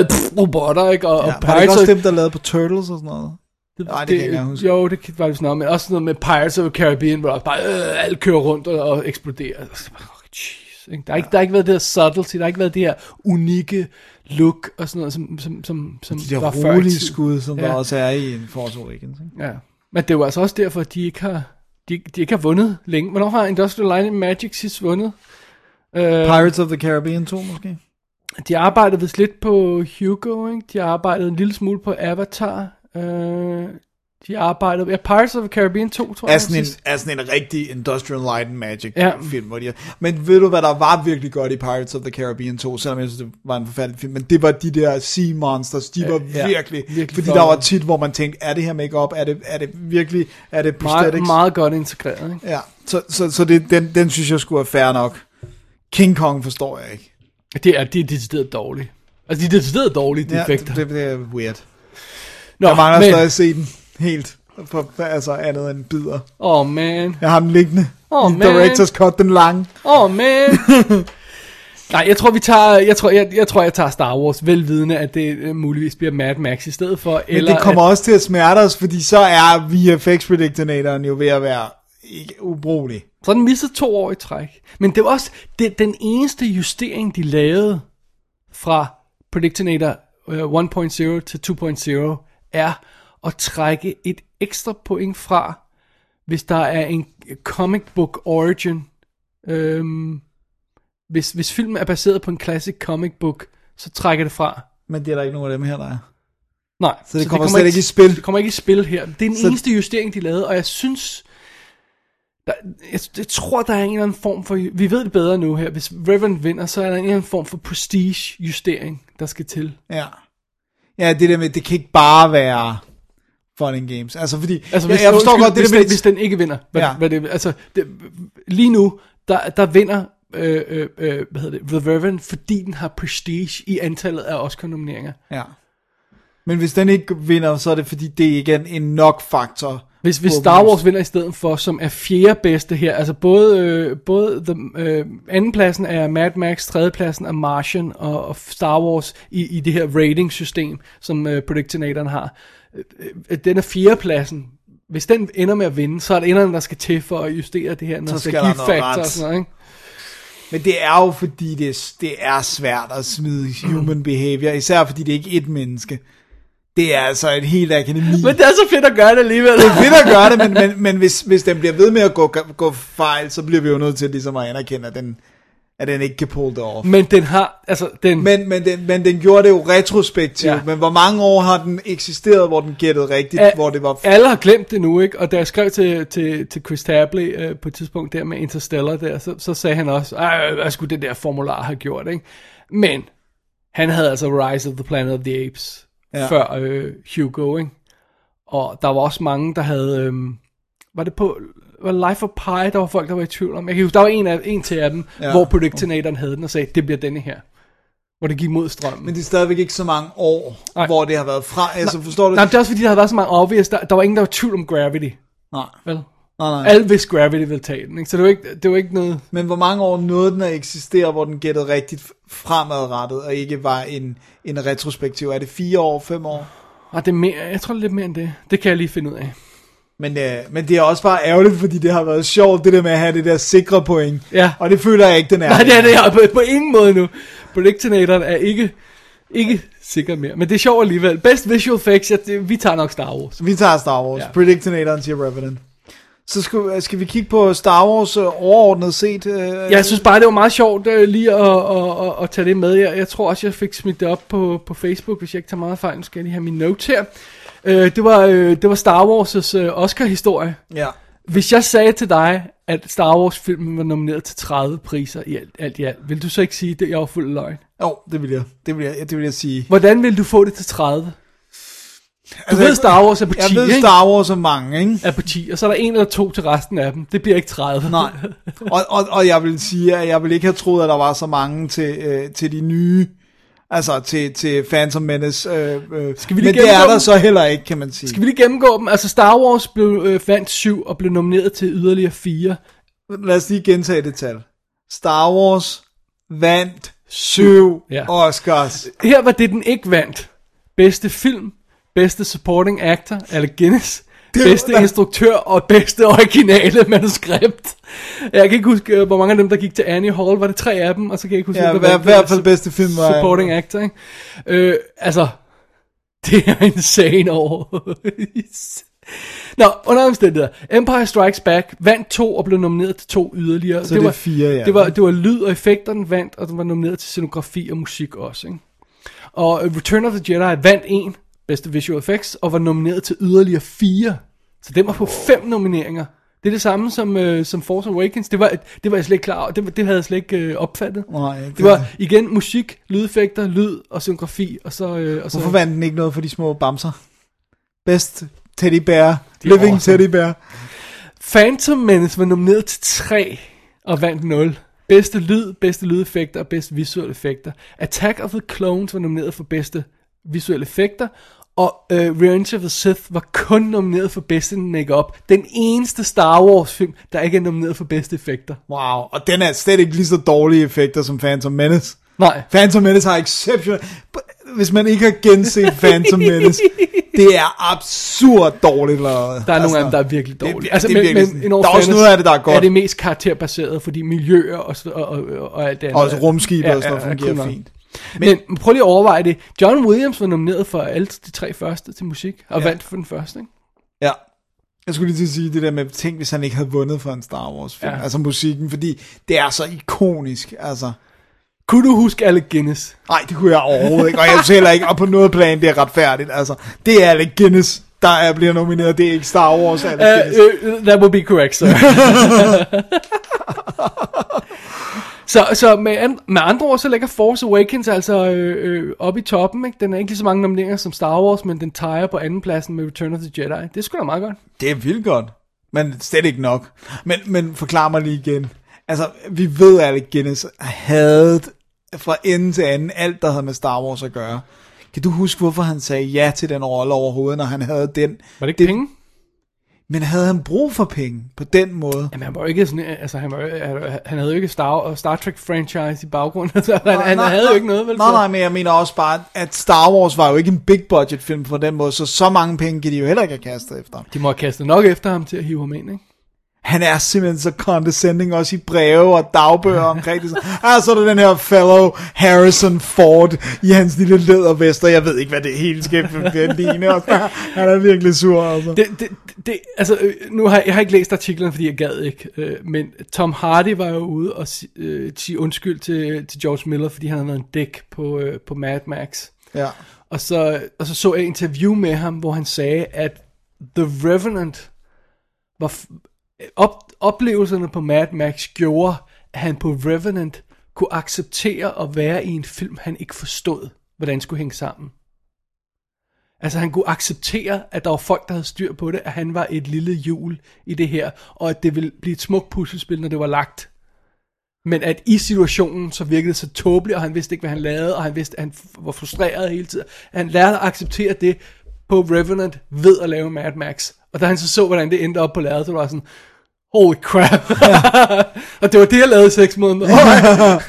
øh, pff, robotter, ikke? Og,
Ja,
og
var det ikke
Pirates
også
of-
dem, der lavede på Turtles og sådan noget? Nej, det kan jeg ikke engang huske.
Jo, det kan- var det sådan noget, men også sådan noget med Pirates of the Caribbean, hvor der bare, øh, alt kører rundt og, og eksploderer. Og så bare, åh, jeez, ikke? Der har ikke, der har ikke været det her subtlety, der har ikke været det her unikke look og sådan noget, som, som, som, som
De der
var før i
rolige
tiden.
skud, som ja. der
Ja.
også er i en Force Awakens. Ikke?
Ja. Men det var altså også derfor, at de ikke har, de, de ikke har vundet længe. Hvornår har Industrial Light and Magic sidst vundet? Øh,
Pirates of the Caribbean 2 måske?
De arbejdede vist lidt på Hugo, ikke? De arbejdede en lille smule på Avatar. Øh, de arbejdede... Ja, Pirates of the Caribbean 2, tror
Er
jeg.
sådan, en,
sidst.
er sådan en rigtig Industrial Light and Magic ja.
Ja.
film. Hvor de er. Men ved du, hvad der var virkelig godt i Pirates of the Caribbean 2, selvom jeg synes, det var en forfærdelig film, men det var de der sea monsters, de var
ja.
virkelig,
Virkelig
fordi
flotte.
der var tit, hvor man tænkte, er det her makeup, er det, er det virkelig, er det prosthetics?
meget, meget godt integreret, ikke?
Ja, så, så, så det, den, den synes jeg skulle være fair nok. King Kong forstår jeg ikke.
Det er, det er decideret dårligt. Altså, de er decideret dårlige, de
Ja, det,
effekter.
det, det er weird.
Nå,
Jeg mangler
men-
stadig at se den helt, på, altså andet end bidder.
Åh, oh, man.
Jeg har den liggende.
Åh,
I
man.
Directors cut, den lange.
Åh, oh, man. Nej, jeg tror, vi tager, jeg tror, jeg, jeg tror, jeg tager Star Wars, velvidende, at det øh, muligvis bliver Mad Max i stedet for.
Men
eller
det kommer
at,
også til at smerte os, fordi så er VFX Predictornatoren jo ved at være ikke ubrugelig.
Så har den misset to år i træk. Men det var også det, den eneste justering, de lavede fra Predictinator øh, 1.0 til 2.0, er at trække et ekstra point fra, hvis der er en comic book origin. Øhm, hvis, hvis filmen er baseret på en classic comic book, så trækker det fra.
Men det er der ikke nogen af dem her, der er.
Nej,
Så det kommer slet ikke i spil.
Det kommer ikke i spil her. Det er den
Så-
så... eneste justering, de lavede, og jeg synes... Der, jeg, jeg tror, der er en eller anden form for... Vi ved det bedre nu her. Hvis Reverend vinder, så er der en eller anden form for prestige-justering, der skal til.
Ja. Ja, det der med, det kan ikke bare være fun and games. Altså, fordi, altså, jeg, jeg forstår
undskyld,
godt det
hvis,
der med,
den, hvis den ikke vinder. Hvad,
Ja.
ja. hvad det, altså, det, lige nu, der, der vinder øh, øh, øh, hvad hedder det, The Reverend, fordi den har prestige i antallet af Oscar-nomineringer.
Ja. Men hvis den ikke vinder, så er det fordi, det er igen en nok faktor.
Hvis, hvis
Åbenlyst.
Star Wars vinder i stedet for, som er fjerde bedste her, altså både, øh, både the, øh, andenpladsen er Mad Max, tredjepladsen er Martian og, og Star Wars i, i det her rating-system, som øh, Predictinatoren har. Øh, øh, den er fjerdepladsen. Hvis den ender med at vinde, så er det enderne, der skal til for at justere det her, når
skal
skal
der
give
noget
factor
ret.
og sådan noget, ikke?
Men det er jo fordi, det, er- det er svært at smide human behavior, især fordi det ikke er et menneske. Det er altså et helt akademi.
Men det er så fedt at gøre det alligevel.
Det er fedt at gøre det, men, men, men hvis, hvis den bliver ved med at gå, gå fejl, så bliver vi jo nødt til ligesom at anerkende, at den, at den ikke kan pull det off.
Men den har, altså den...
Men, men, den, men den gjorde det jo retrospektivt, ja.
Ja.
men hvor mange år har den eksisteret, hvor den gættede rigtigt,
Al-
hvor det var...
Alle har glemt det nu, ikke? Og da jeg skrev til, til, til Chris Tabley øh, på et tidspunkt der med Interstellar der, så, så sagde han også, "Ej, hvad skulle det der formular have gjort, ikke? Men han havde altså Rise of the Planet of the Apes
Ja.
ja. før øh, Hugo, ikke? Og der var også mange, der havde... Øh, var det på var det Life of Pi, der var folk, der var i tvivl om? Jeg kan huske, der var en, af, en til af dem,
Ja.
ja. hvor Predictinatoren havde den og sagde, det bliver denne her. Hvor det gik mod strømmen.
Men det er stadigvæk ikke så mange år, Nej.
Nej.
hvor det har været fra. Altså, forstår du?
Nej, men det er også fordi, der havde været så mange obvious. Der, der var ingen, der var i tvivl om Gravity.
Nej.
Vel?
Nej, nej.
Alt hvis Gravity ville tage den, ikke? Så det var ikke, det var ikke noget...
Men hvor mange år nåede den at eksistere, hvor den gættede rigtigt fremadrettet, og ikke var en, en retrospektiv? Er det fire år, fem år?
Ah, det er mere, jeg tror det er lidt mere end det. Det kan jeg lige finde ud af.
Men, øh, men det er også bare ærgerligt, fordi det har været sjovt, det der med at have det der sikre point.
Ja.
Og det føler jeg ikke, den er.
Nej, det er det jeg på, på ingen måde nu. Predictinatoren er ikke, ikke sikker mere. Men det er sjovt alligevel. Best visual effects, ja, det, vi tager nok Star Wars.
Vi tager Star Wars. Ja.
Ja.
Predictinatoren siger Revenant. Så skal, øh, skal vi kigge på Star Wars øh, overordnet set? Øh,
Jeg synes bare, det var meget sjovt øh, lige at, at, at, at tage det med. Jeg, jeg tror også, jeg fik smidt det op på, på Facebook, hvis jeg ikke tager meget fejl. Nu skal jeg lige have min note her. Øh, det, var, øh, det var Star Wars' øh, Oscar-historie.
Ja.
Hvis jeg sagde til dig, at Star Wars-filmen var nomineret til 30 priser i alt, alt i alt, vil du så ikke sige, at jeg var fuld af løgn?
Jo, oh, det vil jeg. Det vil jeg, det vil jeg sige.
Hvordan vil du få det til 30? Du
Altså,
ved, Star Wars er på 10,
Jeg ved
ikke?
Star Wars er mange, ikke?
Er på 10, og så er der en eller to til resten af dem. Det bliver ikke 30.
Nej. Og, og, og jeg vil sige, at jeg vil ikke have troet, at der var så mange til, øh, til de nye. Altså til, til Phantom Menace. Øh, øh.
Skal vi lige
Men det er
gennemgå
der
dem?
så heller ikke, kan man sige.
Skal vi lige gennemgå dem? Altså, Star Wars blev, øh, fandt 7 og blev nomineret til yderligere 4.
Lad os lige gentage det tal. Star Wars vandt syv
Ja. Altså-
Oscars.
Her var det, den ikke vandt. Bedste film, bedste supporting actor, eller Guinness,
Det-
bedste
der-
instruktør og bedste originale manuskript. Jeg kan ikke huske, øh, hvor mange af dem, der gik til Annie Hall. Var det tre af dem? Og så kan jeg ikke huske,
Ja,
hvem
hver-
vandt
hvert
øh,
fald
su-
bedste film var-
Supporting actor, ikke? Øh, altså, det er insane over. Nå, under omstændigheder. Empire Strikes Back vandt to og blev nomineret til to yderligere.
Så det er fire, ja.
Det var, det var lyd og effekter, den vandt, og den var nomineret til scenografi og musik også. Ikke? Og øh, Return of the Jedi vandt en, bedste visual effects, og var nomineret til yderligere fire. Så den var på fem nomineringer. Det er det samme som, øh, som Force Awakens. Det var, det var jeg slet ikke klar over. Det, var- det havde jeg slet ikke øh, opfattet.
Nej,
det...
det-
det var igen musik, lydeffekter, lyd og scenografi. Og så, øh, og så,
Hvorfor vandt den ikke noget for de små bamser? Bedst teddy bear.
er
Living
awesome.
teddy bear.
Phantom Menace var nomineret til 3 og vandt 0. Bedste lyd, bedste lydeffekter og bedste visuelle effekter. Attack of the Clones var nomineret for bedste visuelle effekter. Og uh, Revenge of the Sith var kun nomineret for bedste makeup. Den eneste Star Wars film, der ikke er nomineret for bedste effekter.
Wow, og den er slet ikke lige så dårlige effekter som Phantom Menace.
Nej.
Phantom Menace har exception. Hvis man ikke har genset Phantom Menace, det er absurd dårligt lavet.
Der er nogle af dem, der er virkelig
Altså, det er
dårlige. Altså,
vir- det er virkelig sådan. Der er også
fairness
noget af det, der er godt.
Er det mest karakterbaseret, fordi miljøer og, så- og, og, og alt det andet.
Og også rumskibe
er-
og sådan noget
er- er
fungerer
cool nok.
fint.
Men, men prøv lige at overveje det. John Williams var nomineret for alle de tre første til musik, og
Ja.
ja. vandt for den første, ikke?
Ja. Jeg skulle lige til at sige det der med, tænk hvis han ikke havde vundet for en Star Wars film, ja.
Ja.
altså musikken, fordi det er så ikonisk, altså.
Kunne du huske Alec Guinness?
Nej, det kunne jeg overhovedet ikke, og jeg synes heller ikke, og på noget plan, det er retfærdigt, altså. Det er Alec Guinness, der er, bliver nomineret, det er ikke Star Wars, Alec
Uh,
Guinness.
uh, that would be correct, sir. så så med, and, med andre ord, så ligger Force Awakens altså øh, øh, oppe i toppen, ikke? Den er ikke lige så mange nomineringer som Star Wars, men den tejer på andenpladsen med Return of the Jedi. Det er sgu da meget godt.
Det er vildt godt, men slet ikke nok. Men, men forklar mig lige igen. Altså, vi ved, at Alec Guinness havde fra ende til anden alt, der havde med Star Wars at gøre. Kan du huske, hvorfor han sagde ja til den rolle overhovedet, når han havde den?
Var det ikke det... penge?
Men havde han brug for penge på den måde?
Jamen, han var jo ikke sådan, altså, han, var, jo- han- han havde jo ikke Star, Star Trek franchise i baggrunden, så han, han havde jo ikke noget, vel?
Nej,
så-
nej, men jeg mener også bare, at Star Wars var jo ikke en big budget film på den måde, så så mange penge kan de jo heller ikke have kastet efter ham.
De må have kastet nok efter ham til at hive ham ind, ikke?
Han er simpelthen så condescending, også i breve og dagbøger omkring det. Ah, så er der den her fellow Harrison Ford i hans lille lædervest, og jeg ved ikke, hvad det hele skal ligne. Og så- Han er virkelig sur, altså.
Det, det, det, altså, øh, nu har jeg, jeg har ikke læst artiklen, fordi jeg gad ikke, øh, men Tom Hardy var jo ude og si- øh, sige undskyld til, til George Miller, fordi han havde været en dæk på, øh, på Mad Max.
Ja.
Og så, og så så jeg et interview med ham, hvor han sagde, at The Revenant var... f- Op, oplevelserne på Mad Max gjorde, at han på Revenant kunne acceptere at være i en film, han ikke forstod, hvordan skulle hænge sammen. Altså han kunne acceptere, at der var folk, der havde styr på det, at han var et lille hjul i det her, og at det ville blive et smukt puslespil, når det var lagt. Men at i situationen, så virkede det så tåbeligt, og han vidste ikke, hvad han lavede, og han vidste, at han f- var frustreret hele tiden. Han lærte at acceptere det på Revenant ved at lave Mad Max, Og da han så så, hvordan det endte op på lærredet, så var jeg sådan, holy crap. og det var det, jeg lavede i seks måneder.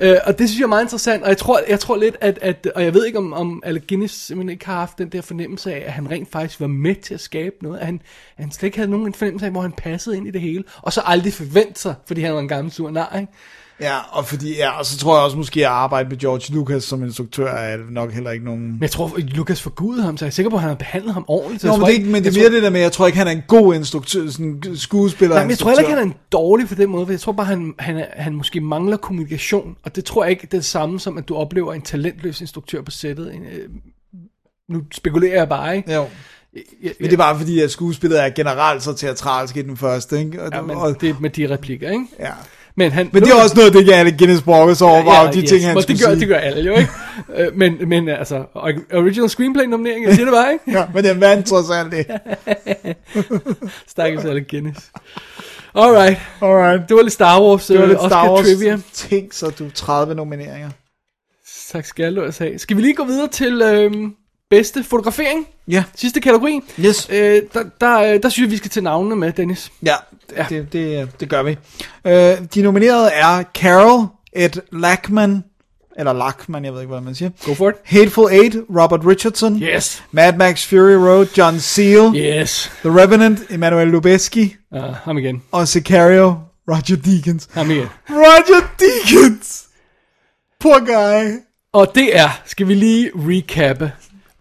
Øh, og det synes jeg er meget interessant, og jeg tror, jeg tror lidt, at, at, og jeg ved ikke, om, om Alec Guinness simpelthen ikke har haft den der fornemmelse af, at han rent faktisk var med til at skabe noget, at han, at han slet ikke havde nogen fornemmelse af, hvor han passede ind i det hele, og så aldrig forventede sig, fordi han var en gammel sur nar, ikke?
Ja, og, fordi, ja, og så tror jeg også måske, at arbejde med George Lucas som instruktør er nok heller ikke nogen...
Men jeg tror, at Lucas forgudede ham, så jeg er sikker på, at han har behandlet ham ordentligt. Så
Nå,
jeg
men
tror
det, er ikke, men det er
jeg
mere det der med, at jeg tror ikke, han er en god instruktør, sådan skuespiller.
Nej, men jeg tror heller ikke, han er en dårlig på den måde, for jeg tror bare, han, han, er- han måske mangler kommunikation, og det tror jeg ikke det er det samme som, at du oplever en talentløs instruktør på sættet. En, øh, Nu spekulerer jeg bare, ikke?
Ja,
Jeg-
men det er bare fordi, at skuespillet er generelt så teatralsk i den første, ikke? Og,
Ja, men
og,
det er med de replikker, ikke?
ja.
Men, han,
Men det er også noget, det kan Alec Guinness brokke sig over, ja, de
yes.
ting, han
Men
skulle
det gør,
sige.
det gør alle jo, ikke? Øh, men, men altså, or- original screenplay nominering, jeg siger det bare, ikke?
Ja, men den vandt trods alt det.
Stakkels alle Guinness. Alright,
Alright.
det var lidt Star Wars, øh,
Det var lidt
Oscar
Star Wars
trivia.
ting, så du 30 nomineringer.
Tak skal du altså have. Skal vi lige gå videre til øhm, bedste fotografering?
Ja.
Sidste kategori.
Yes.
Øh, der, der, øh, der synes jeg, vi skal til navnene med, Dennis.
Ja,
Ja.
det, det, det gør vi. Øh, de nominerede er Carol, Ed Lackman, eller Lackman, jeg ved ikke, hvad man siger.
Go for it.
Hateful Eight, Robert Richardson.
Yes.
Mad Max Fury Road, John Seal.
Yes.
The Revenant, Emmanuel Lubezki.
Uh, ham igen.
Og Sicario, Roger Deakins.
Ham igen.
Roger Deakins! Poor guy.
Og det er, skal vi lige recappe,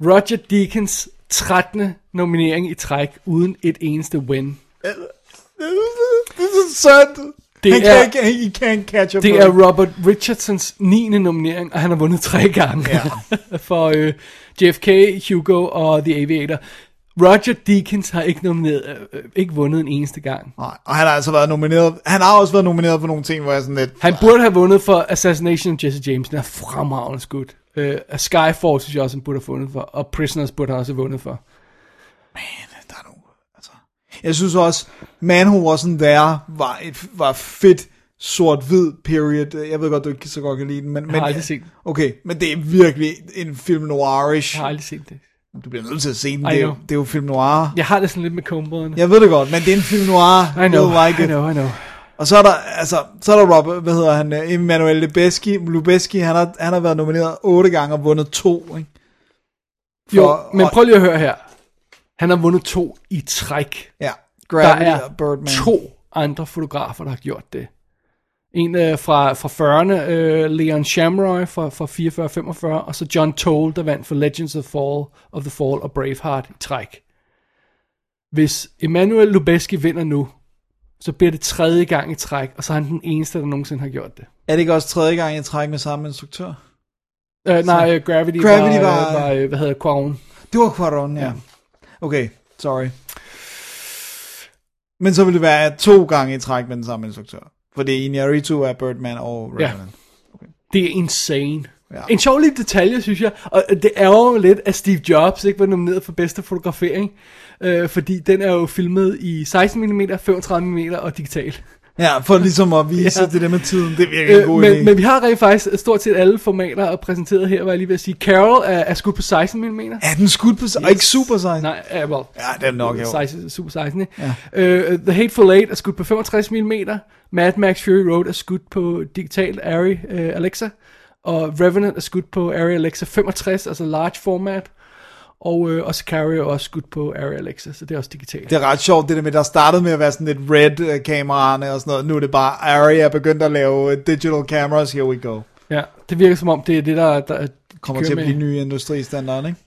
Roger Deakins 13. nominering i træk, uden et eneste win.
This is synd.
Det
han
er-
kan ikke, he can't catch up.
Det
with
er
it.
Robert Richardsons 9. nominering, og han har vundet tre gange ja. for øh, JFK, Hugo og The Aviator. Roger Deakins har ikke, nomineret, øh, øh, ikke vundet en eneste gang.
Nej, og han har altså været nomineret, han har også været nomineret for nogle ting, hvor jeg sådan lidt,
Han burde have vundet for Assassination of Jesse James. Den er fremragende skudt. Uh, Skyfall synes jeg også, han burde have vundet for. Og Prisoners burde han også have vundet for.
der er nogle, altså. Jeg synes også, Man Who Wasn't There var, et, var fedt sort-hvid period. Jeg ved godt, du ikke så godt kan lide den, men, men,
har aldrig set den.
okay, men det er virkelig en film noirish.
Jeg har aldrig set det.
Du bliver nødt til at se den,
I
det er, jo,
know.
det er jo film noir.
Jeg har det sådan lidt med kombrøderne.
Jeg ved det godt, men det er en film noir.
I know,
You'll Like
I
it.
know, I know.
Og så er der, altså, så er der Robert, hvad hedder han, øh, Emmanuel Lubezki, Lubezki han, har, han har været nomineret otte gange og vundet to, ikke?
Jo,
For-
men
og-
prøv lige at høre her. Han har vundet to i træk.
Ja,
Der
Gravity
er
og Birdman.
to andre fotografer, der har gjort det. En øh, fra, fra 40'erne, øh, Leon Shamroy fra, fra 44-45, og så John Toll, der vandt for Legends of, Fall, of the Fall og Braveheart i træk. Hvis Emmanuel Lubezki vinder nu, så bliver det tredje gang i træk, og så er han den eneste, der nogensinde har gjort det.
Er det ikke også tredje gang, jeg trækker med samme instruktør?
Øh, nej, øh,
Gravity
Gravity, Gravity
var-
var, øh, var øh, hvad hedder Quaron.
Det var Quaron, ja. ja. Okay, sorry. Men så vil det være to gange i træk med den samme instruktør. For det er Inarritu er Birdman og
Ja.
Revenant.
Det er insane.
Ja.
Ja. En sjov lille detalje, synes jeg, og øh, det er jo lidt, at Steve Jobs ikke var nomineret for bedste fotografering, øh, fordi den er jo filmet i 16mm, 35mm og digital.
Ja, for ligesom at vise ja.
Ja.
det der med tiden, det virker en
Øh,
god idé.
men, men vi har rent faktisk stort set alle formater præsenteret her, var jeg lige ved at sige. Carol er, er skudt på 16mm.
Er den skudt på sig? Og ikke super sig?
Nej, ja, well,
Ja, det er den nok, jo.
16, Super 16, ikke? Ja. Uh, The Hateful Eight er skudt på 65mm, Mad Max Fury Road er skudt på digital Arri uh, Alexa, og Revenant er skudt på Arri Alexa 65, altså large format, og, uh, og Sicario er også skudt på Arri Alexa, så det er også digitalt.
Det er ret sjovt, det der med, der startede med at være sådan lidt red-kameraerne og sådan noget. Nu er det bare, Aria er begyndt at lave øh, digital cameras, here we go.
Ja, det virker som om, det er det, der, der de
Kommer
kører
til at
med.
blive nye industristandard, ikke?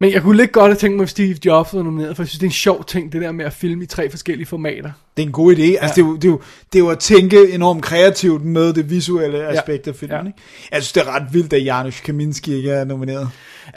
Men jeg kunne lidt godt have tænkt mig, at Steve Jobs var nomineret, for jeg synes, det er en sjov ting, det der med at filme i tre forskellige formater.
Det er en god idé. Altså, det, er jo, det, er jo, det er jo at tænke enormt kreativt med det visuelle aspekt af filmen. Ja.
Ja.
Ikke? Jeg synes, det er ret vildt, at Janusz Kaminski ikke er nomineret.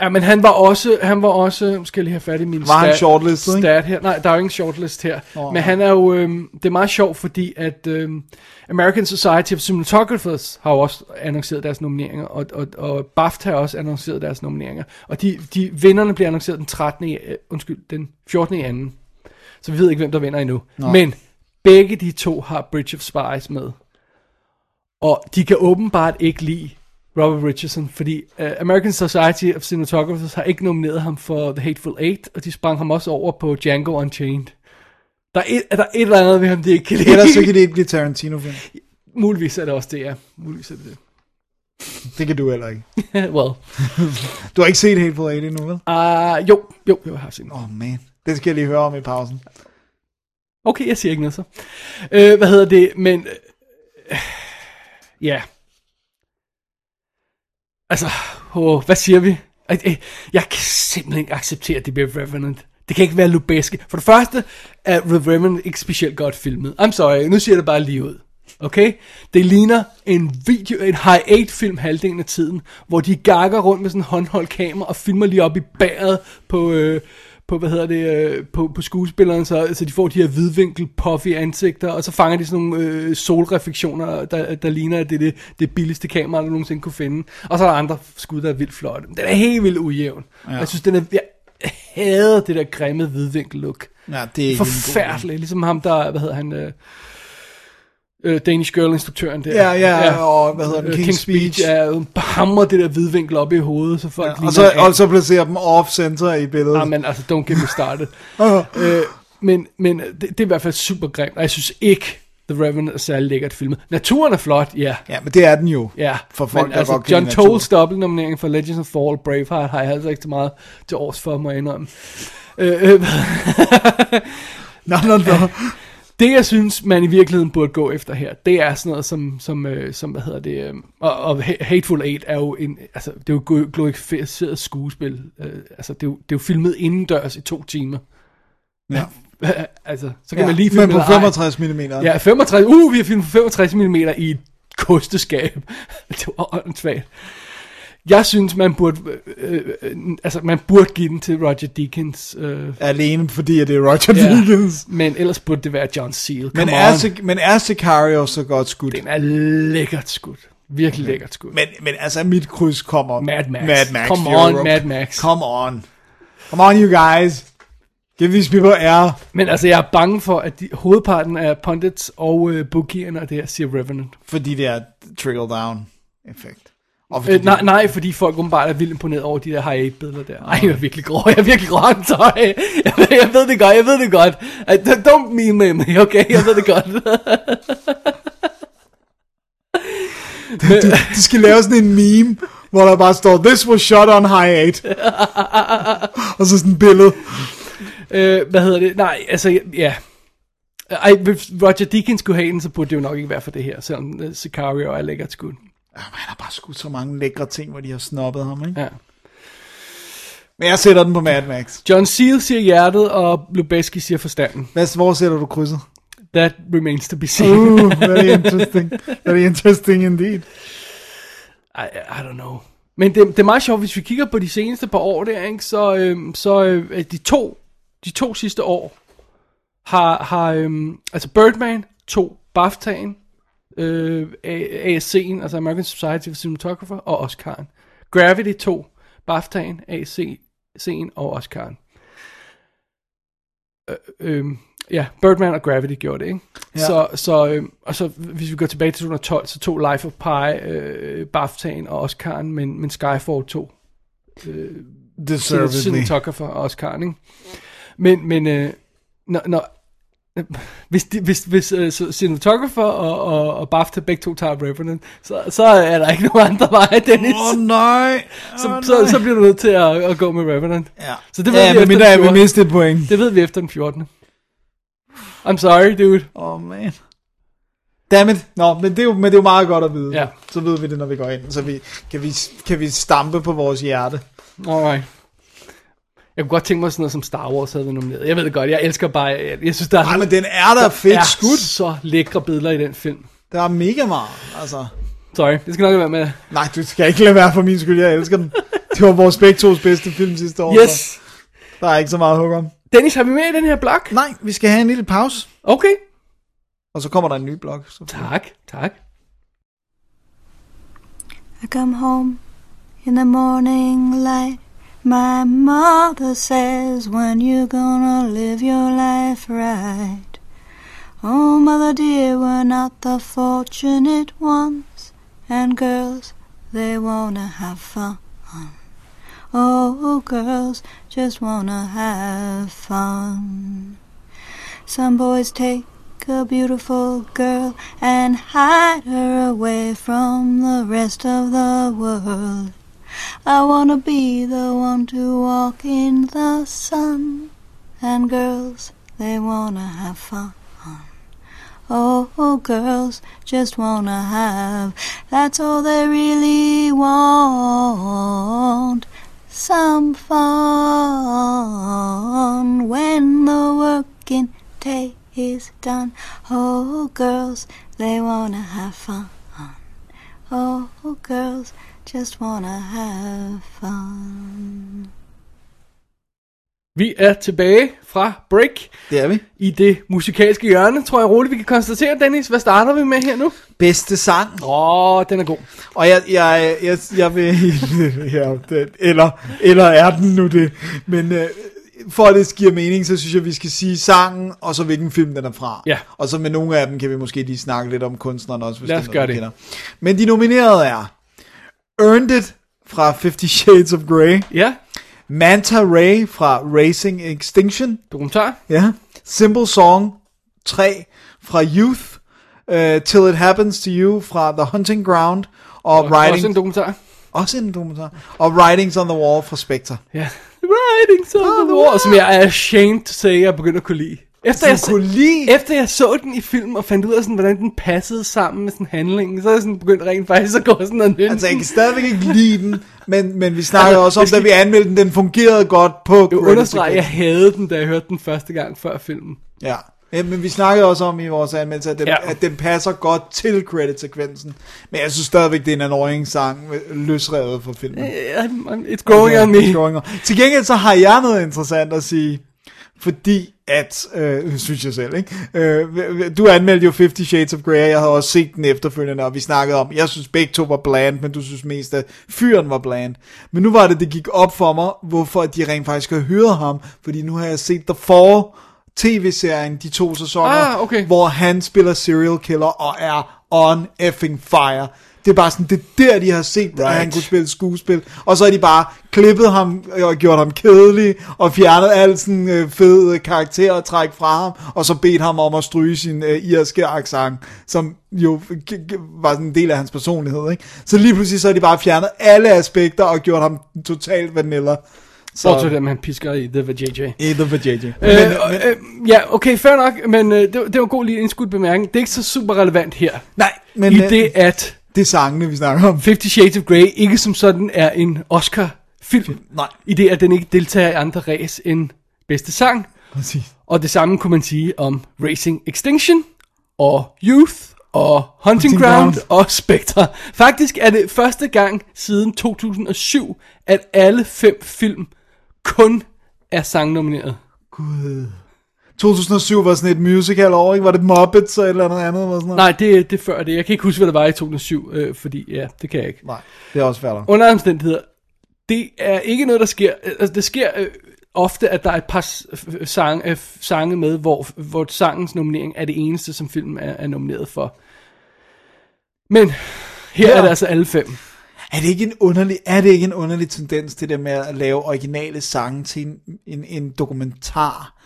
Ja, men han var også, han var også, nu skal jeg lige have fat i min
Var han shortlistet, ikke?
stat her. Nej, der er jo ingen shortlist her. Oh, men han er jo, øhm, det er meget sjovt, fordi at øhm, American Society of Cinematographers har jo også annonceret deres nomineringer, og, og, og BAFTA har også annonceret deres nomineringer. Og de, de vinderne bliver annonceret den 13. i- Øh, undskyld, den 14. i anden. Så vi ved ikke, hvem der vinder endnu. Nå. Men begge de to har Bridge of Spies med. Og de kan åbenbart ikke lide Robert Richardson, fordi uh, American Society of Cinematographers har ikke nomineret ham for The Hateful Eight, og de sprang ham også over på Django Unchained. Der er et, er der et eller andet ved ham, de ikke kan lide.
Ellers så kan det ikke blive Tarantino-film.
Muligvis er det også det, ja. Muligvis er det det.
Det kan du heller ikke.
well,
Du har ikke set Hateful Eight endnu, vel?
uh, jo, jo, jo, jeg har set den.
Åh, oh, man. Det skal jeg lige høre om i pausen.
Okay, jeg siger ikke noget så. Øh, hvad hedder det? Men... Øh, øh, ja. Altså, åh, hvad siger vi? Øh, øh, Jeg kan simpelthen ikke acceptere, at det bliver Revenant. Det kan ikke være lubeske. For det første er The Revenant ikke specielt godt filmet. I'm sorry, nu siger jeg det bare lige ud. Okay? Det ligner en video, en high 8 film halvdelen af tiden, hvor de gakker rundt med sådan en håndholdt kamera og filmer lige op i bæret på, øh, på, hvad hedder det, øh, på, på skuespilleren, så, så de får de her hvidvinkel puffy ansigter, og så fanger de sådan nogle øh, solreflektioner, der, der ligner, at det er det, det billigste kamera, der nogensinde kunne finde. Og så er der andre skud, der er vildt flotte. Men Den er helt vildt ujævn. Ja. Jeg synes, den er, jeg hader det der grimme hvidvinkel look.
Ja, det er ikke en god
Forfærdeligt, ligesom ham der, hvad hedder han, øh, øh, Danish Girl instruktøren der.
Ja, ja, og hvad hedder den,
Øh,
King's
King's
Speech.
Speech. Ja, hammer det der hvidvinkel op i hovedet, så folk
Og
ligner
så,
en
og så placerer dem off-center i billedet.
Ah, men altså, don't get me started. øh, men men det, det er i hvert fald super grimt, og jeg synes ikke, The Revenant er særlig lækkert filmet. Naturen er flot, ja.
Ja, men det er den jo.
Ja,
For folk,
men
der
altså,
godt kan
John
lide natur.
Tolles dobbeltnominering for Legends of Fall Braveheart har jeg altså ikke så meget til års for, må jeg indrømme. Øh, øh,
Nå, nå, nå.
det jeg synes, man i virkeligheden burde gå efter her, det er sådan noget som, som, øh, som hvad hedder det, øh, og, og Ha- Hateful Eight er jo en, altså det er jo glo- glorificeret skuespil, øh, altså det er, jo, det er jo filmet indendørs i to timer.
Ja.
altså, så kan
Ja,
man lige filme
men på
eller ej.
65 mm. Ja.
Ja, 65, uh, vi har filmet 65 mm i et kosteskab. det var åndssvagt. Jeg synes, man burde, øh, øh, altså, man burde give den til Roger Deakins, øh,
Alene fordi, at det er Roger
Ja.
Deakins.
men ellers burde det være John Seal.
Men
Come
er,
on.
Sic- men er Sicario så godt skudt?
Den er lækkert skudt. Virkelig okay. lækkert skudt.
Men, men altså, mit kryds kommer.
Mad Max.
Mad Max
Come
Europe.
on, Mad Max.
Come on. Come on, you guys. Give these people air.
Men altså, jeg er bange for, at de, hovedparten af pundits og øh, bookierne og det her siger Revenant.
Fordi det er trickle-down-effekt. Og fordi
Øh,
det-
nej, nej, fordi folk åbenbart er vildt imponeret over de der high 8 billeder der. Ej, jeg er virkelig grå, jeg er virkelig grå, I'm sorry. Jeg, ved- jeg ved det godt, jeg ved det godt. Ej, d- Don't meme me, okay? Jeg ved det godt.
De skal lave sådan en meme, hvor der bare står, This was shot on high 8. og så sådan et billede.
øh, hvad hedder det? Nej, altså, ja. Ej, hvis Roger Deakins skulle have den, så burde det jo nok ikke være for det her, selvom øh, Sicario er lækkert skudt.
Ah, man har bare skudt så mange lækre ting, hvor de har snoppet ham, ikke?
Ja.
Men jeg sætter den på Mad Max.
John Seal siger hjertet, og Lubeski siger forstanden.
Hvad, hvor sætter du krydset?
That remains to be seen.
Uh, very interesting. Very interesting indeed.
I, I don't know. Men det, det er meget sjovt, hvis vi kigger på de seneste par år der, ikke, så, øhm, så øh, at de, to, de to sidste år har, har øhm, altså Birdman to BAFTA'en, øh, A- ASC'en, altså American Society for Cinematographer, og Oscar'en. Gravity 2, BAFTA'en, ASC'en og Oscar'en. Øh, øhm, ja, Birdman og Gravity gjorde det, ikke? Ja. Så, så, øhm, og så hvis vi går tilbage til 2012, så tog Life of Pi, øh, BAFTA'en og Oscar'en, men, men Skyfall tog
Deservedly.
cinematographer og Oscar, ikke? Men, men øh, når, når, hvis, de, hvis, hvis uh, cinematographer og, og, og BAFTA begge to tager Revenant, så, så er der ikke nogen andre vej, Dennis.
Åh oh, nej.
så,
Åh,
så,
nej.
så bliver du nødt til at, at gå med Revenant.
Ja.
Så det ved vi efter
men der
den
er vi
14.
mistet et point.
Det ved vi efter den 14. I'm sorry, dude.
Åh, oh, man. Dammit. Nå, men det, er jo, men det er jo meget godt at vide.
Ja.
Så ved vi det, når vi går ind. Så vi, kan, vi, kan vi stampe på vores hjerte.
Alright. Jeg kunne godt tænke mig sådan noget som Star Wars havde været nomineret. Jeg ved det godt, jeg elsker bare... Jeg, jeg synes, der
Nej,
er,
men den er da fedt
er
skudt.
så lækre billeder i den film.
Der er mega meget, altså.
Sorry, det skal nok være med.
Nej, du skal ikke lade være for min skyld, jeg elsker den. Det var vores begge tos bedste film sidste år.
Yes!
så Der er ikke så meget at hugge om.
Dennis, har vi med i den her blok?
Nej, vi skal have en lille pause.
Okay.
Og så kommer der en ny blog. Så.
Tak, tak.
I come home in the morning light. My mother says, When you gonna live your life right? Oh, mother dear, we're not the fortunate ones, and girls, they wanna have fun. Oh, girls just wanna have fun. Some boys take a beautiful girl and hide her away from the rest of the world. I wanna be the one to walk in the sun. And girls, they wanna have fun. Oh, girls just wanna have. That's all they really want. Some fun when the working day is done. Oh, girls, they wanna have fun. Oh, girls just wanna have fun.
Vi er tilbage fra break
Det er vi.
i det musikalske hjørne, tror jeg roligt, vi kan konstatere. Dennis, hvad starter vi med her nu?
Bedste sang.
Åh, oh, den er god.
Og jeg, jeg, jeg, jeg vil... ja, den, eller, eller er den nu det? Men øh, for at det giver mening, så synes jeg, vi skal sige sangen, og så hvilken film den er fra.
Ja.
Og så med nogle af dem kan vi måske lige snakke lidt om kunstneren også, hvis
Lad
det
os
er
gøre
noget, vi
det.
kender. Men de nominerede er Earned It fra Fifty Shades of Grey,
Ja,
Manta Ray fra Racing Extinction,
dokumentar.
ja. Simple Song 3 fra Youth, øh, Till It Happens to You fra The Hunting Ground, og, og Riding
Også en dokumentar.
også en dokumentar. Og Writings on the Wall fra Spectre.
Ja. Writing some of the war, som jeg er ashamed to say, jeg begynder at kunne lide. Efter jeg,
Du kunne lide?
efter jeg så den i film og fandt ud af, sådan, hvordan den passede sammen med sådan handlingen, så er jeg sådan begyndt rent faktisk at gå sådan og nynne
Altså, jeg
den.
kan stadigvæk ikke lide den, men, men vi snakkede altså, også
Altså,
om,
hvis
da
vi-
vi anmeldte den, den fungerede godt på
Jeg
Greatest
understreger, at jeg
Hits.
havde den, da jeg hørte den første gang før filmen.
Ja. ja. Men vi snakkede også om i vores anmeldelse, at den,
Ja.
ja. at den passer godt til credit-sekvensen. Men jeg synes stadigvæk, det er en annoying-sang, øh, løsrevet fra filmen.
I'm- I'm- It's growing on me.
It's growing on. Til gengæld så har jeg noget interessant at sige, fordi at, øh, synes jeg selv, ikke? Øh, du anmeldte jo 50 Shades of Grey, og jeg havde også set den efterfølgende, og vi snakkede om, jeg synes begge to var bland, men du synes mest, at fyren var bland. Men nu var det, det gik op for mig, hvorfor de rent faktisk har hørt ham, fordi nu har jeg set The Fall, tv-serien, de to sæsoner,
Ah, okay.
hvor han spiller serial killer og er on effing fire. Det er bare sådan, det er der, de har set, right. at han kunne spille skuespil. Og så har de bare klippet ham øh, og gjort ham kedelig, og fjernet al sådan øh, fed karakter og træk fra ham, og så bedt ham om at stryge sin øh, irske accent, som jo g- g- var sådan en del af hans personlighed. Ikke? Så lige pludselig så har de bare fjernet alle aspekter og gjort ham totalt vanilla. Så
Bortset dem, han pisker i, det var JJ.
Either for JJ.
Øh, og, øh, ja, okay, fair nok, men øh, det, det var god lige indskudt bemærkning. Det er ikke så super relevant her.
Nej, men
I
øh,
det, at
det er sangene, vi snakker om.
Fifty Shades of Grey ikke som sådan er en Oscar-film.
Nej.
I det, at den ikke deltager i andre ræs end bedste sang.
Præcis.
Og det samme kunne man sige om Racing Extinction, og Youth, og Hunting,
Hunting
Ground,
Ground.
og Spectre. Faktisk er det første gang siden 2007, at alle fem film kun er sangnomineret.
2007 var sådan et musical år, ikke? Var det Muppets eller et eller andet andet? Eller sådan noget?
Nej, det, det er før det. Jeg kan ikke huske, hvad der var i 2007, øh, fordi ja, det kan jeg ikke.
Nej, det er også færdigt.
Under alle omstændigheder, det er ikke noget, der sker. Altså, det sker øh, ofte, at der er et par s- f- sange, øh, sange med, hvor, hvor sangens nominering er det eneste, som filmen er, er nomineret for. Men her ja.
Ja.
er det altså alle fem.
Er det, ikke en underlig, er det ikke en underlig tendens, det der med at lave originale sange til en, en, en dokumentar?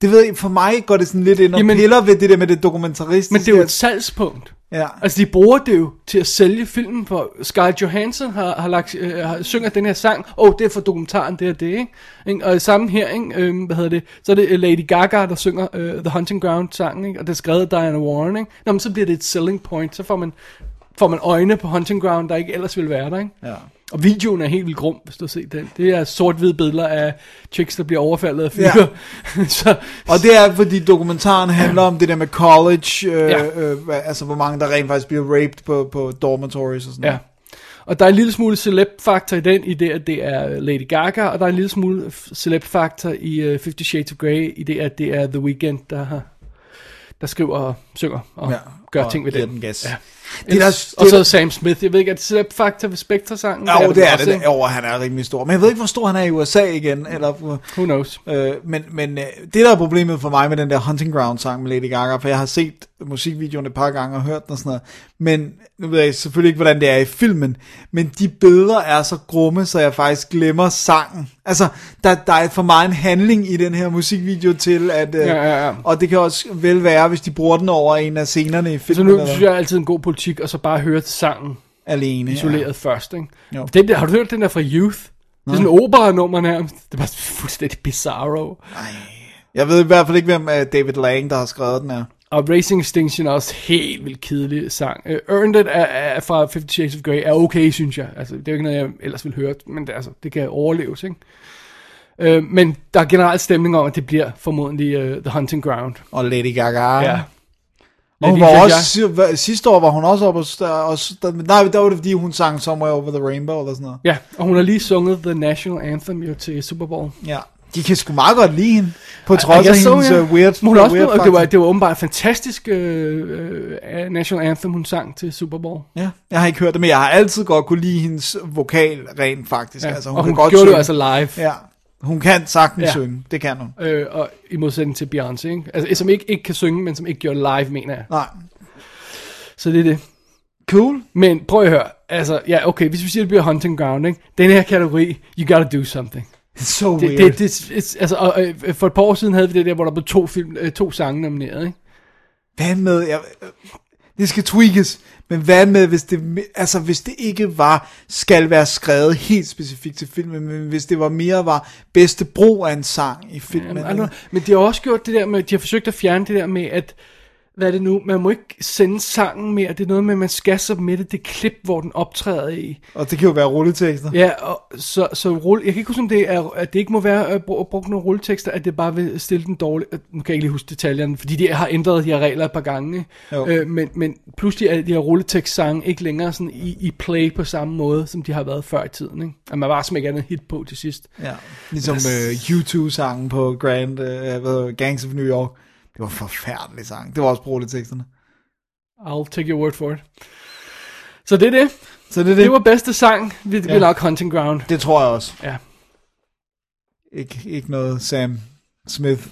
Det ved jeg, for mig går det sådan lidt ind og
Jamen-
Jamen, piller ved det der med det dokumentaristiske.
Men det er jo et
at-
salgspunkt.
Ja.
Altså, de bruger det jo til at sælge filmen, for Scarlett Johansson har, har lagt, øh, har, synger den her sang, åh, oh, det er for dokumentaren, det er det, ikke? ikke? Og samme her, ikke? Øhm, hvad hedder det, så er det øh, Lady Gaga, der synger øh, The Hunting Ground-sangen, ikke? Og det er skrevet af Diana Warren, ikke? Nå, men så bliver det et selling point, så får man, får man øjne på Hunting Ground, der ikke ellers ville være der, ikke?
Ja.
Og videoen er helt vildt grum, hvis du har set den. Det er sort-hvide billeder af chicks, der bliver overfaldet af
Ja.
fyre. Ja. så,
Og det er, fordi dokumentaren handler om det der med college, øh,
Ja.
ja. øh, hvad- altså hvor mange der rent faktisk bliver raped på, på dormitories og sådan
Ja. Og der er en lille smule celeb-faktor i den, i det, at det er øh, Lady Gaga, og der er en lille smule f- celeb-faktor i uh, Fifty Shades of Grey, i det, at det er The Weeknd, der, har, der skriver og synger og
Ja.
gør ting ved
giver
den.
den gas.
Ja.
Det er der, det,
Og så Sam Smith, jeg ved ikke, er det Slap Factor ved Spectre-sangen?
jo, det
vel
er
også,
det. det.
ikke?
Jo, han er rimelig stor. Men jeg ved ikke, hvor stor han er i USA igen. Eller, hvor-
Who knows?
øh, men men øh, det, der er problemet for mig med den der Hunting Ground-sang med Lady Gaga, for jeg har set musikvideoen et par gange og hørt den og sådan noget. Men nu ved jeg selvfølgelig ikke, hvordan det er i filmen. Men de billeder er så grumme, så jeg faktisk glemmer sangen. Altså, der, der er for meget en handling i den her musikvideo til, at... Øh,
Ja, ja, ja.
Og det kan også vel være, hvis de bruger den over en af scenerne i filmen.
Så Altså, nu
eller
synes jeg altid en god politik, og så bare høre sangen
alene.
isoleret først, ikke?
Jo.
Den der, har du hørt den der fra Youth? Det er sådan en opera-nummer nærmest. Det er bare fuldstændig bizarro.
Jeg ved i hvert fald ikke, hvem øh, David Lang, der har skrevet den her.
Og Racing Extinction er også helt vildt kedelig sang. Uh, Earned It er, er fra 50 Shades of Grey er okay, synes jeg. Altså, det er jo ikke noget, jeg ellers ville høre, men det, altså, det kan overleves, ikke? Uh, men der er generelt stemning om, at det bliver formodentlig uh, The Hunting Ground.
Og Lady Gaga.
Ja.
Og hun
Lady
var
Gaga.
også, si- hva- sidste år var hun også oppe og st- og st- nej, der var det fordi hun sang Somewhere Over the Rainbow eller sådan noget.
Ja, og hun har lige sunget The National Anthem jo til Super Bowl.
Ja. De kan sgu meget godt lide hende, på
Og
trods af
jeg så,
hendes
ja.
øh, weird,
hun har også
weird
blevet, og det, var,
factor.
det var åbenbart et fantastisk øh, øh, National Anthem, hun sang til Super Bowl.
Ja, jeg har ikke hørt det, men jeg har altid godt kunne lide hendes vokal rent faktisk.
Ja,
altså, hun
og
kan
hun
godt
gjorde
synge.
det altså live.
Ja, hun kan sagtens
Ja.
ja. synge, det kan hun.
øh, og i modsætning til Beyoncé, ikke? Altså, som ikke, ikke kan synge, men som ikke gjorde live, mener jeg.
Nej,
Så det er det.
cool.
Men prøv at høre, altså, ja, okay, hvis vi siger, det bliver Hunting Ground, ikke? Den her kategori, you gotta do something.
It's so
Det,
weird.
det, det, det altså, og, øh, for et par år siden havde vi det der, hvor der blev to, film, øh, to sange nomineret, ikke?
Hvad med, jeg, øh, det skal tweakes, men hvad med, hvis det, altså, hvis det ikke var, skal være skrevet helt specifikt til filmen, men hvis det var mere var bedste brug af en sang i filmen.
Jamen,
eller-
altså, men de har også gjort det der med, de har forsøgt at fjerne det der med, at hvad er det nu, man må ikke sende sangen mere, det er noget med, at man skal submitte det klip, hvor den optræder i.
og det kan jo være rulletekster.
Ja, og så, så rulle, jeg kan ikke huske, om det er, at det ikke må være øh, brug- brugt nogle rulletekster, at det bare vil stille den dårligt. Nu kan jeg ikke lige huske detaljerne, fordi de har ændret de her regler et par gange.
Jo.
ikke? Øh, men, men pludselig er de her rulletekstsange ikke længere sådan i, i play på samme måde, som de har været før i tiden. Ikke? At man bare smækker en hit på til sidst.
Ja. Ligesom øh, U2-sangen på Grand, øh, hvad hedder det, Gangs of New York. Det var en forfærdelig sang. Det var også brugleteksterne.
I'll take your word for it. Så det er det.
Så det er det.
Det var bedste sang. Det bliver
Ja.
nok Hunting Ground.
Det tror jeg også.
Ja.
Ikke, ikke noget Sam Smith.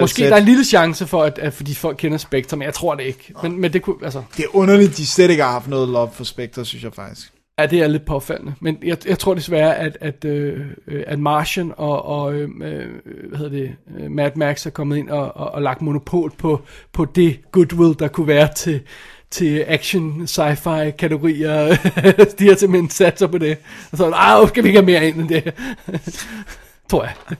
Måske der er en lille chance for, at, at fordi folk kender Spectre, men jeg tror det ikke. Men, men det kunne, altså,
Det er underligt, de slet ikke har haft noget love for Spectre, synes jeg faktisk.
Ja, det er lidt påfaldende. Men jeg, jeg tror desværre, at, at, øh, øh, at Martian og, og øh, øh, hvad hedder det, øh, Mad Max er kommet ind og, og, og lagt monopol på, på det goodwill, der kunne være til, til action, sci-fi kategorier. De har simpelthen sat sig på det. Og så er det, "Ah, skal vi ikke have mere ind end det. tror jeg.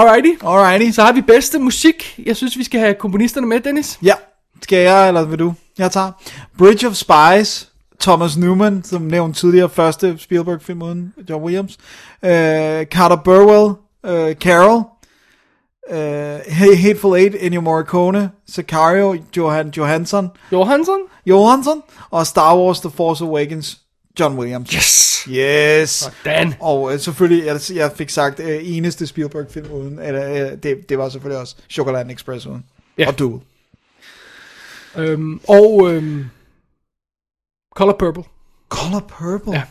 Alrighty.
Alrighty.
Så har vi bedste musik. Jeg synes, vi skal have komponisterne med, Dennis.
Ja, skal jeg, eller vil du? Jeg tager. Bridge of Spies, Thomas Newman, som nævnt tidligere, første Spielberg-film uden John Williams. Øh, Carter Burwell, øh, Carol, øh, Hey- Hateful Eight, Ennio Morricone, Sicario, Johan Johansson,
Johansson?
Johansson, og Star Wars The Force Awakens, John Williams.
Yes!
Yes!
Dan.
Og øh, selvfølgelig, jeg, jeg fik sagt, øh, eneste Spielberg-film uden, eller, øh, det, det var selvfølgelig også Chocolate Express uden.
Ja.
Og Duel.
Øhm, og øhm, Color Purple.
Color Purple?
Ja.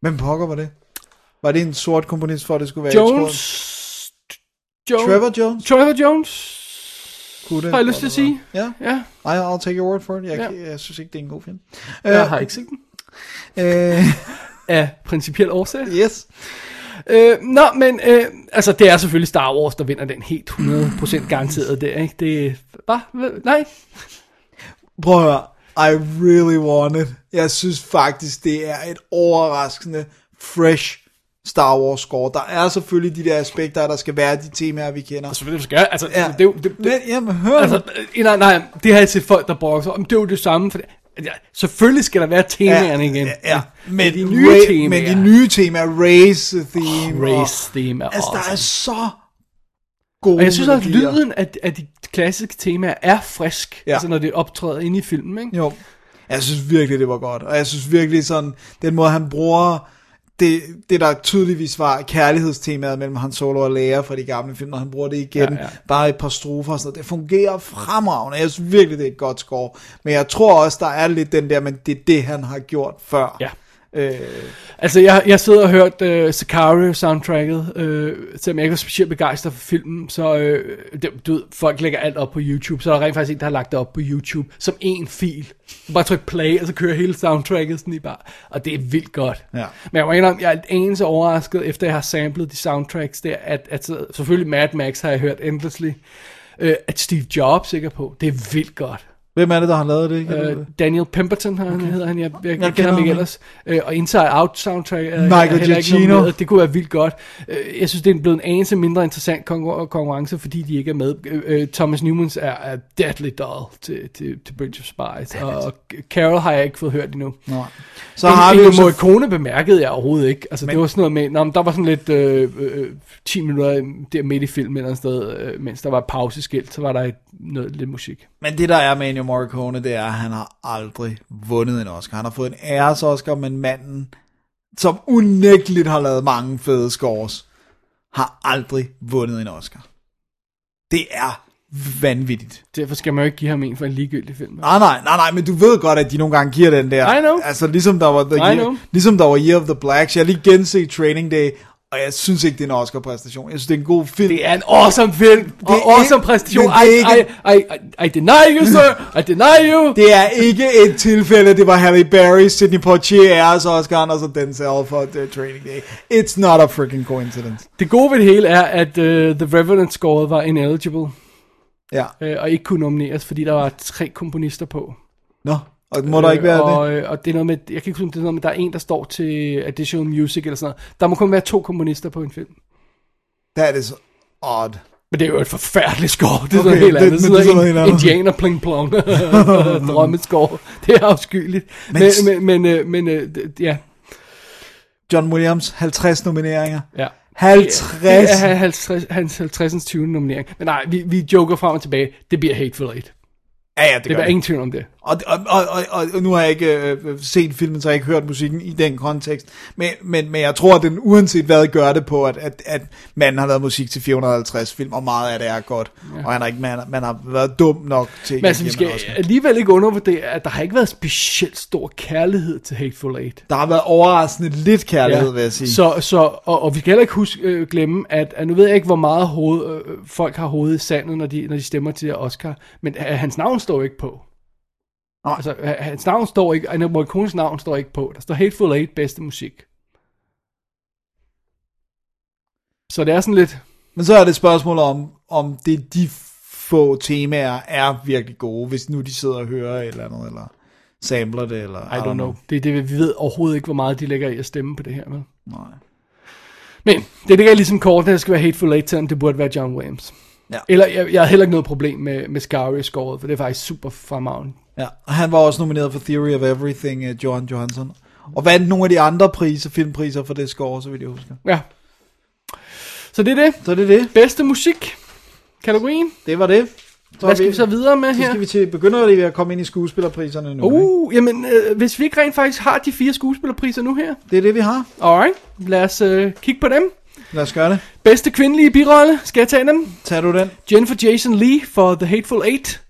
Hvem pokker var det? Var det en sort komponist for, at det skulle være? i
Jones.
tråden?
Jones.
Trevor Jones?
Trevor Jones.
Kunne det
Har jeg lyst til at sige?
Ja,
Ja.
I, I'll take your word for it. Jeg,
Ja.
ja. jeg synes ikke, det er en god film.
Jeg har ikke set den.
Øh,
Af principiel årsag.
yes.
Øh, nå, men øh, altså, det er selvfølgelig Star Wars, der vinder den helt 100% garanteret der, ikke? Det er bare, nej.
Prøv at høre. I really want it. Jeg synes faktisk, det er et overraskende fresh Star Wars score. Der er selvfølgelig de der aspekter, der skal være de temaer, vi kender.
Selvfølgelig skal jeg. Altså,
Ja.
det, er jo- det, det,
Men, jamen, hør
altså,
altså,
øh, nej, nej, det har jeg set folk, der brokker sig om. Det er jo det samme, for ja, selvfølgelig skal der være temaerne igen.
Ja, ja.
Men de nye
Ray,
temaer.
Men de nye temaer, race theme.
race theme er
Altså, der er
awesome.
så gode
Og jeg synes også, at
melodier.
lyden af, af de klassiske temaer er frisk, ja.
Ja.
altså når det optræder inde i filmen, ikke?
Jo. Jeg synes virkelig, det var godt. Og jeg synes virkelig sådan, den måde, han bruger det, det der tydeligvis var kærlighedstemaet mellem Han Solo og Leia fra de gamle film, når han bruger det igen, ja,
Ja,
ja.
ja.
bare et par strofer og sådan noget. Det fungerer fremragende. Jeg synes virkelig, det er et godt score. Men jeg tror også, der er lidt den der, men det er det, han har gjort før.
Ja.
Øh,
Altså, jeg, jeg sidder og hørt øh, Sicario-soundtracket, øh, selvom jeg ikke var specielt begejstret for filmen, så øh, det, du ved, folk lægger alt op på YouTube, så er der rent faktisk en, der har lagt det op på YouTube, som en fil. Du bare tryk play, og så kører hele soundtracket sådan i bare, og det er vildt godt.
Ja.
Men jeg må indrømme, jeg er en anelse overrasket, efter jeg har samlet de soundtracks der, at, at så- selvfølgelig Mad Max har jeg hørt endlessly, øh, at Steve Jobs ikke er på. Det er vildt godt.
hvem er det, der har lavet det? Kan du
Øh,
det?
Daniel Pemberton han, okay. hedder han, jeg, jeg, jeg kender,
kender
ham ikke
ham.
ellers. Øh, og Inside Out soundtrack er,
Michael
er heller ikke
Giacchino.
nomineret. Det kunne være vildt godt. Øh, jeg synes, det er blevet en anelse mindre interessant konkur- konkurrence, fordi de ikke er med. Øh, øh, Thomas Newmans er, er deadly dull til, til, til Bridge of Spies, og Carol har jeg ikke fået hørt endnu.
Nå.
Så
Så
har
har
en,
vi
vi
jo
en
så
Morricone bemærkede jeg overhovedet ikke. Altså, men,
Men-
det var sådan noget med, nå, men der var sådan lidt øh, øh, 10 minutter der midt i filmen et eller andet sted, øh, mens der var et pauseskilt, så var der et, noget, lidt musik.
Men det der er med Ennio Morricone, det er, at han har aldrig vundet en Oscar. Han har fået en æres Oscar, men manden, som unægteligt har lavet mange fede scores, har aldrig vundet en Oscar. Det er vanvittigt.
Derfor skal man jo ikke give ham en for en ligegyldig film.
Nej, nej, nej, nej, men du ved godt, at de nogle gange giver den der.
I know.
Altså, ligesom der var The,
I
year,
know.
ligesom der var year of the Blacks. Jeg har lige genset Training Day, og jeg synes ikke, det er en Oscar-præstation. Jeg synes, det er en god film.
Det er en awesome film, og
Det er
awesome
ikke-
præstation.
men det er
I, I,
ikke-
I, I, I deny you, sir. I deny you.
Det er ikke et tilfælde, det var Halle Berry, Sidney Poitier, Ayers, Oscar og så Denzel for The Training Day. It's not a freaking coincidence.
Det gode ved det hele er, at uh, The Revenant scoret var ineligible,
Ja.
uh, og ikke kunne nomineres, fordi der var tre komponister på.
Nå, og må der ikke være det?
og, det? Og det er noget med, jeg kan ikke huske, om det er noget med, der er en, der står til additional music eller sådan noget. Der må kun være to komponister på en film.
That is odd.
Men det er jo et forfærdeligt skov. Det er okay,
Okay,
noget helt
det-
andet.
men
Det,
det er
sådan
noget
noget
helt
en,
andet.
indianer pling plong. Drømmeskov. Det er afskyeligt. Men, men, men, men, men øh, d- ja.
John Williams, 50 nomineringer.
ja.
50!
Det er 50, hans 50. 20. nominering. Men nej, vi, vi joker frem og tilbage. Det bliver Hateful Eight.
Ja, ja, det,
Det
gør
er
det.
ingen tvivl om det.
Og, og, og, og, og nu har jeg ikke øh, set filmen, så jeg har ikke hørt musikken i den kontekst. Men, men, men jeg tror, at den uanset hvad gør det på, at, at, at manden har lavet musik til 450 film, og meget af det er godt. Ja. Og han har ikke, man, man har været dum nok til
Men altså, vi skal alligevel ikke undervurdere, at der har ikke været specielt stor kærlighed til Hateful Eight.
Der har været overraskende lidt kærlighed, ja. vil jeg sige. Så...
Så, så, og, og vi kan heller ikke huske, øh, glemme, at, at nu ved jeg ikke, hvor meget hoved, øh, folk har hovedet i sandet, når de, når de stemmer til Oscar, men øh, hans navn står jo ikke på.
Nej.
Altså, øh, hans navn står ikke, Anna Morricones navn står ikke på. Der står Hateful Eight, bedste musik. Så det er sådan lidt,
Men så er det et spørgsmål om, om det de få temaer er virkelig gode, hvis nu de sidder og hører et eller andet, eller samler det, eller...
I don't know. Det, er det, vi ved overhovedet ikke, hvor meget de lægger i at stemme på det her. Med.
Nej.
Men det ligger ligesom kortene, at det skal være Hateful Eight, selvom det burde være John Williams.
Ja.
Eller jeg, jeg har heller ikke noget problem med, med Scarry-scoret, for det er faktisk super fremragende.
Ja, og han var også nomineret for Theory of Everything af Johan Johansson. Og vandt nogle af de andre priser, filmpriser for det score, så vidt jeg husker.
Ja. Så det er det.
Så det er det.
Bedste musik. Kategorien.
Det var det. Så, er
Hvad skal vi så videre med
så
her?
skal vi til, begynder lige at komme ind i skuespillerpriserne nu. ikke?
Uh, jamen, øh, hvis vi ikke rent faktisk har de fire skuespillerpriser nu her.
Det er det, vi har.
Alright, lad os øh, kigge på dem.
Lad os gøre det.
Bedste kvindelige birolle, skal jeg tage dem?
Tag du den?
Jennifer Jason Lee for The Hateful Eight,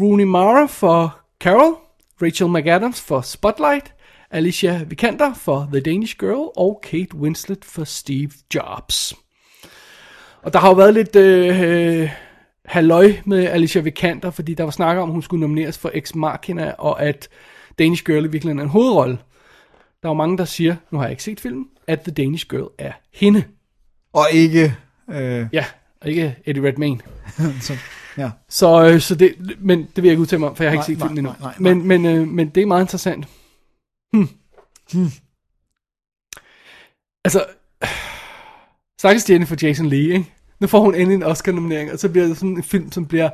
Rooney Mara for Carol, Rachel McAdams for Spotlight, Alicia Vikander for The Danish Girl og Kate Winslet for Steve Jobs. Og der har jo været lidt øh, øh, halløj med Alicia Vikander, fordi der var snak om, at hun skulle nomineres for Ex Machina, og at Danish Girl i virkeligheden er en hovedrolle. Der er jo mange, der siger, nu har jeg ikke set filmen, at The Danish Girl er hende.
Og ikke... Øh,
Ja, og ikke Eddie Redmayne.
så, ja.
Så, øh, så det, men det vil jeg ikke udtale mig om, for jeg har
Nej,
ikke set
nej,
filmen endnu.
nej, nej, nej. Hm.
Men, men, øh, men det er meget interessant. Hmm. Hmm. Altså, stakkels Jennifer Jason Lee, ikke? Nu får hun endelig en Oscar-nominering, og så bliver det sådan en film, som bliver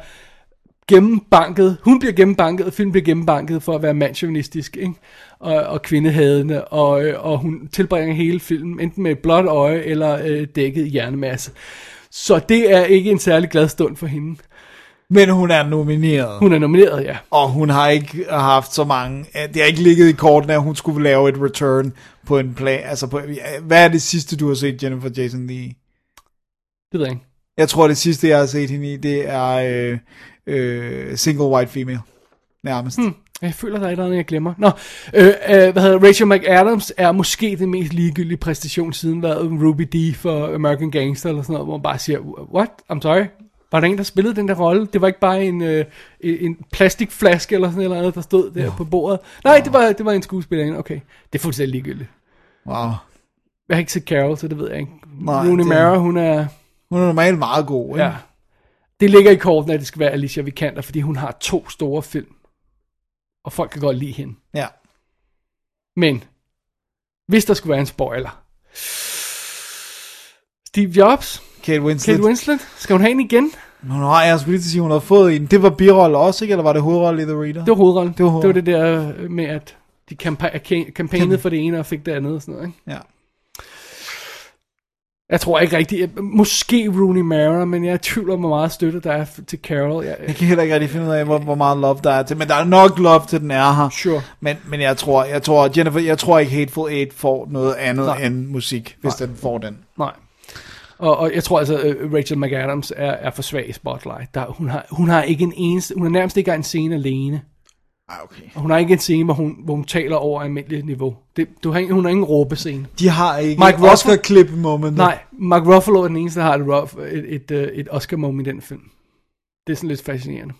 gennembanket. Hun bliver gennembanket, og filmen bliver gennembanket for at være mandsjournalistisk, ikke? Og, og kvindehadende, og, øh, og hun tilbringer hele filmen, enten med et blåt øje, eller øh, dækket hjernemasse. Så det er ikke en særlig glad stund for hende.
Men hun er nomineret.
Hun er nomineret, ja.
Og hun har ikke haft så mange... øh, Det har ikke ligget i korten, at hun skulle lave et return på en plan. Altså på, hvad er det sidste, du har set Jennifer Jason Lee? i?
Det ved jeg ikke.
Jeg tror, det sidste, jeg har set hende i, det er øh, øh, Single White Female. Nærmest. Hmm.
Jeg føler, der er et eller andet, jeg glemmer. Nå, øh, øh, hvad hedder Rachel McAdams er måske den mest ligegyldige præstation siden været Ruby D for American Gangster eller sådan noget, hvor man bare siger, what? I'm sorry. Var der en, der spillede den der rolle? Det var ikke bare en, øh, en plastikflaske eller sådan noget, der stod der på bordet. Nej, det var, det var en skuespillerinde. Okay, det er fuldstændig ligegyldigt.
Wow.
Jeg har ikke set Carol, så det ved jeg ikke.
Nej,
Nej, Rooney
det-
Mara, hun er...
Hun er normalt meget god, ikke?
Ja. Det ligger i kortene, at det skal være Alicia Vikander, fordi hun har to store film. Og folk kan godt lide hende.
ja.
Men, hvis der skulle være en spoiler. Steve Jobs,
Kate Winslet.
Kate Winslet, skal hun have en igen?
Hun har, jeg skulle lige til at sige, hun har fået en. Det var birolle også, ikke? Eller var det hovedrolle i The Reader?
Det var hovedrollen.
Det var
det, var
hovedrollen.
det der øh, med, at de kampa- ka- kampagnede for det ene og fik det andet og sådan noget. Ikke?
Ja.
Jeg tror ikke rigtigt. jeg- Måske Rooney Mara, men jeg tvivler, hvor meget støtte der er f- til Carol. Jeg,
Jeg kan heller ikke rigtig finde ud af, hvor, hvor meget love der er til. Men der er nok love til, den er her.
Sure.
Men, men jeg tror, jeg tror, Jennifer, jeg tror ikke Hateful Eight får noget andet Nej. end musik, hvis Nej. den får den.
Nej. Og, og jeg tror altså, øh, Rachel McAdams er, er for svag i Spotlight. Der, hun, har, hun har ikke en eneste, hun har nærmest ikke engang en scene alene.
Ah, okay.
Og hun har ikke en scene, hvor hun, hvor hun taler over almindeligt niveau. Det, du har, ingen- hun har ingen råbescene.
De har ikke
Mike
Mike
Ruffalo?
Oscar klip moment.
Nej, Mark Ruffalo er den eneste, der har et, rough, et, et, øh, et Oscar-moment i den film. Det er sådan lidt fascinerende.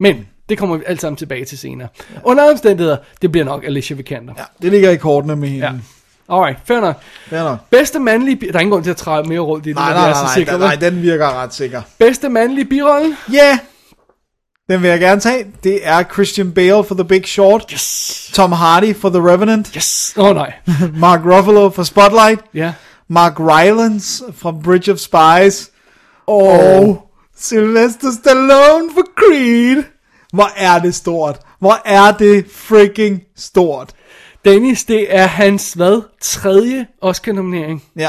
Men det kommer vi alt sammen tilbage til senere. Ja. Under alle omstændigheder, det bliver nok Alicia Vikander.
Ja, det ligger i kortene med hende.
Ja.
Ja.
Alright, fair nok.
Fair nok.
Bedste mandlige... bi- Der er ingen grund til at træde mere rundt i det,
Nej,
når
nej, nej,
vi er så
nej,
sikre,
nej,
vel?
nej, den virker ret sikker.
Bedste mandlige birolle?
Ja, yeah! den vil jeg gerne tage. Det er Christian Bale for The Big Short. Yes. Tom Hardy for The Revenant. Yes.
Åh oh, nej.
Mark Ruffalo for Spotlight.
Ja.
Mark Rylance fra Bridge of Spies, og Sylvester Stallone for Creed. Hvor er det stort. Hvor er det freaking stort.
Dennis, det er hans, hvad, tredje Oscar-nominering.
Ja,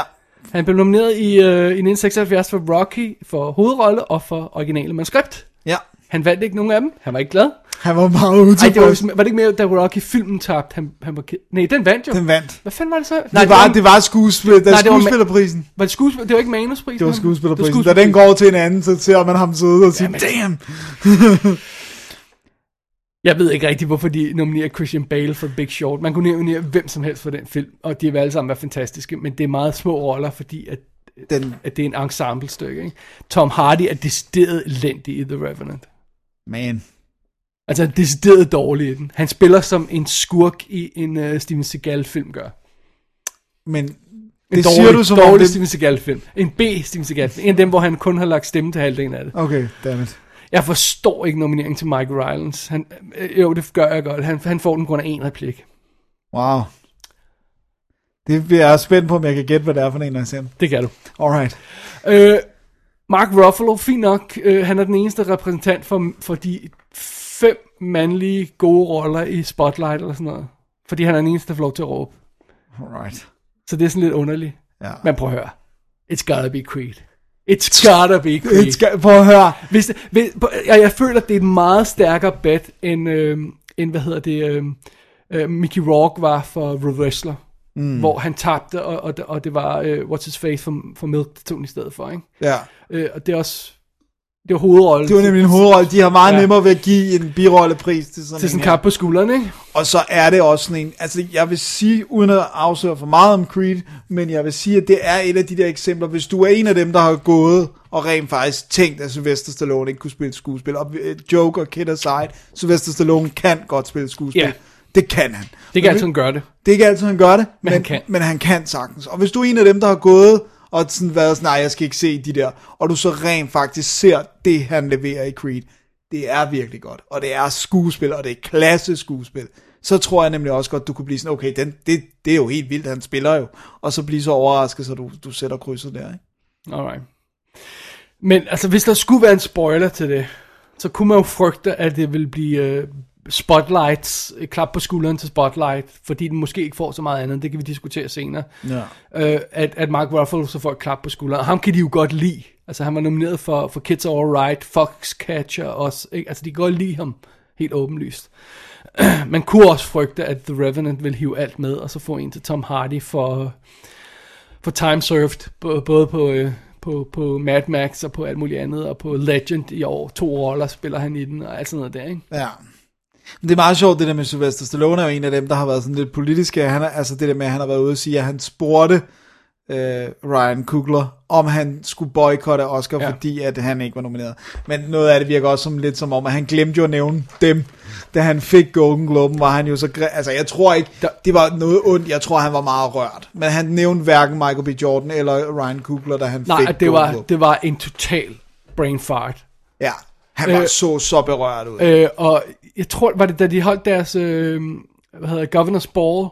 Han blev nomineret i, øh, i 1976 for Rocky for hovedrolle og for originale manuskript.
ja.
Han vandt ikke nogen af dem. Han var ikke glad.
Han var meget
Ej, det var,
utilfreds.
vist- var det ikke mere, da Rocky-filmen tabte? Han, han var ked... Nej, den vandt jo.
Den vandt.
Hvad fanden var det så?
Nej, det, var, det var skuespil, der
Nej, det var ma-
skuespillerprisen.
Var det, skuespil... det var ikke manusprisen?
Det var
han-
skuespillerprisen. altså. Da den går til en anden, så ser man ham sidde og sige, damn.
Jeg ved ikke rigtig, hvorfor de nominerer Christian Bale for Big Short. Man kunne nominere hvem som helst for den film, og de vil alle sammen være fantastiske, men det er meget små roller, fordi at,
Den,
at det er en ensemblestykke. Ikke? Tom Hardy er decideret elendig i The Revenant.
man.
Altså han er decideret dårlig i den. Han spiller som en skurk i en uh, Steven Seagal-film gør.
Men
En
det
dårlig,
siger du som om
dårlig
det...
Steven Seagal-film. En B-Steven Seagal-film. En af dem, hvor han kun har lagt stemme til halvdelen af det.
Okay, dammit.
Jeg forstår ikke nomineringen til Mike Rylance. Han, øh, jo, det gør jeg godt. Han, han får den på grund af en replik.
Wow. Det jeg er jeg spændt på, om jeg kan gætte, hvad det er for en, der er sendt.
Det kan du.
Alright.
Øh, Mark Ruffalo, fint nok, øh, han er den eneste repræsentant for, for de fem mandlige gode roller i Spotlight eller sådan noget. Fordi han er den eneste, der får lov til at råbe.
Alright.
Så det er sådan lidt underligt.
Ja.
Men prøv at høre. It's gotta be Creed. It's gotta be Creed.
Det skal, prøv at høre.
Hvis, hvis, på- jeg, jeg føler, at det er et meget stærkere bet, end, øh, end hvad hedder det, øh, øh, Mickey Rourke var for The Wrestler. Mm. Hvor han tabte, og, og, og det var øh, What's His Face for, for Milk, der tog den i stedet for. Ikke?
Ja.
Øh, og det er også, det var hovedrollen.
Det var nemlig en hovedrolle. De har meget
Ja.
ja. nemmere ved at give en birollepris til sådan
Til sådan en
her.
kamp på skulderen, ikke?
Og så er det også sådan en, altså jeg vil sige, uden at afsløre for meget om Creed, men jeg vil sige, at det er et af de der eksempler, hvis du er en af dem, der har gået og rent faktisk tænkt, at Sylvester Stallone ikke kunne spille skuespil, og øh, joke og kid aside, Sylvester Stallone kan godt spille skuespil.
Ja.
Det kan han.
Det kan altid han gøre det.
Det er ikke altid, han gør det, men, men,
han kan.
men han kan sagtens. Og hvis du er en af dem, der har gået og sådan været sådan, nej, jeg skal ikke se de der, og du så rent faktisk ser det, han leverer i Creed, det er virkelig godt, og det er skuespil, og det er klasse skuespil, så tror jeg nemlig også godt, du kunne blive sådan, okay, den, det, det er jo helt vildt, han spiller jo, og så blive så overrasket, så du, du sætter krydset der, ikke?
Alright. Men altså, hvis der skulle være en spoiler til det, så kunne man jo frygte, at det ville blive uh, spotlights, et klap på skulderen til spotlight, fordi den måske ikke får så meget andet, det kan vi diskutere senere. Øh,
Ja.
Uh, at, at Mark Ruffalo så får et klap på skulderen, og ham kan de jo godt lide. Altså han var nomineret for, for Kids All Right, Foxcatcher også. Ikke? Altså de kan godt lide ham, helt åbenlyst. Man kunne også frygte, at The Revenant ville hive alt med, og så få en til Tom Hardy for, for Time Served, b- både på, øh, på, på Mad Max og på alt muligt andet, og på Legend i år. To roller spiller han i den, og alt sådan noget der, ikke?
Ja. Men det er meget sjovt, det der med Sylvester Stallone er jo en af dem, der har været sådan lidt politisk. Han er, altså det der med, at han har været ude og sige, at han spurgte øh, Ryan Coogler, om han skulle boykotte Oscar,
Ja.
ja. fordi at han ikke var nomineret. Men noget af det virker også som lidt som om, at han glemte jo at nævne dem. Da han fik Golden Globen, var han jo så... gre- Altså jeg tror ikke,
Der-
det var noget ondt. Jeg tror, han var meget rørt. Men han nævnte hverken Michael B. Jordan eller Ryan Coogler, da han
Nej,
fik
at det
Golden
var,
Globe.
det var en total brain fart.
Ja, han var
Øh,
så så berørt ud.
Øh, og jeg tror, var det da de holdt deres, øh, hvad hedder det, Governors Ball,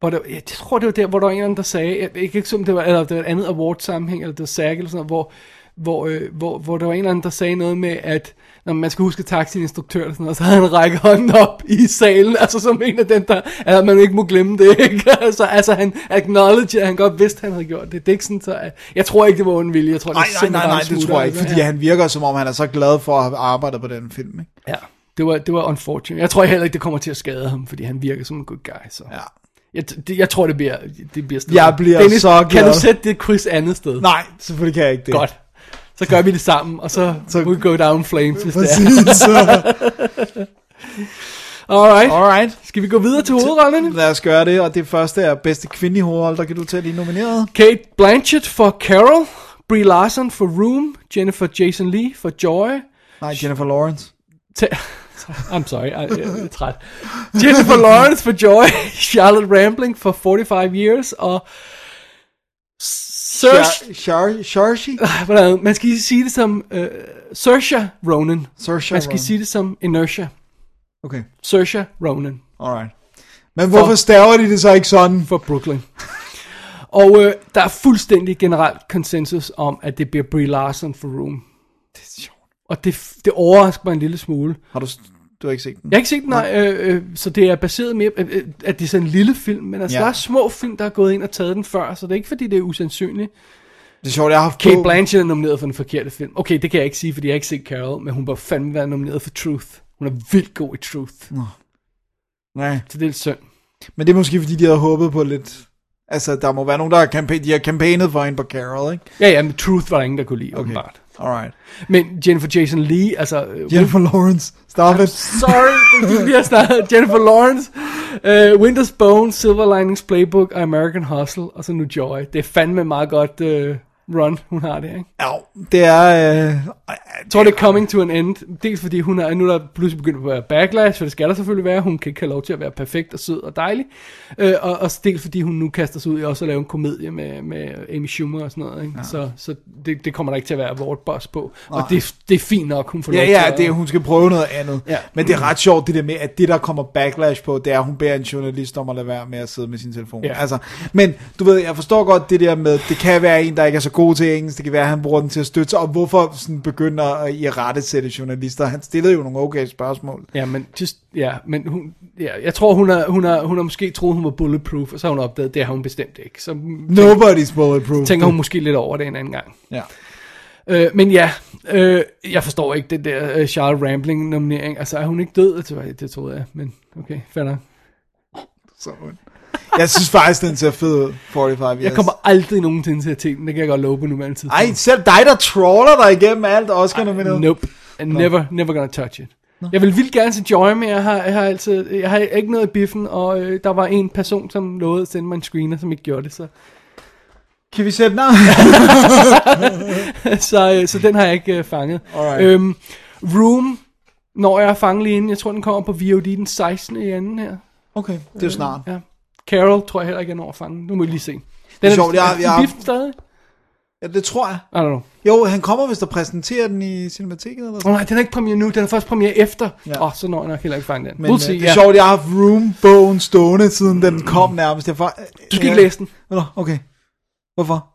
hvor der, jeg tror, det var der, hvor der var en eller anden, der sagde, jeg, jeg kan ikke som det var, eller det var et andet award-sammenhæng, eller det var SAG eller sådan noget, hvor, hvor, øh, hvor, hvor der var en eller anden, der sagde noget med, at når man skal huske at takke sin instruktør, og sådan noget, så havde han rækket hånden op i salen, altså som en af dem, der, at man ikke må glemme det, ikke? Altså, altså han acknowledge, at han godt vidste, at han havde gjort det. Det er ikke sådan, så, at, jeg tror ikke, det var en vilje. Jeg tror,
Nej,
det
nej, nej, nej, det tror jeg ikke, fordi
ja.
han virker som om, han er så glad for at have arbejdet på den film, ikke?
Ja, det var, det var unfortunate. Jeg tror heller ikke, det kommer til at skade ham, fordi han virker som en good guy. Så.
Ja.
Jeg, det, jeg tror, det bliver... Det bliver sådan
Jeg bliver
Dennis,
så
Kan
glad.
du sætte det kryds andet sted?
Nej, selvfølgelig kan jeg ikke det.
Godt. Så gør vi det sammen, og så, så
Så-
we go down in flames, hvis det er.
Præcis.
Alright.
Alright.
Skal vi gå videre til hovedrollerne?
Lad os gøre det, og det første er bedste kvindelige hovedrolle, der kan du tage de nominerede.
Kate Blanchett for Carol, Brie Larson for Room, Jennifer Jason Lee for Joy,
Nej, Jennifer Lawrence.
Ta- I'm sorry, I, jeg er træt. Jennifer Lawrence for Joy, Charlotte Rambling for 45 Years, og Saoirse,
Shar- Shar- Sharshi?
hvordan, man skal sige det som uh, Saoirse Ronan.
Saoirse
Man skal
Ronan.
sige det som Inertia.
Okay,
Saoirse Ronan
alright. Men hvorfor staver de det så ikke sådan?
for Brooklyn. og øh, der er fuldstændig generelt konsensus om, at det bliver Brie Larson for Room.
Det er sjovt.
Og det, det overrasker mig en lille smule.
Har du, s- du har ikke set den?
Jeg har ikke set den, nej, øh, øh, så det er baseret mere, øh, øh, at det er sådan en lille film, men altså, ja.
Ja.
der er små film, der er gået ind og taget den før, så det er ikke fordi, det er usandsynligt.
Det er sjovt, jeg har haft
Kate
på-
Blanchett er nomineret for den forkerte film. Okay, det kan jeg ikke sige, fordi jeg har ikke set Carol, men hun bør fandme være nomineret for Truth. Hun er vildt god i Truth,
Nej,
så det er lidt synd.
men det er måske, fordi de havde håbet på lidt... Altså, der må være nogen, der har, kampa- de har campaignet for en på Carol, ikke?
Ja, ja, men Truth var der ingen, der kunne lide, okay.
Okay.
åbenbart.
Alright.
Men Jennifer Jason Lee, altså... øh,
Jennifer Lawrence, stop it.
Sorry, det- vi har snakket Jennifer Lawrence, uh, Winter's Bone, Silver Linings Playbook og American Hustle, og så nu Joy. Det er fandme meget godt uh, run, hun har det, ikke?
Ja, det er... Øh,
Jeg tror, det er coming to an end. Dels fordi hun er, nu er der pludselig begyndt at være backlash, for det skal der selvfølgelig være. Hun kan ikke have lov til at være perfekt og sød og dejlig. Øh, og, og dels fordi hun nu kaster sig ud i også at lave en komedie med, med Amy Schumer og sådan noget. Ikke? Ja. Så, så det, det, kommer der ikke til at være vort boss på. Og det, det er fint nok, hun får
Ah. Ja,
lov til
ja,
at...
det, er, hun skal prøve noget andet.
Ja.
Men det er ret sjovt, det der med, at det, der kommer backlash på, det er, at hun beder en journalist om at lade være med at sidde med sin telefon.
Ja.
Altså, men du ved, jeg forstår godt det der med, det kan være en, der ikke er så god til engelsk, det kan være, at han bruger den til at støtte sig, og hvorfor sådan begynder at i rette sætte journalister? Han stillede jo nogle okay spørgsmål.
Ja, men, just, ja, men hun, ja, jeg tror, hun har, hun, har, hun har måske troet, hun var bulletproof, og så har hun opdaget, det har hun bestemt ikke. Så tænker,
Nobody's bulletproof.
tænker hun måske lidt over det en anden gang.
Ja.
Øh, men ja, øh, jeg forstår ikke den der øh, Charlotte Rambling-nominering. Altså, er hun ikke død? Det tror jeg, det troede jeg. Men okay, fair nok.
Så ondt. Jeg synes faktisk, den ser fed ud, 45 years.
Jeg kommer aldrig nogensinde til at tænke den. Det kan jeg godt love på nuværende tidspunkt.
Ej, selv dig, der trawler dig igennem alt oscar nomineret
Nope. I'm never, never gonna touch it. Jeg vil vildt gerne se Joy, men jeg har, jeg har, altid, jeg har ikke noget i biffen, og øh, der var en person, som lovede at sende mig en screener, som ikke gjorde det, så,
Kan vi sætte den af?
så, øh, så den har jeg ikke øh, fanget.
Alright.
Øhm, Room når jeg er fanget lige inden. Jeg tror, den kommer på VOD den 16. i anden her.
Okay, det er jo snart.
Ja. Carol tror jeg heller ikke, jeg når at fange. Nu må vi lige se. Den
er sjovt, jeg-
er,
jeg-
er biffen stadig?
Ja, det tror jeg.
I don't know.
Jo, han kommer, hvis der præsenterer den i cinemateket eller
Åh
sådan
oh, nej, den er ikke premiere nu. Den er først premiere efter. Åh,
Ja.
oh, så når jeg nok heller ikke fange den.
Men
Men,
øh,
we'll see,
det
ja.
er sjovt, jeg har haft Room-bogen stående, siden den kom nærmest. Jeg for,
Du skal ikke læse den.
Nå, okay. Hvorfor?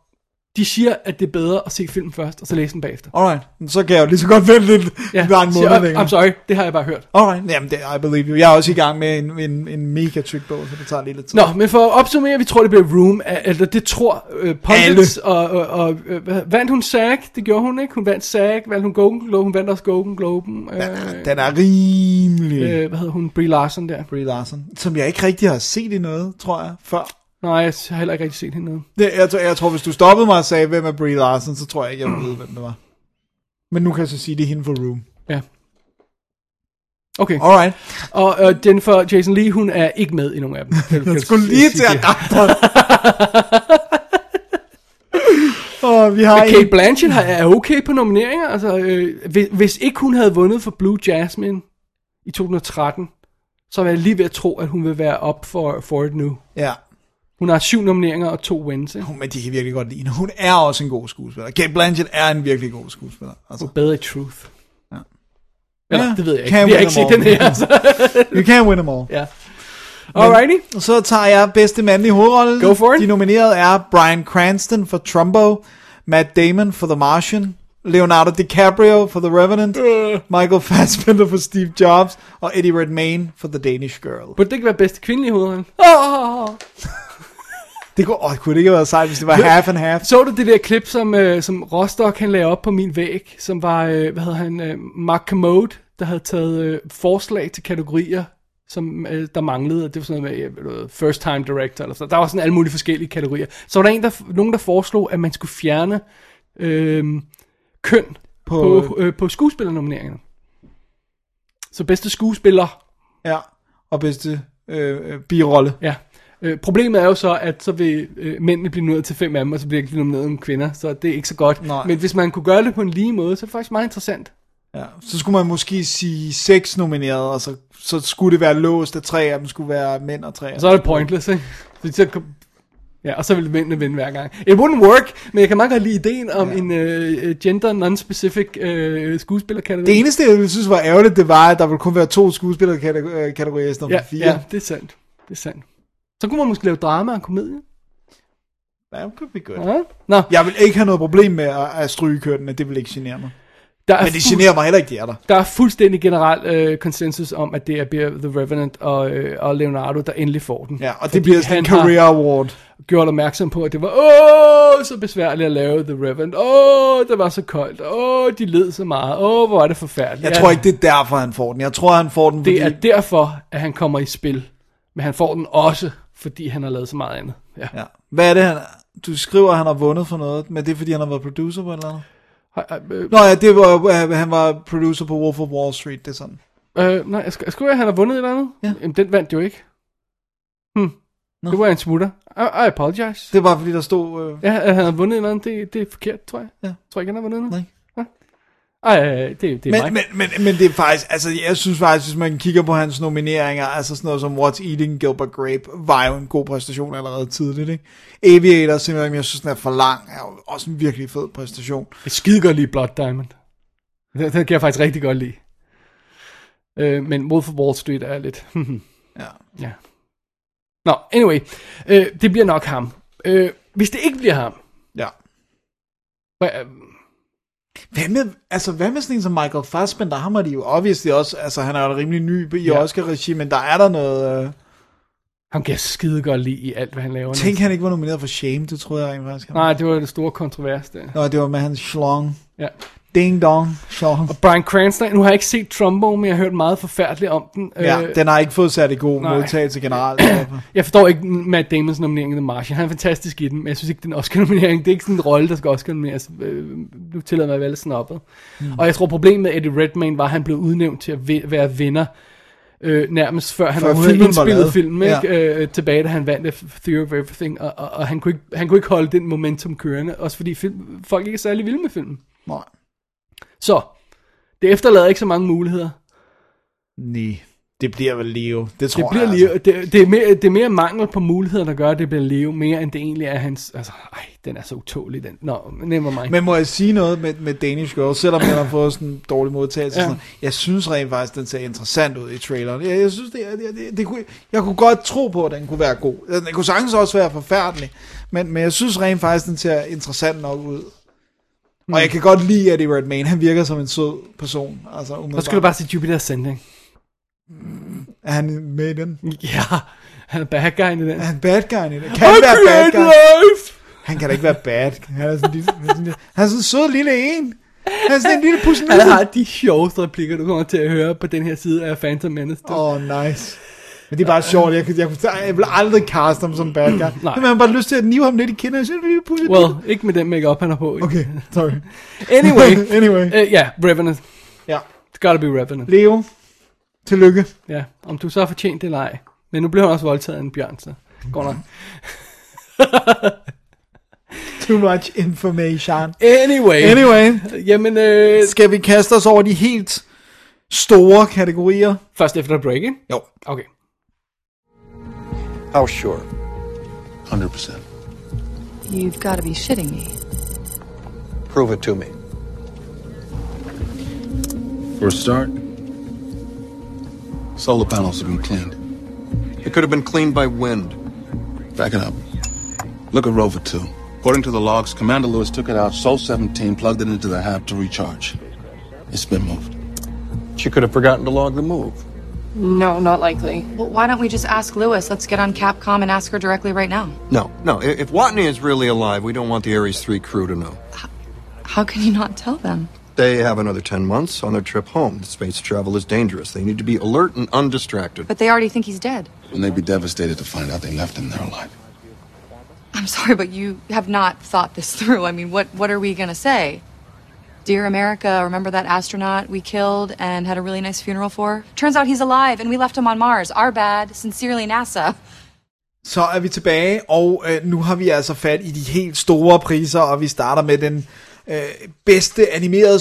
De siger, at det er bedre at se filmen først, og så læse den bagefter.
Alright, men så kan jeg jo lige så godt vente lidt ja, bare en
siger,
måned
"Oh,
længere.
I'm sorry, det har jeg bare hørt.
Alright, jamen det, I believe you. Jeg er også i gang med en, en, en mega tyk bog, så det tager lige lidt tid.
Nå, men for at opsummere, vi tror, det bliver Room, eller det tror øh, pundits, og, og, og øh, hvad- vandt hun SAG, det gjorde hun ikke, hun vandt SAG, vandt hun Golden Globe, hun vandt også Golden Globe, øh,
Den er rimelig... Øh.
øh, hvad hedder hun, Brie Larson der.
Brie Larson, som jeg ikke rigtig har set i noget, tror jeg, før.
Nej, jeg har heller ikke rigtig set hende noget.
Det, jeg, tror, jeg tror, hvis du stoppede mig og sagde, hvem er Brie Larson, så tror jeg ikke, jeg ved, hvem det var. Men nu kan jeg så sige, det er hende for Room.
Ja. Okay,
Alright.
og øh, Jennifer Jason Lee, hun er ikke med i nogen af dem. Kan- kan
Jeg skulle lige til
sige
at
det.
dræbe dig. Og vi har
Men Kate
en...
Blanchett har- er okay på nomineringer. Altså, øh, hvis, hvis ikke hun havde vundet for Blue Jasmine i 2013, så var jeg lige ved at tro, at hun vil være op for, for it nu.
Ja,
Hun har syv nomineringer og to wins. Ikke?
men de kan virkelig godt lide hende. Hun er også en god skuespiller. Kate Blanchett er en virkelig god skuespiller. Altså,
Bedre i Truth. Ja. Eller,
Ja,
det ved jeg ikke.
can
Vi har
win
ikke set
them
den
all.
her. Så.
you can win them all.
ja. Alrighty.
Og så tager jeg bedste mandlige hovedrolle.
Go for it.
De nominerede er Bryan Cranston for Trumbo, Matt Damon for The Martian, Leonardo DiCaprio for The Revenant,
Øh.
Michael Fassbender for Steve Jobs, og Eddie Redmayne for The Danish Girl.
Burde det ikke være bedste kvindelige hovedrolle? Oh.
Det kunne, åh, kunne det ikke have været sejt, hvis det var half and half?
Så du det der klip, som, øh, som Rostock han lagde op på min væg, som var, øh, hvad hedder han, øh, Mark Commode, der havde taget øh, forslag til kategorier, som øh, der manglede, og det var sådan noget med øh, ved du hvad, first time director, eller sådan. der var sådan alle mulige forskellige kategorier. Så var der en, der, nogen, der foreslog, at man skulle fjerne øh, køn på, på, øh, på skuespillernomineringerne. Så bedste skuespiller
Ja, og bedste øh, øh, birolle.
Ja. Øh, problemet er jo så, at så vil øh, mændene blive nødt til fem af dem, og så bliver ikke nomineret om kvinder, så det er ikke så godt.
Nej.
Men hvis man kunne gøre det på en lige måde, så er det faktisk meget interessant.
Ja. Så skulle man måske sige seks nominerede, og så, så skulle det være låst, at tre af dem skulle være mænd og tre af
Og så er det pointless, ikke? Fordi så kom... Ja, og så vil mændene vinde hver gang. It wouldn't work, men jeg kan meget godt lide ideen om ja. en øh, øh, gender non-specific øh, skuespillerkategori.
Det eneste, jeg ville synes var ærgerligt, det var, at der ville kun være to skuespillerkategorier i stedet
ja,
for fire.
ja, det er sandt. Det er sandt. Så kunne man måske lave drama og komedie.
That could be good.
Ja. Nå,
Jeg vil ikke have noget problem med at, at stryge kønnene, det vil ikke genere mig.
der er
Men det
fuld-
generer mig heller ikke, de er der.
Der er fuldstændig generel øh, konsensus om, at det er bliver The Revenant og, øh, og Leonardo, der endelig får den.
Ja, og det bliver sådan en career award.
har gjort opmærksom på, at det var åh, så besværligt at lave The Revenant. Åh, det var så koldt. Åh, de led så meget. Åh, hvor er det forfærdeligt.
Jeg
Ja,
tror ikke, det er derfor, han får den. Jeg tror, han får den, fordi...
det er derfor, at han kommer i spil. Men han får den også, fordi han har lavet så meget andet. Ja.
Ja. Hvad er det, han... Du skriver, at han har vundet for noget, men det er, fordi han har været producer på et eller andet?
Har- øh,
Nå ja, det var, øh, han var producer på Wolf of Wall Street, det er sådan.
Øh, nej, jeg sk- jeg skulle at han har vundet et eller andet.
Ja.
Jamen, den vandt jo ikke. Hmm.
Nå.
Det var en smutter. I, I apologize.
Det var, fordi der stod... Øh...
Ja, at han har vundet et eller andet, det, det er forkert, tror jeg.
Ja.
Tror ikke, han har vundet noget.
Nej.
Ja. Ej, det, det er
Men,
mig.
men, men, men det er faktisk, altså jeg synes faktisk, hvis man kigger på hans nomineringer, altså sådan noget som What's Eating Gilbert Grape, var jo en god præstation allerede tidligt, ikke? Aviator, simpelthen, jeg synes, den er for lang, er jo også en virkelig fed præstation.
Jeg skide godt lide Blood Diamond. Den, den kan jeg faktisk rigtig godt lide. Øh, men Wolf of Wall Street er lidt...
Ja.
ja. Nå, anyway. Øh, det bliver nok ham. Øh, hvis det ikke bliver ham...
Ja.
Hvad, øh,
Hvad med, altså hvad med sådan en som Michael Fassbender, ham er de jo obviously også, altså han er jo rimelig ny i
Ja.
ja. Oscar-regi, men der er der noget, øh...
ham kan jeg skide godt lide i alt, hvad han laver. nu.
tænk han ikke var nomineret for Shame, det troede jeg rent faktisk. han var.
Nej, det var det store kontrovers der.
Nå, det var med hans schlong.
Ja.
Ding dong, schlong.
Brian Cranston, nu har jeg ikke set Trumbo, men jeg har hørt meget forfærdeligt om den. Øh,
Ja, den har ikke fået særlig god
nej.
modtagelse generelt. derfor.
Jeg forstår ikke Matt Damons nominering i The Martian. Han er fantastisk i den, men jeg synes ikke, den Oscar-nominering. Det er ikke sådan en rolle, der skal Oscar-nomineres. Øh, Nu tillader mig at være lidt snobbet. Mm. Og jeg tror, problemet med Eddie Redmayne var, at han blev udnævnt til at vi- være vinder. Øh, nærmest før han
Før
overhovedet
filmen var
indspillede
lavet.
filmen,
Ja.
ikke? Øh, tilbage da han vandt F- Theory of Everything, og, og, og han, kunne ikke, han kunne ikke holde den momentum kørende, også fordi film, folk ikke er særlig vilde med filmen.
Nej.
Så, det efterlader ikke så mange muligheder.
Nej. Det bliver vel Leo. Det tror
Det, bliver
jeg, altså.
Leo, det, det, er mere, det er mere mangel på muligheder, der gør, at det bliver Leo, mere end det egentlig er hans... Altså, ej, den er så utålig, den. Nå, never mind.
Men må jeg sige noget med, med Danish Girl, selvom den har fået sådan en dårlig modtagelse?
Ja.
Ja. Sådan, noget? jeg synes rent faktisk, den ser interessant ud i traileren. Jeg, jeg synes, det, det, det, det kunne, jeg kunne godt tro på, at den kunne være god. Den kunne sagtens også være forfærdelig, men, men jeg synes rent faktisk, den ser interessant nok ud. Og jeg kan godt lide Eddie Redmayne. Han virker som en sød person. Altså,
Så skal du bare sige Jupiter Ascending.
Er han med i den?
Ja, han er bad guyen i den.
Er han bad guy i den? Kan han være bad guy?
life!
Han kan da ikke være bad. Han er sådan, en lille, han er sådan, en lille- han er sådan en sød lille en. Han er sådan en lille pusselille.
Han har de sjoveste replikker, du kommer til at høre på den her side af Phantom Menace. du.
Åh, oh, nice. Men det er bare sjovt, jeg, kunne- jeg, kunne- jeg vil aldrig kaste ham som bad guy. Nej. Men man har bare lyst til at nive ham lidt i kinden, og så er det lille pusse.
Well, ikke med den makeup han har på. ikke?
Okay, sorry.
Anyway.
Anyway.
Ja, uh, yeah, Revenant.
Ja.
It's gotta be Revenant.
Leo, tillykke.
Ja, om du så har fortjent det eller ej. Men nu blev han også voldtaget af en bjørn, så. Går nok.
Too much information.
Anyway.
Anyway,
Jamen, øh,
skal vi kaste os over de helt store kategorier?
først efter break, ikke?
Jo.
Okay.
How sure?
100%.
You've got to be shitting me.
Prove it to me.
For a start, solar panels have been cleaned.
It could have been cleaned by wind.
Back it up. Look at Rover 2. According to the logs, Commander Lewis took it out, Sol 17 plugged it into the hab to recharge. It's been moved.
She could have forgotten to log the move.
No, not likely. Well, why don't we just ask Lewis? Let's get on Capcom and ask her directly right now.
No, no. i- If Watney is really alive, we don't want the Ares 3 crew to know.
How can you not tell them?
They have another 10 months on their trip home. Space travel is dangerous. They need to be alert and undistracted.
But they already think he's dead.
And they'd be devastated to find out they left him there alive.
I'm sorry, but you have not thought this through. I mean, what, what are we going to say? Dear America, remember that astronaut we killed and had a really nice funeral for? Turns out he's alive and we left him on Mars. Our bad. Sincerely, NASA.
Så er vi tilbage, og øh, nu har vi altså fat i de helt store priser, og vi starter med den øh, bedste animerede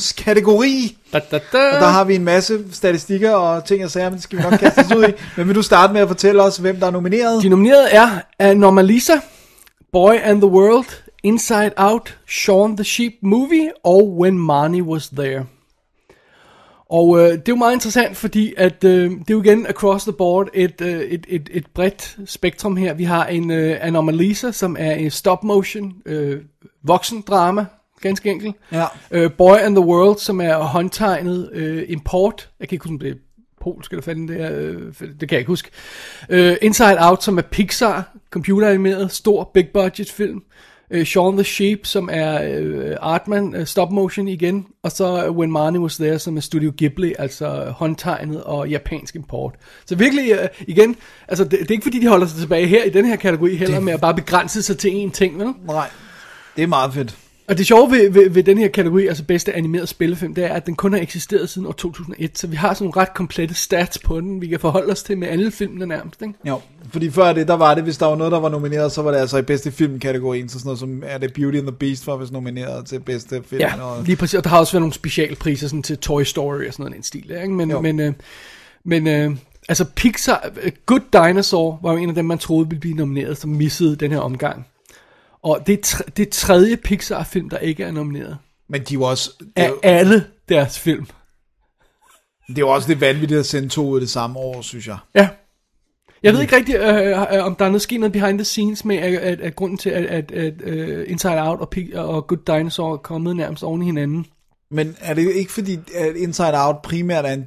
spillefilmskategori.
Da, da, da.
Og der har vi en masse statistikker og ting og sager, men det skal vi nok kaste os ud i. Men vil du starte med at fortælle os, hvem der er nomineret?
De nominerede er Anomalisa, Boy and the World, Inside Out, Shaun the Sheep Movie og When Marnie Was There. Og øh, det er jo meget interessant, fordi at, øh, det er jo igen across the board et, øh, et, et, et bredt spektrum her. Vi har en øh, Anomalisa, som er en stop motion øh, voksendrama, ganske enkelt.
Ja.
Øh, Boy and the World, som er håndtegnet øh, import. Jeg kan ikke huske, om det er polsk eller fanden det er. Øh, det kan jeg ikke huske. Øh, Inside Out, som er Pixar, computeranimeret, stor big budget film. Øh, Shaun the Sheep, som er øh, Artman, øh, stop motion igen. Og så øh, When Marnie Was There, som er Studio Ghibli, altså håndtegnet og japansk import. Så virkelig, øh, igen, altså det, det er ikke fordi, de holder sig tilbage her i den her kategori heller, det... med at bare begrænse sig til én ting, vel?
Nej, det er meget fedt.
Og det sjove ved, ved, ved den her kategori, altså bedste animeret spillefilm, det er, at den kun har eksisteret siden år 2001, så vi har sådan nogle ret komplette stats på den, vi kan forholde os til med alle filmene nærmest, ikke?
Jo, fordi før det, der var det, hvis der var noget, der var nomineret, så var det altså i bedste filmkategorien, så sådan noget som, er det Beauty and the Beast, var vist nomineret til bedste film.
Ja,
og,
lige præcis. Og der har også været nogle specialpriser sådan til Toy Story og sådan noget i den stil, der, ikke? Men,
Jo.
men, øh, men øh, altså Pixar, øh, Good Dinosaur var jo en af dem, man troede ville blive nomineret, som missede den her omgang. Og det er, tr- det er tredje Pixar-film, der ikke er nomineret.
men de var også, det,
Af
er,
alle deres film.
det var også lidt vanvittigt at sende to ud det samme år, synes jeg.
Ja. Jeg
Mm.
ved ikke rigtig, øh, øh, om der er noget sket noget behind the scenes med, at, at, at grunden til, at, at, at øh, Inside Out og, Pig, og Good Dinosaur er kommet nærmest oven i hinanden.
Men er det ikke fordi, at Inside Out primært er en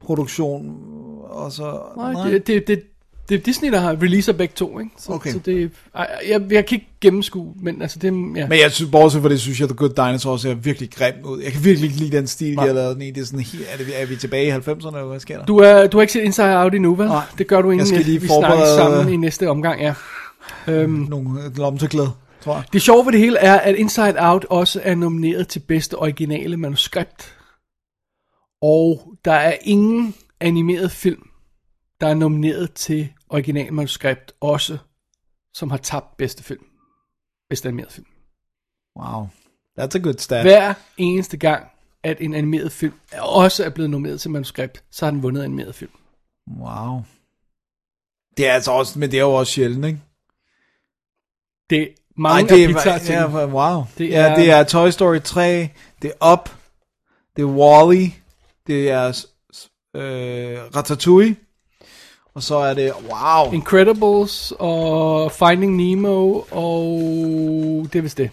Disney-produktion, og så...
Nej, det, det, det, det er Disney, der har releaser begge to, ikke? Så,
Okay.
så det, ej, jeg, jeg kan ikke gennemskue, men altså det, ja.
Men jeg synes, bortset fra det, synes jeg, at The Good Dinosaur ser virkelig grim ud. Jeg kan virkelig ikke lide den stil, de har lavet den i. Det er sådan, helt- er, det, er vi tilbage i 90'erne, eller hvad sker der?
Du, er, du har ikke set Inside Out endnu, vel?
Nej.
Det gør du inden
skal
at
lige
vi snakker
forberede-
sammen i næste omgang, ja. Øhm,
Nogle lomteglæde, tror jeg.
det sjove ved det hele er, at Inside Out også er nomineret til bedste originale manuskript. Og der er ingen animeret film, der er nomineret til original manuskript også, som har tabt bedste film. Bedste animeret film.
Wow. That's a good stat.
Hver eneste gang at en animeret film også er blevet nomineret til manuskript, så har den vundet animeret film.
Wow. Det er altså også, men det er jo også sjældent, ikke?
Det er
Ej,
mange
det
af Pixar
er,
ting.
ja, wow.
Det
Det er,
er-
ja, det er Toy Story 3, det er Up, det er Wall-E, det er s- s- øh, Ratatouille, og så er det, wow.
Incredibles og Finding Nemo og det er vist det.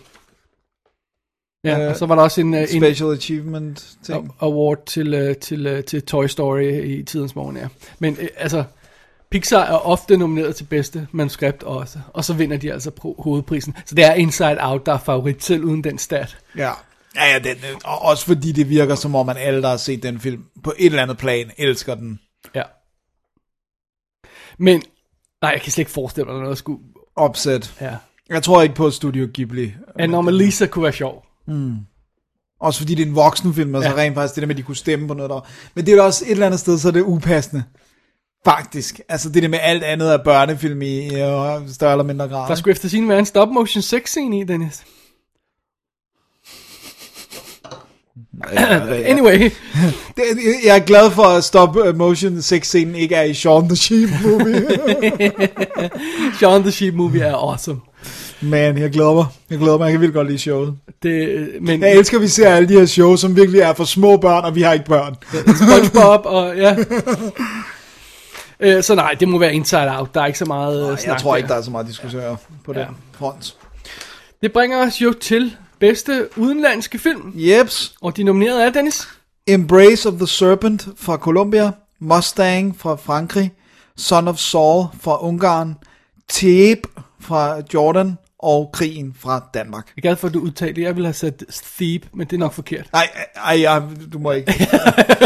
Ja,
Øh,
og så var der også en, øh, en
Special Achievement ting.
award til, øh, til, øh, til Toy Story i tidens morgen, ja. Men øh, altså, Pixar er ofte nomineret til bedste manuskript også, og så vinder de altså pro- hovedprisen. Så det er Inside Out, der er favorit selv uden den stat.
Ja. Ja, ja den, den- og også fordi det virker som om, man alle, der har set den film, på et eller andet plan, elsker den.
Ja. Men, nej, jeg kan slet ikke forestille mig, at der er noget skulle...
Opsæt.
Ja.
Jeg tror ikke på Studio Ghibli.
Anomalisa kunne være sjov.
Også fordi det er en voksenfilm, og så
Ja.
rent faktisk det der med, at de kunne stemme på noget der. Men det er jo også et eller andet sted, så er det upassende. Faktisk. Altså det der med alt andet af børnefilm i, i øh, større eller mindre grad.
Der skulle efter sin være en stop motion sex scene i, Dennis. Anyway,
Det, jeg er glad for, at stop øh, motion sex scenen ikke er i Shaun the Sheep movie.
John the Sheep movie er awesome.
Man, jeg glæder mig. Jeg glæder mig. Jeg kan vildt godt lide showet.
Det, øh, men
Jeg elsker, at vi ser alle de her shows, som virkelig er for små børn, og vi har ikke børn.
SpongeBob og ja. Øh, Så nej, det må være Inside Out. Der er ikke så meget øh, snak
Jeg tror ikke,
der.
der er så meget diskussion på
Ja.
den front.
Det bringer os jo til bedste udenlandske film.
Jeps.
Og de nominerede er, Dennis,
Embrace of the Serpent fra Colombia, Mustang fra Frankrig, Son of Saul fra Ungarn, Tape fra Jordan og Krigen fra Danmark.
jeg er glad for, at du udtalte det. Jeg ville have sat Thieb, men det er nok forkert.
Nej, ej, ej, du må ikke.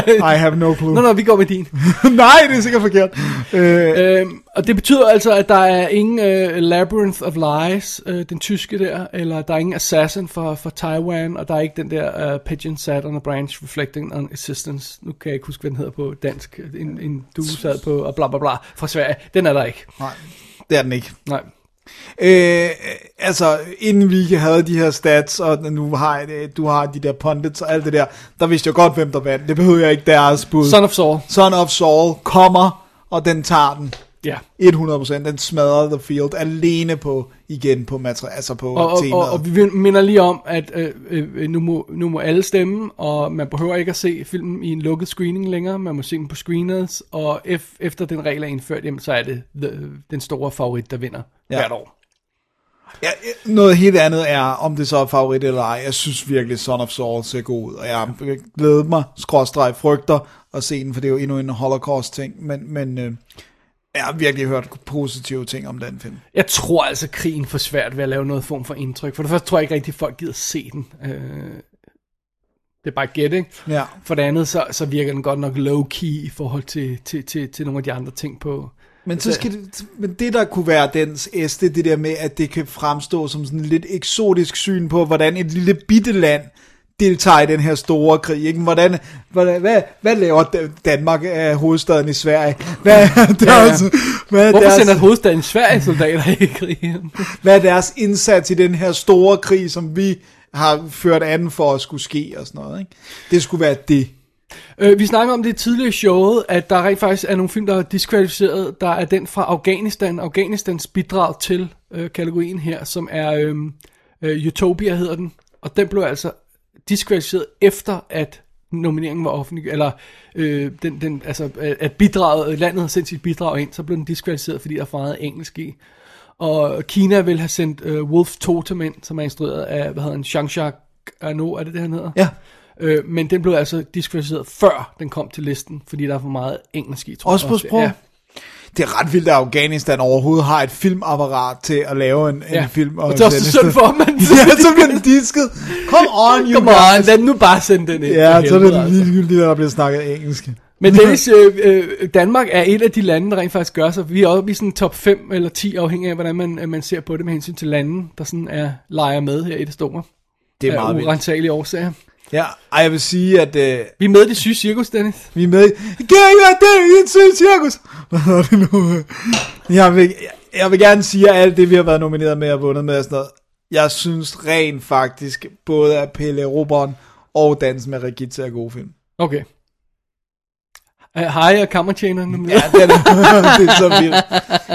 I have no clue.
Nå, nå, vi går med din.
Nej, det er sikkert forkert. Øh,
Øhm, og det betyder altså, at der er ingen øh, Labyrinth of Lies, øh, den tyske der, eller der er ingen Assassin fra, fra Taiwan, og der er ikke den der øh, Pigeon Sat on a Branch Reflecting on Existence. Nu kan jeg ikke huske, hvad den hedder på dansk. En, en du sad på, og bla bla bla, fra Sverige. Den er der ikke.
nej, det er den ikke.
Nej.
Mm. Øh, altså, inden vi havde de her stats, og nu har jeg, det- du har de der pundits og alt det der, der vidste jeg godt, hvem der vandt. Det behøver jeg ikke deres bud.
Son of Saul.
Son of Saul kommer, og den tager den.
Ja.
100%, den smadrer The Field alene på, igen på materiale, altså på
Og, og, og,
temaet.
og vi minder lige om, at øh, øh, nu, må, nu må alle stemme, og man behøver ikke at se filmen i en lukket screening længere. Man må se den på screeners, og ef, efter den regel er indført, jamen, så er det the, den store favorit, der vinder ja.
Ja.
hvert år.
ja, noget helt andet er, om det så er favorit eller ej. Jeg synes virkelig, Son of Saul ser god ud, og jeg glæder mig, skråstreg frygter at se den, for det er jo endnu en holocaust-ting, men, men øh, jeg har virkelig hørt positive ting om den film.
Jeg tror altså, krigen får svært ved at lave noget form for indtryk. For det første tror jeg ikke rigtig, folk gider se den. Øh, det er bare gæt, ikke?
Ja.
For det andet, så, så virker den godt nok low-key i forhold til, til, til, til nogle af de andre ting på...
Men, så skal det, men det, der kunne være dens æste, det der med, at det kan fremstå som sådan lidt eksotisk syn på, hvordan et lille bitte land deltager i den her store krig. Ikke? Hvordan, hvordan, hvad, hvad laver Dan- Danmark af hovedstaden i Sverige? Hvad er deres, Hvad er
Hvorfor
deres,
sender hovedstaden Sverige soldater i krigen?
hvad er deres indsats i den her store krig, som vi har ført an for at skulle ske og sådan noget? Ikke? Det skulle være det.
Øh, vi snakker om det tidligere i showet, at der rent faktisk er nogle film, der er diskvalificeret. Der er den fra Afghanistan, Afghanistans bidrag til øh, kategorien her, som er øh, øh, Utopia hedder den. Og den blev altså diskvalificeret efter, at nomineringen var offentlig, eller øh, den, den, altså, øh, at bidraget, landet havde sendt sit bidrag ind, så blev den diskvalificeret, fordi der er for meget engelsk i. Og Kina vil have sendt øh, Wolf Totem ind, som er instrueret af, hvad hedder han, Jean-Jacques Arnaud, er det det, han hedder?
Ja.
Øh, men den blev altså diskvalificeret før den kom til listen, fordi der er for meget engelsk i, tror jeg.
Også på sprog?
Ja.
Det er ret vildt, at Afghanistan overhovedet har et filmapparat til at lave en, en
ja.
film.
Og det er også
sådan-
synd for, man.
ja, så bliver den disket. Come on, you
Come on, lad nu bare sende den ind.
Ja,
for
så er
helvede, altså.
det ligegyldigt, at der bliver snakket engelsk.
Men Dennis, øh, øh, Danmark er et af de lande, der rent faktisk gør sig. Vi er oppe i sådan top 5 eller 10, afhængig af, hvordan man, øh, man ser på det med hensyn til lande, der sådan er leger med her i det store.
Det
af urensagelige årsager.
Ja, ej, jeg vil sige, at øh,
Vi er med i det syge cirkus, Dennis.
vi er med i... Kan jeg være det i et sødt cirkus? Hvad hedder det nu? Jeg vil, jeg vil gerne sige, at alt det, vi har været nomineret med og vundet med og sådan noget, jeg synes rent faktisk, både at Pelle Robon og Dansen med Regitze er gode film.
Okay. Øh, Hej, og kammertjenerne med.
Ja, den er, det er så vildt.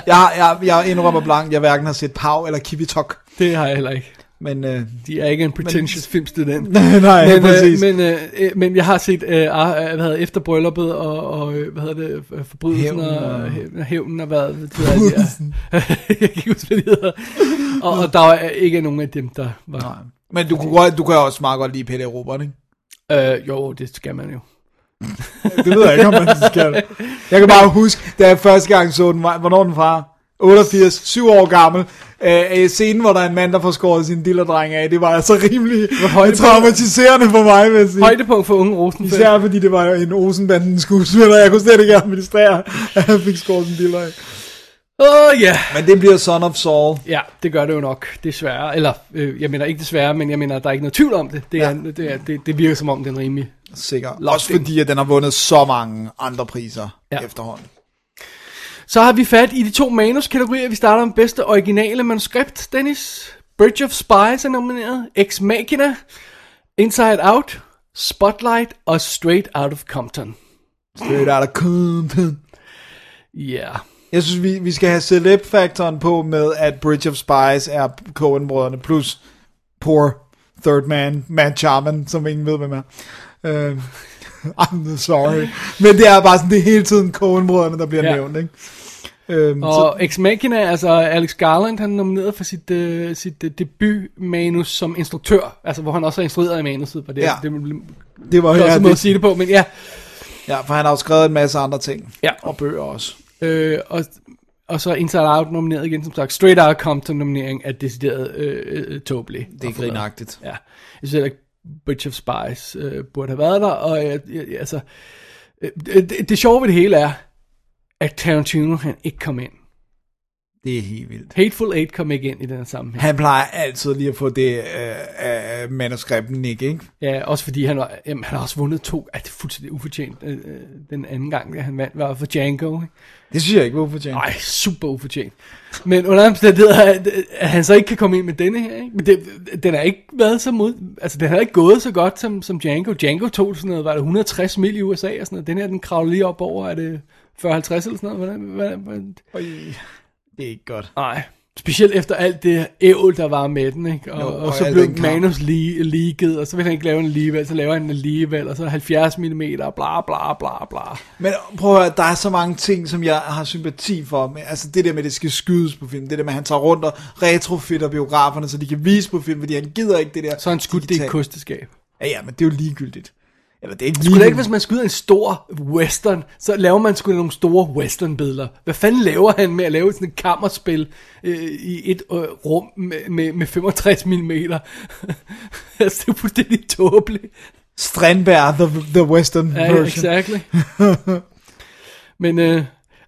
Jeg, jeg, jeg indrømmer blankt, jeg hverken har set Pau eller Kivitok,
Det har jeg heller ikke.
men... Øh,
De er ikke en pretentious men, filmstudent.
nej,
men,
præcis.
men, øh, øh, men jeg har set øh, ah, øh, hvad hedder, det, efter brylluppet og, og øh, hvad hedder det, øh, forbrydelsen
Hævnen
og,
og-
og hævnen og hvad det hedder. Jeg kan ikke huske, hvad det hedder. Og, og der er ikke nogen af dem, der var...
nej. men du, kunne, godt- du kan også meget godt lide Peter Robert, ikke?
Øh, jo, det skal man jo.
Det ved jeg ikke, om man skal. Jeg kan bare huske, da jeg første gang så den, var- hvornår er den fra? 88, 7 år gammel. Øh, øh, scenen, hvor der er en mand, der får skåret sin dillerdreng af, det var altså rimelig
højdepunkt.
traumatiserende for mig, vil jeg sige.
Højdepunkt for unge Rosenfeldt.
Især fordi det var en Olsenbanden skuespiller, jeg kunne slet ikke administrere, at han fik skåret sin diller af.
Åh, ja.
Men det bliver Son of Saul.
Ja, det gør det jo nok, desværre. Eller, øh, jeg mener ikke desværre, men jeg mener, der er ikke noget tvivl om det. Det, er, det, er, det, det virker som om, den er rimelig.
Sikkert. Også fordi, at den har vundet så mange andre priser
Ja.
ja. efterhånden.
Så har vi fat i de to manuskategorier. Vi starter med bedste originale manuskript, Dennis. Bridge of Spies er nomineret. Ex Machina. Inside Out. Spotlight og Straight Out of Compton.
Straight out of Compton.
Ja. Yeah.
Jeg synes, vi, vi skal have celeb-faktoren på med, at Bridge of Spies er Coen-brødrene, plus poor third man, Matt Charman, som ingen ved, hvem er. Uh, I'm sorry. Men det er bare sådan, det er hele tiden Coen-brødrene, der bliver
Ja.
ja. nævnt, ikke? Øhm, så,
Og Ex Machina, altså Alex Garland, han er nomineret for sit, øh, sit øh, debutmanus som instruktør. Altså, hvor han også er instrueret i manuset. Og det, ja.
Ja.
det, det, det,
det var
det er også
ja,
en måde at
det,
sige det på, men ja.
ja, for han har jo skrevet en masse andre ting.
Ja.
Og bøger også.
Øh, og, og så er Inside Out nomineret igen, som sagt. Straight Out Compton nominering er decideret øh, øh, tåbelig.
Det er grinagtigt.
Ja. Jeg synes heller ikke, Bridge of Spies øh, burde have været der, og jeg, jeg, jeg, altså, øh, det, det sjove ved det hele er, at Tarantino han ikke kom ind.
Det er helt vildt.
Hateful Eight kom ikke ind i den her sammenhæng.
Han plejer altid lige at få det øh, øh, manuskripten, ikke? ikke?
Ja, også fordi han, var, jamen, han har også vundet to, at det er fuldstændig ufortjent. Øh, øh, den anden gang, da han vandt, var for Django. Ikke?
Det synes jeg ikke, hvorfor tjener.
Nej, super ufortjent. Men under omstændigheder, at, at han så ikke kan komme ind med denne her, ikke? Men det, den har ikke været så mod... Altså, den har ikke gået så godt som, som Django. Django tog sådan noget, var det 160 mil i USA og sådan noget. Den her, den kravler lige op over, er det 40-50 eller sådan noget? Hvordan, hvordan, hvordan?
Det er ikke godt.
Nej. Specielt efter alt det ævl, der var med den, ikke? Og,
Jo,
og, og
og
så
al
blev
den kamp.
manus lige, leaget, og så vil han ikke lave en alligevel, så laver han en alligevel, og så 70 mm, bla bla bla bla.
Men prøv at høre, der er så mange ting, som jeg har sympati for. Men, altså det der med, at det skal skydes på film. Det der med, at han tager rundt og retrofitter biograferne, så de kan vise på film, fordi han gider ikke det der.
Så har han skudt det i
digitale.
et kosteskab.
Ja, ja, men det er jo ligegyldigt. Eller det er ikke
Skulle det
ligegyldigt.
ikke, hvis man skyder en stor western, så laver man sgu da nogle store western-billeder. Hvad fanden laver han med at lave sådan et kammerspil øh, i et øh, rum med, med, med 65 mm? altså, det er fuldstændig tåbeligt.
Strandberg, the, the western
Ja,
version.
exactly. men, øh,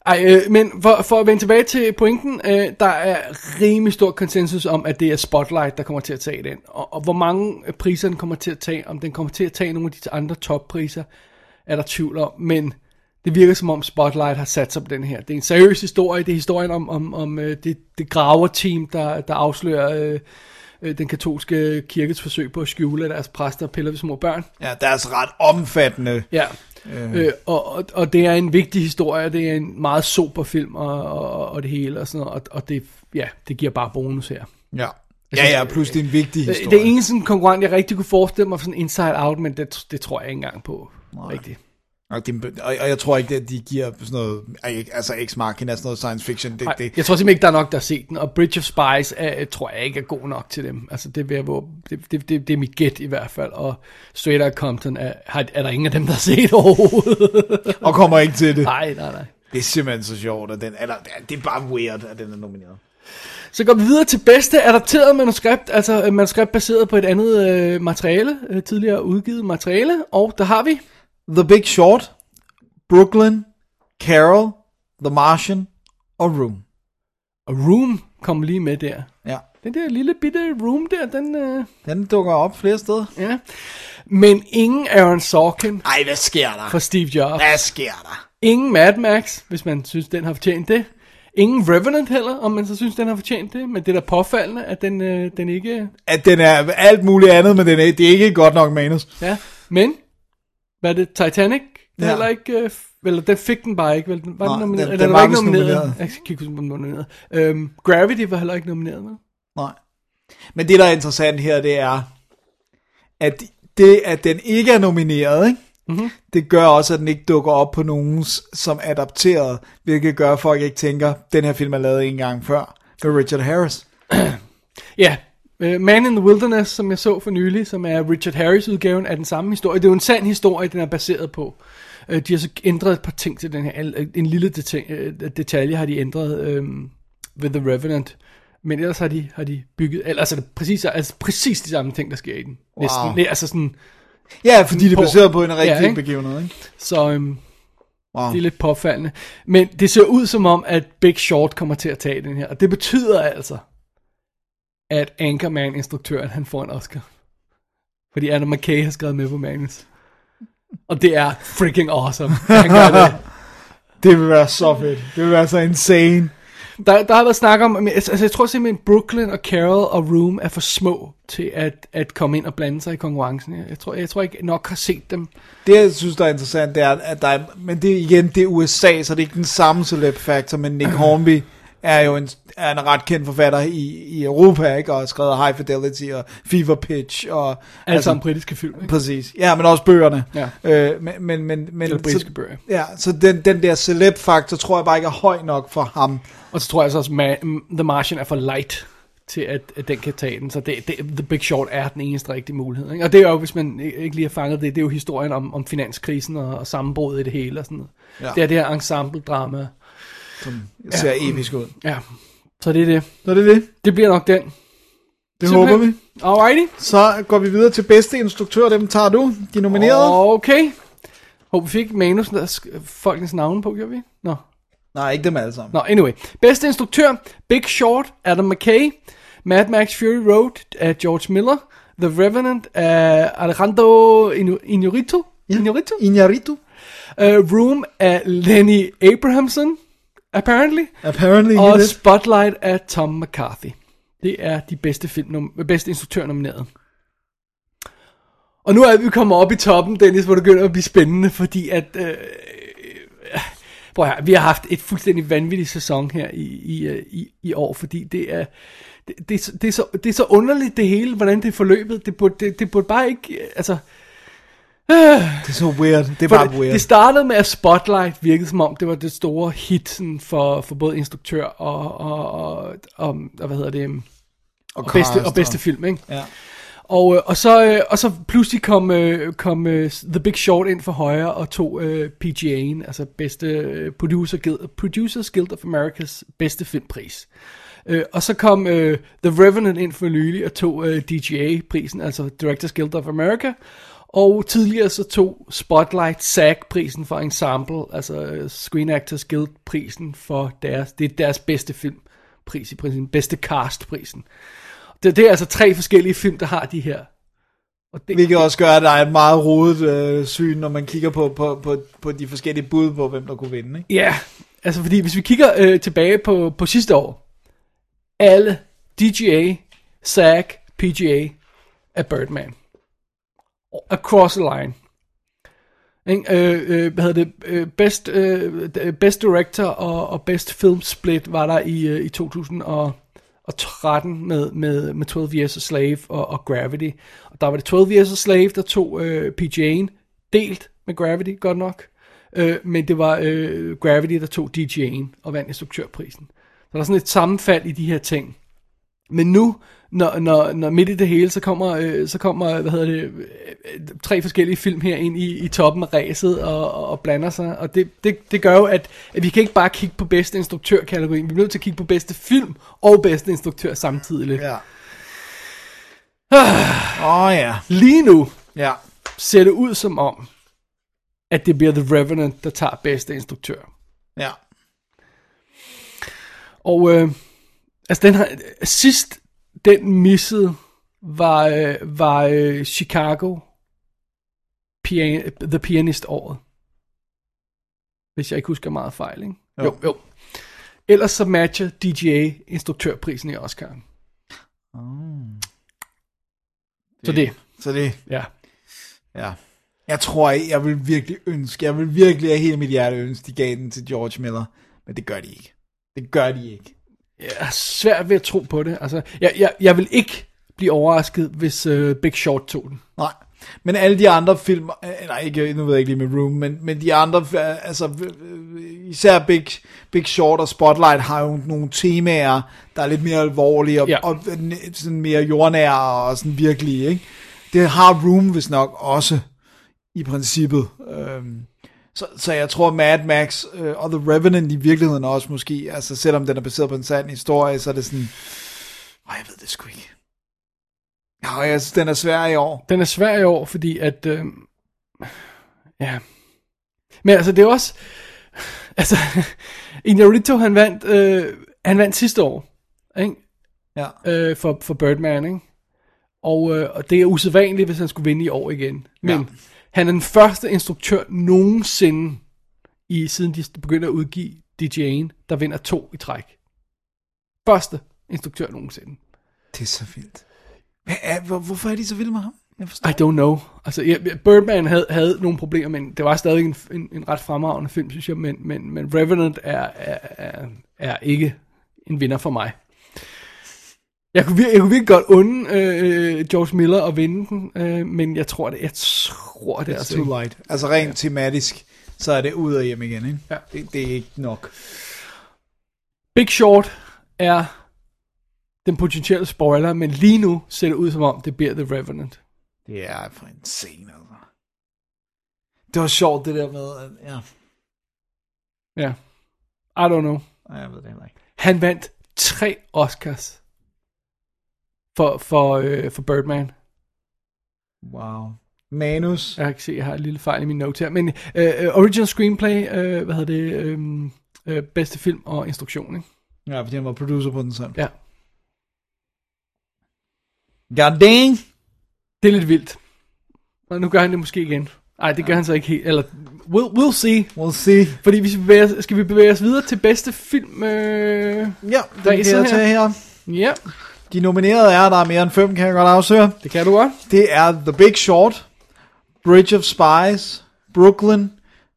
ej, øh, men for, for at vende tilbage til pointen, øh, der er rimelig stor konsensus om, at det er Spotlight, der kommer til at tage den. Og, og hvor mange øh, priser den kommer til at tage, om den kommer til at tage nogle af de andre toppriser, er der tvivl om. Men det virker som om Spotlight har sat sig på den her. Det er en seriøs historie. Det er historien om, om, om øh, det, det graverteam, der, der afslører øh, øh, den katolske kirkes forsøg på at skjule deres præster og piller ved små børn.
Ja, deres ret omfattende.
Ja, øh, og, og, og det er en vigtig historie, og det er en meget super film og, og, og det hele og sådan noget, og, og det, ja, det giver bare bonus her.
Ja. Ja, ja, plus det er en vigtig
Det,
historie.
det eneste sådan, konkurrent, jeg rigtig kunne forestille mig, var sådan Inside Out, men det, det tror jeg ikke engang på. Nej. Rigtigt.
Og, det, og, og jeg tror ikke, at de giver sådan noget, altså Ex Machina er sådan noget science fiction. Det,
Nej,
det,
jeg tror simpelthen ikke, der er nok, der har set den, og Bridge of Spies er, tror jeg ikke er god nok til dem. Altså, det, vil jeg, våge- det, det, det, det er mit gæt i hvert fald, og Straight Outta Compton er, har- er der ingen af dem, der har set overhovedet.
og kommer ikke til det.
nej, nej, nej.
Det er simpelthen så sjovt, at den, eller, det er bare weird, at den er nomineret.
Så går vi videre til bedste adapteret manuskript, altså øh, manuskript baseret på et andet øh, materiale, øh, tidligere udgivet materiale, og der har vi
The Big Short, Brooklyn, Carol, The Martian og Room.
og Room kom lige med der.
Ja,
Den der lille bitte Room der, den, øh,
den dukker op flere steder.
ja. Men ingen Aaron Sorkin
Ej, hvad sker der?
for Steve Jobs.
Hvad sker der?
Ingen Mad Max, hvis man synes, den har fortjent det. Ingen Revenant heller, om man så synes, den har fortjent det, men det er da påfaldende, at den, øh, den ikke...
At den er alt muligt andet, men den er, det er ikke godt nok manus.
Ja, men... Hvad er det? Titanic? Ja.
Ja.
Heller ikke... Øh, f- eller den fik den bare ikke, vel? Den var
Nej,
den nomineret?
den-
Eller
den
var
var
ikke
vist
nomineret.
nomineret.
Jeg kan ikke huske, om den var nomineret. Øhm, Gravity var heller ikke nomineret, vel?
Nej. Men det, der er interessant her, det er, at det, at den ikke er nomineret, ikke? Mm-hmm. det gør også, at den ikke dukker op på nogen, s- som er adopteret, hvilket gør, at folk ikke tænker, den her film er lavet en gang før, med Richard Harris.
Ja, øh, Man in the Wilderness, som jeg så for nylig, som er Richard Harris-udgaven af den samme historie. Det er jo en sand historie, den er baseret på. Øh, de har så ændret et par ting til den her. Al- En lille deta- øh, detalje har de ændret øh, ved The Revenant. Men ellers har de, har de bygget... eller, Altså, det er præcis, altså præcis de samme ting, der sker i den. Næsten. Wow. Altså sådan,
Ja, fordi det er
På-
baseret på en
Ja,
rigtig
ikke?
ja, begivenhed. Ikke?
så øhm,
Wow.
det er lidt påfaldende. Men det ser ud som om, at Big Short kommer til at tage den her. Og det betyder altså, at Anchorman-instruktøren, han får en Oscar. Fordi Adam McKay har skrevet med på manus. Og det er freaking awesome. at Han gør det.
Det vil være så fedt. Det vil være så insane.
Der, der har været snak om, men altså jeg tror simpelthen, Brooklyn og Carol og Room er for små til at, at komme ind og blande sig i konkurrencen. her. Jeg tror, jeg tror ikke nok har set dem.
Det, jeg synes, der er interessant, det er, at der er, men det er igen, det er USA, så det er ikke den samme celeb factor, men Nick Hornby er jo en, er en ret kendt forfatter i, i Europa, ikke? Og har skrevet High Fidelity og Fever Pitch og...
Altså, altså om britiske film. Ikke?
Præcis. Ja, men også bøgerne.
Ja.
Øh, men, men, men, men,
Eller britiske
så,
bøger.
Ja, så den, den der celeb-faktor tror jeg bare ikke er høj nok for ham.
Og så tror jeg så også, at The Martian er for light til, at, at den kan tage den. Så det, det, The Big Short er den eneste rigtige mulighed. Ikke? Og det er jo, hvis man i- ikke lige har fanget det, det er jo historien om, om finanskrisen og, og sammenbruddet i det hele. Og sådan noget. Ja.
Ja.
Det er det her ensemble-drama.
Det ser ja. episk ud.
Ja, så det er det.
Så det er det.
Det bliver nok den.
Det håber vi.
Alrighty.
Så går vi videre til bedste instruktør, dem tager du. De nominerede. Oh.
Okay. Håber vi fik manus, der sk- folkens navne på, gjorde vi? Nå.
Nej, ikke dem alle sammen.
Nå, anyway. Bedste instruktør, Big Short, Adam McKay. Mad Max Fury Road af George Miller. The Revenant af Alejandro Inu- Inarritu.
Ja.
Inarritu.
Iñárritu,
Uh, Room af Lenny Abrahamson, apparently.
apparently. he
Og
did.
Spotlight af Tom McCarthy. Det er de bedste, film, nom- bedste instruktør nomineret. Og nu er vi kommet op i toppen, Dennis, hvor det begynder at blive spændende, fordi at... Øh, øh, prøv her, vi har haft et fuldstændig vanvittigt sæson her i, i, øh, i, i år, fordi det er... Det, det, er så- det, er så, det er så underligt det hele, hvordan det er forløbet. Det burde, det, det burde bare ikke... øh, Altså,
Det er så weird. Det er
for
bare
det,
weird.
det startede med, at Spotlight virkede som om, det var det store hit sådan, for, for både instruktør og, og, og, og, og hvad hedder det, øhm, og, bedste, og bedste film, ikke?
Ja.
Og, øh, og, så, øh, og så pludselig kom, øh, kom øh, The Big Short ind for højre og tog øh, PGA'en, altså bedste øh, producer, Guild- Producers Guild of Americas bedste filmpris. Øh, og så kom øh, The Revenant ind for nylig og tog øh, DGA-prisen, altså Directors Guild of America. Og tidligere så tog Spotlight SAG-prisen for Ensemble, altså øh, Screen Actors Guild-prisen for deres, det er deres bedste filmpris i princippet, bedste cast-prisen. Det, det er altså tre forskellige film, der har de her. Og det,
Hvilket også gør, at der er et meget rodet øh, syn, når man kigger på, på, på, på de forskellige bud på, hvem der kunne vinde. Ikke?
Ja, altså fordi hvis vi kigger øh, tilbage på, på sidste år, alle DGA, SAG, PGA af Birdman. Across the line. Ikke? Øh, øh, hvad hedder det? Øh, Best, øh, d- best Director og, og Best Film Split var der i, øh, i 2013 med, med, med 12 Years a Slave og, og Gravity. Og der var det 12 Years a Slave, der tog øh, PGA'en delt med Gravity, godt nok. Øh, men det var øh, Gravity, der tog DJ'en og vandt instruktørprisen. Så der er sådan et sammenfald i de her ting. Men nu, når, når, når midt i det hele, så kommer, øh, så kommer hvad hedder det, øh, øh, tre forskellige film her ind i, i toppen af ræset og, og, og blander sig. Og det, det, det gør jo, at, at vi kan ikke bare kigge på bedste instruktørkategorien. Vi bliver nødt til at kigge på bedste film og bedste instruktør samtidig. lidt.
Ja. Åh oh, ja.
Lige nu
Ja.
ser det ud som om, at det bliver The Revenant, der tager bedste instruktør.
Ja.
Og øh, altså den har, sidst den missede var, øh, var øh, Chicago pian, The Pianist året. Hvis jeg ikke husker meget fejl, ikke? Jo, jo. Ellers så matcher DGA instruktørprisen i Oscar'en. Så det,
Så det,
ja.
ja. Jeg tror, jeg, jeg vil virkelig ønske, jeg vil virkelig af hele mit hjerte ønske, de gav den til George Miller. Men det gør de ikke. Det gør de ikke.
Jeg er svært ved at tro på det. Altså, jeg, jeg, jeg vil ikke blive overrasket, hvis uh, Big Short tog den.
Nej. Men alle de andre film, eh, nej, ikke, nu ved jeg ikke lige med Room, men, men de andre, eh, altså eh, især Big, Big Short og Spotlight har jo nogle temaer, der er lidt mere alvorlige og,
Ja.
ja. og n- sådan mere jordnære og sådan virkelige, ikke? Det har Room vist nok også, i princippet. Øhm, så, så jeg tror Mad Max øh, og The Revenant i virkeligheden også måske, altså selvom den er baseret på en sand historie, så er det sådan, åh, jeg ved det sgu ikke. Ja, jeg synes, den er svær i år.
Den er svær i år, fordi at... Øh, ja. Men altså, det er også... Altså, Inarito, han vandt, øh, han vandt sidste år, ikke?
Ja.
Øh, for, for Birdman, ikke? Og, øh, og det er usædvanligt, hvis han skulle vinde i år igen. Men ja. han er den første instruktør nogensinde, i, siden de begyndte at udgive DJ'en, der vinder to i træk. Første instruktør nogensinde.
Det er så vildt. Hvad er, hvor, hvorfor er de så vilde med ham? Jeg forstår.
I don't know. Altså, ja, Birdman havde, havde nogle problemer, men det var stadig en, en, en ret fremragende film, synes jeg. Men, men, men Revenant er, er, er, er ikke en vinder for mig. Jeg kunne, vir- jeg kunne virkelig godt unde øh, George Miller at vinde den, øh, men jeg tror det. Jeg tror det er
It's
altså
too
ikke.
light. Altså rent ja. tematisk, så er det ud og hjem igen, ikke?
Ja.
Det, det er ikke nok.
Big Short er den potentielle spoiler, men lige nu ser det ud som om, det bliver The Revenant.
Det er for en scene, altså. Det var sjovt, det der med, at, ja,
Ja. I don't know.
Nej, jeg ved det heller ikke.
Han vandt tre Oscars for, for, øh, for Birdman.
Wow. Manus. Ja.
Jeg kan ikke se, jeg har en lille fejl i min note her. Men øh, øh, original screenplay, øh, hvad hedder det, øh, øh, bedste film og instruktion, ikke?
ja, fordi han var producer på den selv.
Ja.
God dang!
Det er lidt vildt. Og nu gør han det måske igen. Nej, det gør han så ikke helt. Eller, we'll, we'll see.
We'll see.
Fordi vi skal bevæge os, skal vi bevæge os videre til bedste film? Øh...
Ja,
Der er
den kan jeg
sådan her.
tage her.
Ja,
De nominerede er, der er mere end fem, kan jeg godt afsløre.
det kan du godt.
Det er The Big Short, Bridge of Spies, Brooklyn,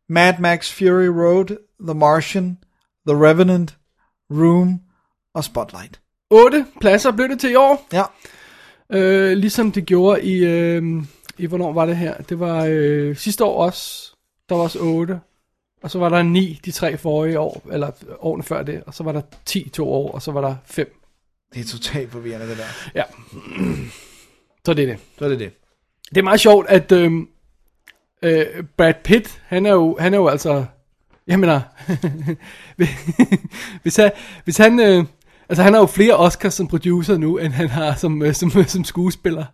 Mad Max Fury Road, The Martian, The Revenant, Room og Spotlight.
8 pladser blev det til i år.
Ja,
Øh, ligesom det gjorde i, øh, i, hvornår var det her? Det var øh, sidste år også, der var også 8. Og så var der 9 de tre forrige år, eller årene før det. Og så var der 10 to år, og så var der 5.
det er totalt forvirrende det der.
Ja. Så det er det.
Så er det det.
Det er meget sjovt, at øh, øh, Brad Pitt, han er jo, han er jo altså... Jeg mener, hvis han, hvis han øh, altså han har jo flere Oscars som producer nu, end han har som, øh, som, øh, som skuespiller.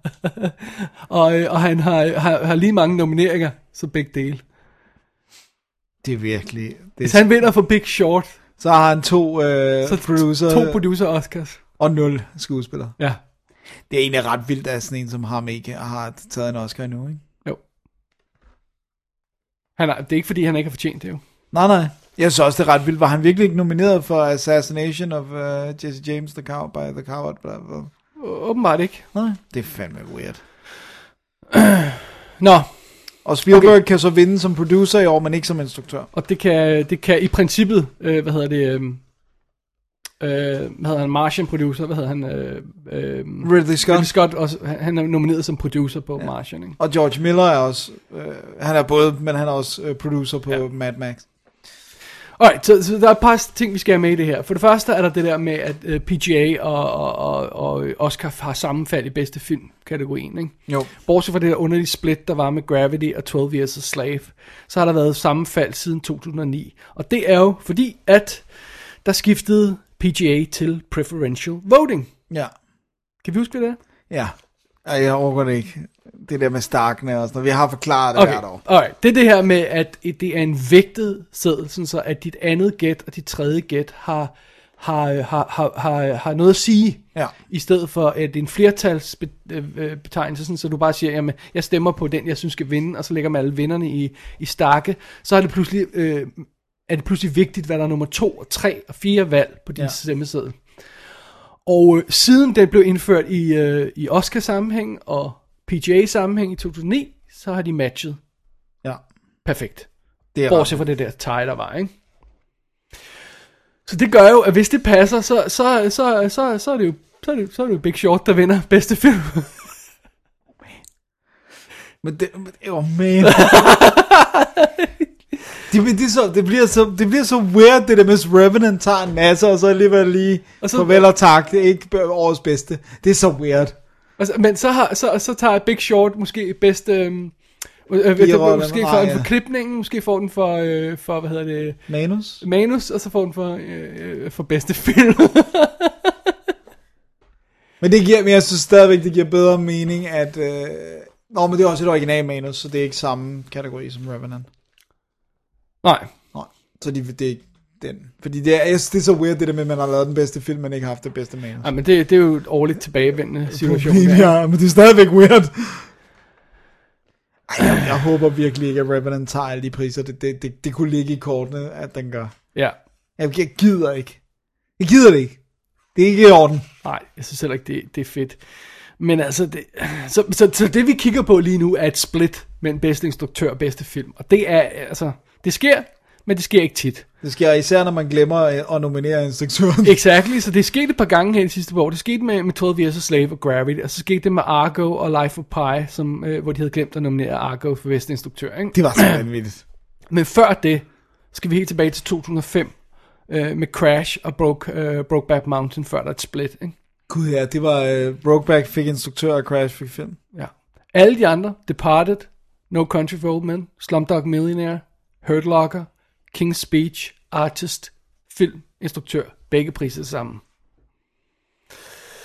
og, øh, og han har, har, har lige mange nomineringer, så begge dele.
Det er virkelig... Det
Hvis
er,
han vinder for Big Short,
så har han to, øh,
så
så producer,
to producer Oscars.
og nul skuespillere.
Ja,
Det er egentlig ret vildt, at sådan en som ham ikke har taget en Oscar endnu, ikke?
jo. Han er, det er ikke fordi, han ikke har fortjent det jo.
Nej, nej. Jeg synes også, det er ret vildt. Var han virkelig ikke nomineret for Assassination of uh, Jesse James the Cow by the Coward? Blah, blah.
Åbenbart ikke.
Nej, det er fandme weird.
Nå,
Og Spielberg okay. Mm. kan så vinde som producer i år, men ikke som instruktør.
Og det kan, det kan i princippet, øh, hvad hedder det, øh, øh, hvad hedder han, Martian producer, hvad hedder han, øh, øh,
Ridley Scott.
Ridley Scott også, han, han er nomineret som producer på ja. Martian, ikke?
Og George Miller er også, øh, han er både, men han er også øh, producer på
Ja.
ja. Mad Max.
Alright, så, så der er et par ting, vi skal have med i det her. For det første er der det der med, at øh, PGA og, og, og, og Oscar har sammenfald i bedste filmkategorien, ikke?
Jo.
Bortset fra det der underlige split, der var med Gravity og 12 Years a Slave, så har der været sammenfald siden 2009. Og det er jo fordi, at der skiftede PGA til preferential voting.
Ja.
Kan vi huske, hvad det er?
Ja. Ej, jeg overgår det ikke. Det der med starkene og sådan noget. Vi har forklaret det okay.
Okay,
hvert år.
alright. Det er det her med, at det er en vægtet seddel, sådan så at dit andet gæt og dit tredje gæt har, har, har, har, har, har noget at sige.
Ja.
I stedet for at en flertalsbetegnelse, sådan, så du bare siger, jamen, jeg stemmer på den, jeg synes skal vinde, og så lægger man alle vinderne i, i stakke, så er det pludselig øh, er det pludselig vigtigt, hvad der er nummer to og tre og fire valg på din ja. stemmeseddel. Og øh, siden den blev indført i, øh, i Oscar-sammenhæng og PGA-sammenhæng i 2009, så har de matchet
Ja.
perfekt.
Det er ret.
Bortset fra det der tie, der var, ikke? Så det gør jo, at hvis det passer, så, så, så, så, så, er, det jo, så, er, det, så er det jo Big Short, der vinder bedste film.
Men det, men, oh man. det, men det, er så, det, bliver så, det bliver så weird, det der med, at Revenant tager en masse, og så alligevel lige,
Og
og
så-
så, farvel og tak, det er ikke b- årets bedste. Det er så weird.
og så, Altså, men så, har, så, så tager Big Short måske bedste... Øhm, øh, øh,
Birolle,
måske
nej,
får den
ja.
for klipningen, måske får den for, øh, for hvad hedder det,
Manus?
manus, og så får den for, øh, øh, for bedste film.
Men det giver, men jeg synes stadigvæk, det giver bedre mening, at... Øh, nå, men det er også et original manus, så det er ikke samme kategori som Revenant.
Nej,
Nej, så de, det er ikke den. Fordi det er, jeg synes, det er så weird, det der med, at man har lavet den bedste film, men ikke har haft det bedste manus.
nej men det, det er jo et årligt tilbagevendende situation.
Problem,
Ja.
ja, men det er stadigvæk weird. Ej, jeg, jeg håber virkelig ikke, at Revenant tager alle de priser. Det, det, det, det kunne ligge i kortene, at den gør.
ja.
Jeg, jeg gider ikke. Jeg gider det ikke. Det er ikke i orden.
Nej, jeg synes heller ikke, det, det er fedt. Men altså, det, så, så, så det vi kigger på lige nu er et split mellem bedste instruktør og bedste film. Og det er, altså, det sker, men det sker ikke tit.
Det sker især, når man glemmer at- at nominere instruktøren.
Exactly, så det er sket et par gange her i de sidste par år. Det skete med, med 12 Years a Slave og Gravity, og så skete det med Argo og Life of Pi, som, øh, hvor de havde glemt at nominere Argo for bedste instruktør. Ikke?
Det var så vanvittigt.
Men før det, skal vi helt tilbage til 2005, øh, med Crash og Broke, øh, Brokeback Mountain, før der er et split. Ikke?
Gud ja, det var uh, Brokeback fik instruktør, og Crash fik film.
Ja. Alle de andre, Departed, No Country for Old Men, Slumdog Millionaire, Hurt Locker, King's Speech, Artist, Film, Instruktør, begge priser sammen.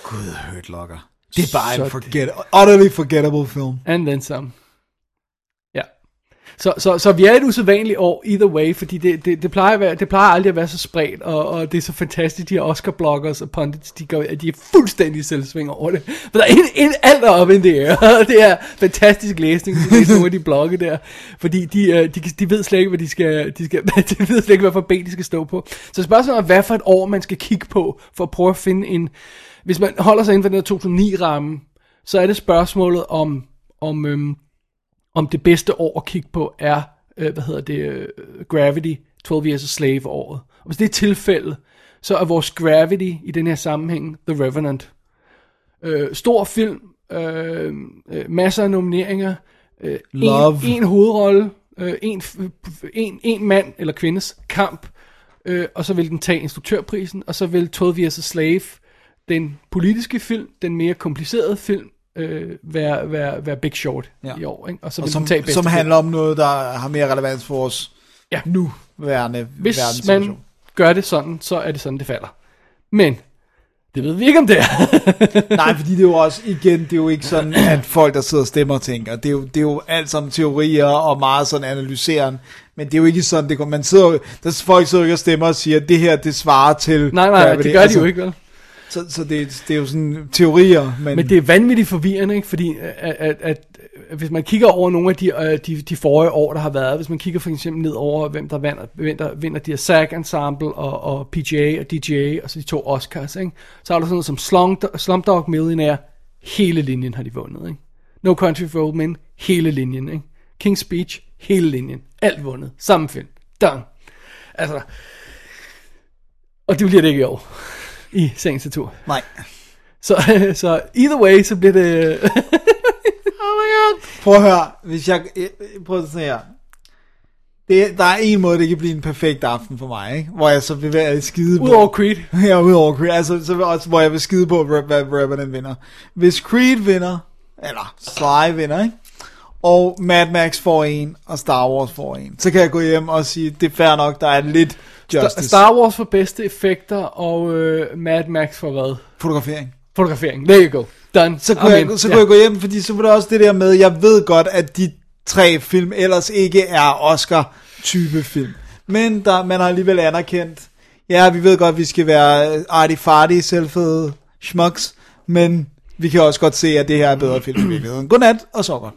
Gud, Hurt Locker. Det er bare
Så
en
det-
forget, utterly forgettable film.
And then some. Ja. Så, så, så vi er et usædvanligt år, either way, fordi det, det, det, plejer, at være, det plejer aldrig at være så spredt, og, og det er så fantastisk, de her Oscar-bloggers og pundits, de, gør, at de er fuldstændig i selvsving over det. For der er ind, ind, alt er op in the air, og det er fantastisk læsning, hvis du læser nogle af de blogge der, fordi de, øh, de, kan- de ved slet ikke, hvad de skal, de, skal, de ved slet ikke, hvad for ben de skal stå på. Så spørgsmålet er, hvad for et år man skal kigge på, for at prøve at finde en, hvis man holder sig inden for den her 2009-ramme, så er det spørgsmålet om, om, øhm, om det bedste år at kigge på er, øh, hvad hedder det, øh, Gravity, 12 Years a Slave året. Og hvis det er tilfældet, så er vores Gravity i den her sammenhæng The Revenant. Øh, stor film, øh, øh, masser af nomineringer, øh,
Love.
En, en hovedrolle, øh, en, f- f- en, en mand eller kvindes kamp, øh, og så vil den tage instruktørprisen, og så vil 12 Years a Slave, den politiske film, den mere komplicerede film, øh, være, være, være Big Short
Ja.
ja. i år. Ikke? Og så
Og
vil
som,
den tage bedste
som
film.
handler om noget, der har mere relevans for os
Ja.
nu værende
Hvis man
verdenssituation.
gør det sådan, så er det sådan, det falder. Men, det ved vi ikke om det er.
Nej, fordi det er jo også, igen, det er jo ikke sådan, at folk, der sidder og stemmer, tænker. Det er jo, det er jo alt sammen teorier og meget sådan analyseren. Men det er jo ikke sådan, det går. Man sidder jo, der er folk sidder jo ikke og stemmer og siger, at det her, det svarer til...
Nej, nej,
Gravity.
det gør de jo ikke, vel?
altså, Så, så det, det er jo sådan teorier, men...
Men det er vanvittigt forvirrende, ikke? fordi øh, at, at, at, at hvis man kigger over nogle af de, øh, de, de forrige år, der har været, hvis man kigger for eksempel ned over, hvem der vinder, vinder, vinder de her SAG Ensemble og, og PGA og DGA, og så altså de to Oscars, ikke? så er der sådan noget som Slumdog, Slumdog Millionaire, hele linjen har de vundet. Ikke? No Country for Old Men, hele linjen. Ikke? King's Speech, hele linjen. Alt vundet. Samme film. Done. Altså, og det bliver det ikke i år. I sagens natur.
Nej.
Så, så either way, så bliver det...
Prøv at høre, hvis jeg... eh, eh, Prøv at se her. Det, der er en måde, det kan blive en perfekt aften for mig, ikke? Hvor jeg så vil være skide på-
Udover Creed.
Ja, udover Creed. Altså, så vil også, hvor jeg vil skide på, hvad- hvad Revenant vinder. Hvis Creed vinder, eller Sly vinder, ikke? og Mad Max får en, og Star Wars får en, så kan jeg gå hjem og sige, det er fair nok, der er lidt
Star,
justice.
Star Wars for bedste effekter, og øh, Mad Max for hvad?
Fotografering.
Fotografering. There you go. Done.
Så kunne, jeg, så kunne jeg gå hjem, fordi så var det også det der med, jeg ved godt, at de tre film ellers ikke er Oscar-type film. Men der, man har alligevel anerkendt, ja, vi ved godt, vi skal være arty-farty, selvfede schmucks, men vi kan også godt se, at det her er bedre film i virkeligheden. Godnat, og så godt.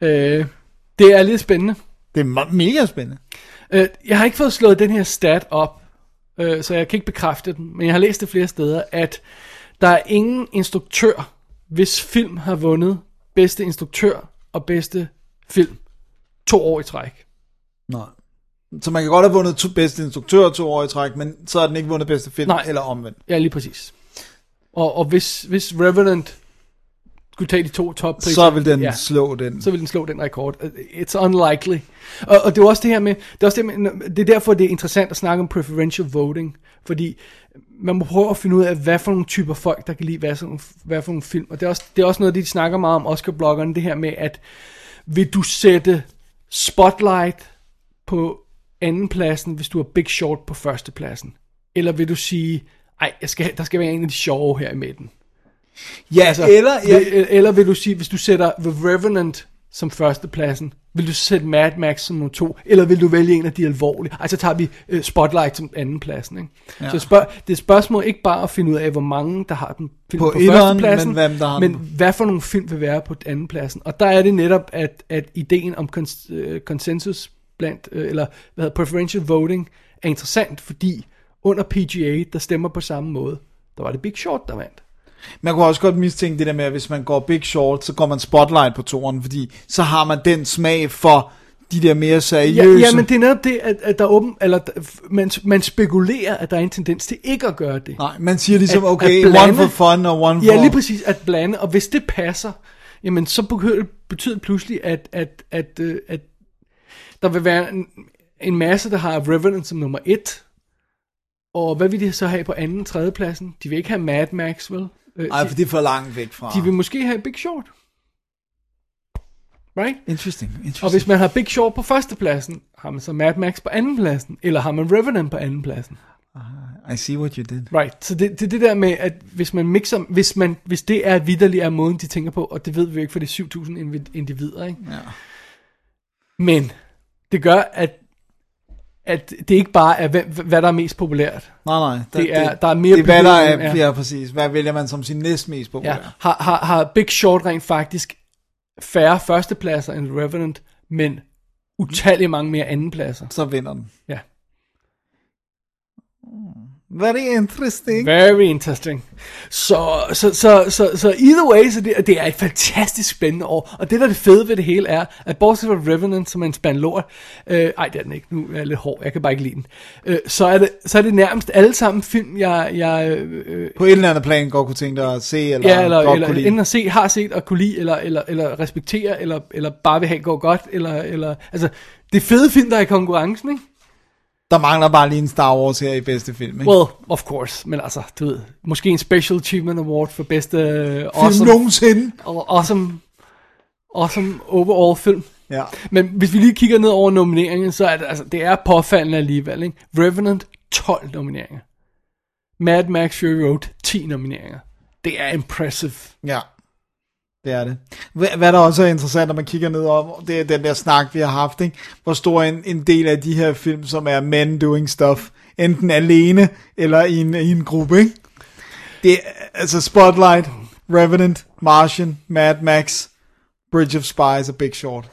ja. øh, det er lidt spændende.
Det er me- mega spændende.
Øh, jeg har ikke fået slået den her stat op, øh, så jeg kan ikke bekræfte den, men jeg har læst det flere steder, at der er ingen instruktør, hvis film har vundet bedste instruktør og bedste film to år i træk.
Nej. Så man kan godt have vundet to bedste instruktør to år i træk, men så har den ikke vundet bedste film,
Nej.
eller omvendt.
Ja, lige præcis. Og, og hvis, hvis Revenant skulle tage de to top
Så vil den ja. slå den.
så vil den slå den rekord. Øh, It's unlikely. Og, og det er jo også det her med, det er, også det, her med, det er derfor, det er interessant at snakke om preferential voting, fordi man må prøve at finde ud af, hvad for nogle typer folk, der kan lide hvad for nogle, hvad for nogle film. Og det er, også, det er også noget, de snakker meget om, Oscar-bloggerne, det her med, at vil du sætte Spotlight på andenpladsen, hvis du har Big Short på førstepladsen? Eller vil du sige, ej, jeg skal, der skal være en af de sjove her i midten?
Ja,
Altså,
altså, eller... Ja,
vil, eller vil du sige, hvis du sætter The Revenant som førstepladsen, vil du sætte Mad Max som nummer to, eller vil du vælge en af de alvorlige? Altså tager vi øh, Spotlight som andenpladsen. Ikke? Ja. Så spørg, det er et spørgsmål ikke bare at finde ud af, hvor mange der har den film
På
på, på
etteren,
førstepladsen,
men hvem der har
men
den.
hvad for nogle film vil være på andenpladsen. Og der er det netop, at, at ideen om kons- øh, konsensus blandt, øh, eller hvad hedder preferential voting, er interessant, fordi under PGA, der stemmer på samme måde, der var det Big Short, der vandt.
Man kunne også godt mistænke det der med, at hvis man går Big Short, så går man Spotlight på toren, fordi så har man den smag for de der mere seriøse...
Ja, ja, men det er netop det, at, at der er åben, eller der- f- man, man spekulerer, at der er en tendens til ikke at gøre det.
Nej, man siger ligesom,
At-
okay,
at blande-
one for fun og one for...
Ja, lige præcis, at blande, og hvis det passer, jamen så betyder, betyder det pludselig, at, at, at, øh, at der vil være en, en masse, der har Revenant som nummer et, og hvad vil de så have på anden, tredje pladsen? De vil ikke have Mad Max, vel? Øh,
Ej,
de,
for det er for langt væk fra.
de vil måske have Big Short. Right?
Interesting, interesting.
Og hvis man har Big Short på førstepladsen, har man så Mad Max på andenpladsen, eller har man Revenant på andenpladsen.
I see what you did.
Right, så det, det er det der med, at hvis man mixer, hvis, man, hvis det er vidderligt er måden, de tænker på, og det ved vi jo ikke, for det er 7.000 invi- individer, ikke?
Ja.
Men det gør, at, at det ikke bare er, hvem, hvad der er mest populært.
Nej, nej. Der,
Det er- der er mere
det, hvad der
bevægelse,
er,
ja.
ja. ja, præcis. Hvad vælger man som sin næstmest
Ja.
populære?
Har, har, har Big Short rent faktisk færre førstepladser end Revenant, men utallige mange mere andenpladser.
Så vinder den.
Ja.
Very interesting.
Very interesting. Så, så, så, så, så either way, så det, det er et fantastisk spændende år. Og det, der er det fede ved det hele, er, at bortset fra Revenant, som er en spand lort, øh, ej, det er den ikke, nu er jeg lidt hård, jeg kan bare ikke lide den, øh, så, er det, så er det nærmest alle sammen film, jeg, jeg øh, øh,
På et eller andet plan godt kunne tænke dig at se, eller,
ja, eller,
godt
eller
kunne lide.
enten at se, har set og kunne lide, eller, eller, eller respektere, eller, eller bare vil have går godt, eller, eller, altså, det er fede film, der er i konkurrencen, ikke?
Der mangler bare lige en Star Wars her i bedste film, ikke?
Well, of course, men altså, du ved, måske en Special Achievement Award for bedste øh,
film
awesome
nogensinde.
og awesome, awesome overall film.
Ja.
Men hvis vi lige kigger ned over nomineringen, så er det, altså, det er påfaldende alligevel. Ikke? Revenant, 12 nomineringer. Mad Max Fury Road, 10 nomineringer. Det er impressive.
Ja, det er det. Hva- Hvad der også er interessant, når man kigger ned om, det er den der snak, vi har haft, ikke? hvor stor en, en del af de her film, som er men doing stuff, enten alene eller i en, i en gruppe. Ikke? Det er, altså Spotlight, Revenant, Martian, Mad Max, Bridge of Spies og Big Short.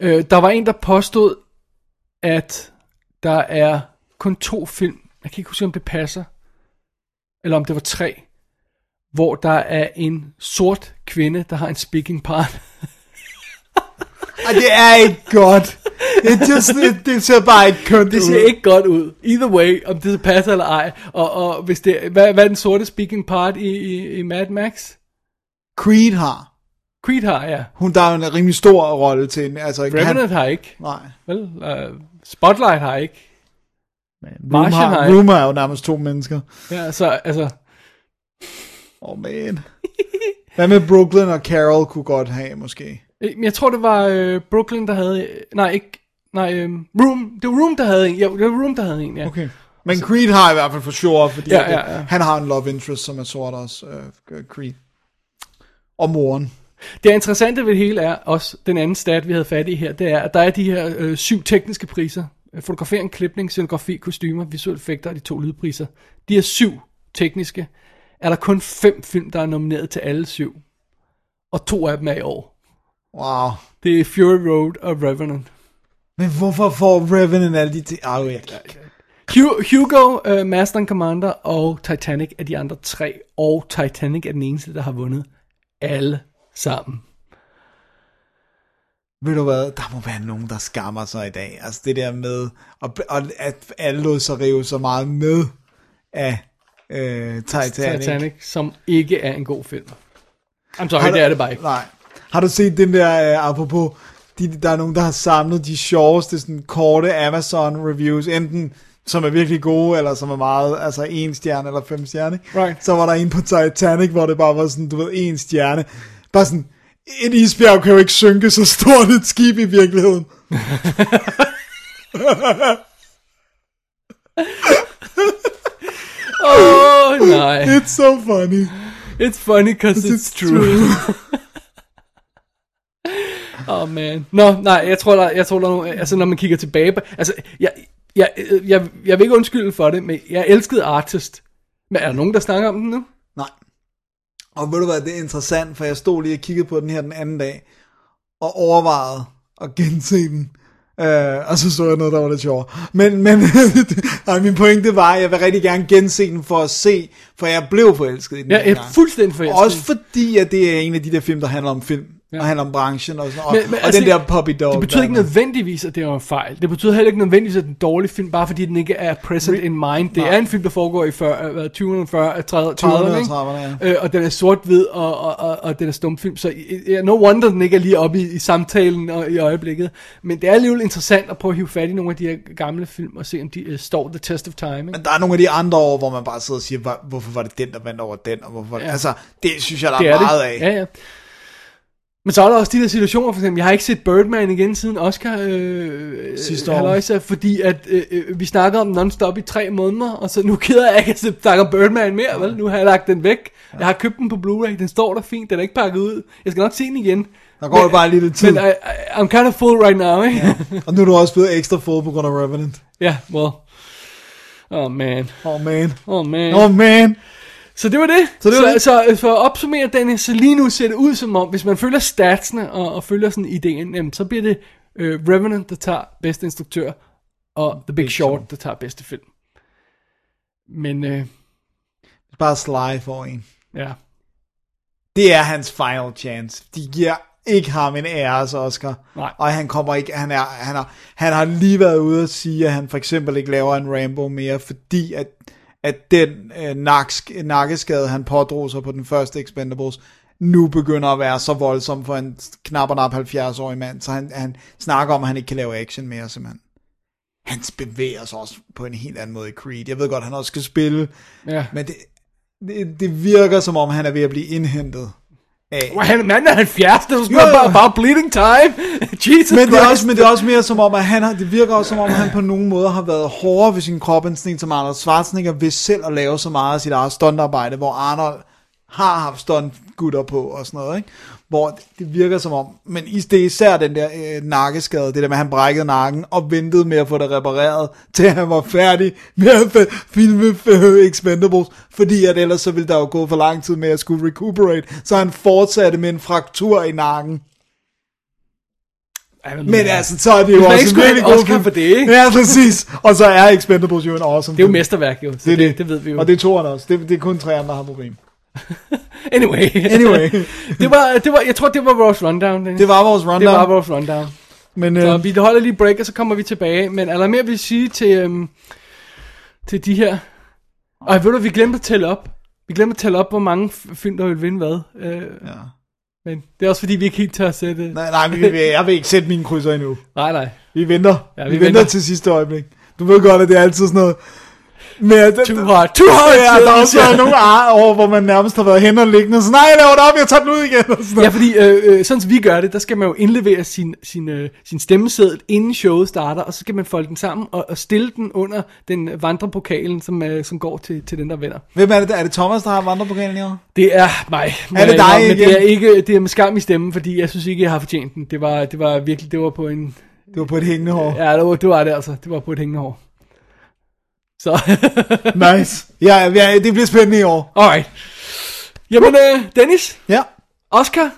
Øh, der var en, der påstod, at der er kun to film, jeg kan ikke huske, om det passer, eller om det var tre, hvor der er en sort kvinde, der har en speaking part.
Og det er ikke godt. Det, just, det, det ser bare ikke kønt
Det
ud.
ser ikke godt ud. Either way, om det passer eller ej. Og, og hvis det, hvad, hvad er den sorte speaking part i, i, i Mad Max?
Creed har.
Creed har, ja.
Hun der er jo en rimelig stor rolle til en. Altså,
Revenant har ikke.
nej.
Vel, uh, Spotlight har ikke.
Room
Martian har
har,
ikke.
Room er jo nærmest to mennesker.
Ja, så, altså,
Åh, oh, man. Hvad med Brooklyn og Carol kunne godt have, måske?
øh, men jeg tror, det var øh, Brooklyn, der havde... øh, Nej, ikke... Nej, øh, Room. Det var Room, der havde en. Ja, det var Room, der havde en, ja.
Okay. Men Creed har i hvert fald for sure, fordi
Altså- Ja,
at, øh,
ja, ja.
han har en love interest, som er sort også, øh, Creed. Og moren.
Det interessante ved det hele er også, den anden stat, vi havde fat i her, det er, at der er de her øh, syv tekniske priser. Øh, Fotografering, klipning, scenografi, kostymer, visuelle effekter og de to lydpriser. De er syv tekniske. Er der kun fem film, der er nomineret til alle syv. Og to af dem er i år.
Wow.
Det er Fury Road og Revenant.
Men hvorfor får Revenant alle de ting? Ah, jeg kan ikke.
Hu- Hugo, uh, Master and Commander og Titanic er de andre tre, og Titanic er den eneste, der har vundet alle sammen.
Ved du hvad, der må være nogen, der skammer sig i dag. Altså det der med, og, og at alle lod sig rive så meget med af øh, Titanic.
Titanic. Titanic, som ikke er en god film. I'm sorry,
Har
det er det bare ikke.
Nej. Har du set den der, øh, apropos, de, der er nogen, der har samlet de sjoveste, sådan korte Amazon-reviews, enten som er virkelig gode, eller som er meget, altså en stjerne eller fem stjerne. ikke?
Right.
Så var der en på Titanic, hvor det bare var sådan, du ved, en stjerne. Bare sådan, et isbjerg kan jo ikke synke så stort et skib i virkeligheden.
Åh, oh, nej.
It's so funny.
It's funny, because it's,
It's
true. oh man. Nå, nej, jeg tror, der, jeg tror, der er nogle, altså når man kigger tilbage på, altså, jeg, jeg, jeg, jeg, jeg vil ikke undskylde for det, men jeg elskede Artist. Men er der nogen, der snakker om den nu?
Nej. Og ved du hvad, det er interessant, for jeg stod lige og kiggede på den her den anden dag, og overvejede at gense den. Øh, og så så jeg noget, der var lidt sjovt. Men, men nej, min pointe var, at jeg vil rigtig gerne gense den for at se, for jeg blev forelsket i den
Ja,
dengang.
jeg er fuldstændig forelsket.
Også fordi, at det er en af de der film, der handler om film, ja. og handler om branchen og sådan og, men, men, og altså, den der puppy dog.
Det betyder ikke
der-
nødvendigvis, at det var en fejl. Det betyder heller ikke nødvendigvis, at det er en dårlig film, bare fordi den ikke er present in mind. Det er en film, der foregår i 40, hvad, 20'erne, 40'erne, 30'erne, 30'erne, ikke?
30'erne,
øh, og den er sort-hvid, og, og, og, og den er stumfilm, så i- i- no wonder, den ikke er lige oppe i, i samtalen og i øjeblikket. Men det er alligevel interessant at prøve at hive fat i nogle af de her gamle film, og se om de øh, står the test of time. Ikke?
Men der er nogle af de andre år, hvor man bare sidder og siger, "Hvor- hvorfor var det den, der vandt over den? Og hvorfor, ja. Altså, det synes jeg, der
det
er,
er
meget
det.
af.
Ja, ja. Men så er der også de der situationer, for eksempel, jeg har ikke set Birdman igen siden Oscar øh,
Sidste
øh,
år.
halløjsa, fordi at øh, øh, vi snakker om non-stop i tre måneder, og så nu keder jeg ikke, at jeg snakker om Birdman mere, vel? Nu har jeg lagt den væk. Jeg har købt den på Blu-ray, den står der fint, den er ikke pakket ud. Jeg skal nok se den igen.
Der går jo bare lidt tid.
Men I, I, I'm kind of full right now, ikke? Ja,
Og nu er du også blevet ekstra fod på grund af Revenant.
yeah, well. Oh man,
Oh man.
oh man.
Oh man.
Så det var det.
Så det var
så,
det.
så, øh, for at opsummere den, så lige nu ser det ud som om, hvis man følger statsene og, og følger sådan ideen, jamen, så bliver det øh, Revenant, der tager bedste instruktør, og The Big Short, der tager bedste film. Men øh,
Bare Sly for en.
ja,
Det er hans final chance. De giver ikke ham en æres Oscar.
Nej.
Og han kommer ikke, han, er, han, er, han har lige været ude og sige, at han for eksempel ikke laver en Rambo mere, fordi at, at den øh, naks, nakkeskade, han pådrog sig på den første Expendables, nu begynder at være så voldsom for en knap og nap 70-årig mand, så han, han snakker om, at han ikke kan lave action mere, simpelthen. Han bevæger sig også på en helt anden måde i Creed. Jeg ved godt, han også skal spille,
ja. Men,
men det, det, det virker som om, han er ved at blive indhentet af.
han, manden er 70, der
Jo,
spiller
jo.
bare, bare bleeding time. Jesus
Men det,
Christ.
er også, men det er også mere som om, at han har, det virker også som om, at han på nogen måder har været hårdere ved sin krop, end sådan en som Arnold Schwarzenegger ved selv at lave så meget af sit eget stuntarbejde, hvor Arnold har haft stuntgutter på og sådan noget, ikke? Hvor det virker som om, men is- det er især den der øh, nakkeskade, det der med, at han brækkede nakken og ventede med at få det repareret, til han var færdig med at fa- filme øh, Expendables, fordi at ellers så ville der jo gå for lang tid med at skulle recuperate, så han fortsatte med en fraktur i nakken.
Ej, hvad nu
Men
er-
altså, så er det jo
man ikke
også en
skulle
virkelig
have en
god
Oscar
film.
for det, ikke?
Ja, præcis. Og så er Expendables jo en awesome
det er jo
film.
mesterværk, jo. Så
Det, er det.
det ved vi jo.
Og det er toeren også. Det, det er kun træerne, der har problem.
Anyway.
Anyway.
det var, det var, jeg tror, det var vores rundown. Dennis.
Det var vores rundown.
det var vores rundown.
Men
Så
øh,
vi holder lige break, og så kommer vi tilbage. Men er der mere, vi vil sige til, øhm, til de her? Og ved du, vi glemte at tælle op. Vi glemte at tælle op, hvor mange f- film, der vil vinde hvad. Øh, ja. Men det er også fordi, vi ikke helt tør at sætte... Nej,
nej, nej, vi, vi, jeg vil ikke sætte mine krydser endnu.
nej. nej.
Vi venter.
Ja,
Ja,
vi
vi, vi venter.
venter.
venter til sidste øjeblik. Du ved godt, at det er altid sådan noget... Men,
Too hard.
Too hard.
to
Ja, der har også
lose.
været nogle ar over, hvor man nærmest har været hen og liggende. og Så nej, jeg laver det op, jeg tager den ud igen. Og sådan
Ja, fordi øh, øh, sådan som vi gør det, der skal man jo indlevere sin, sin, øh, sin stemmeseddel, inden showet starter, og så skal man folde den sammen og, og stille den under den øh, vandrepokalen, som, øh, som går til, til den, der vinder.
Hvem er det? der- Er det Thomas, der har vandrepokalen i år?
Det er mig. må
Er det
jeg
dig
indrømme, men
igen?
Det er, ikke, det er med skam i stemmen, fordi jeg synes ikke, jeg har fortjent den. Det var, det var virkelig, det var på en...
Det var på et hængende hår.
Ja, det var det, var det altså. Det var på et hængende hår. Så,
Nice. Ja, ja, det bliver spændende i år.
alright. Jamen, øh, Dennis,
Ja,
Oscar,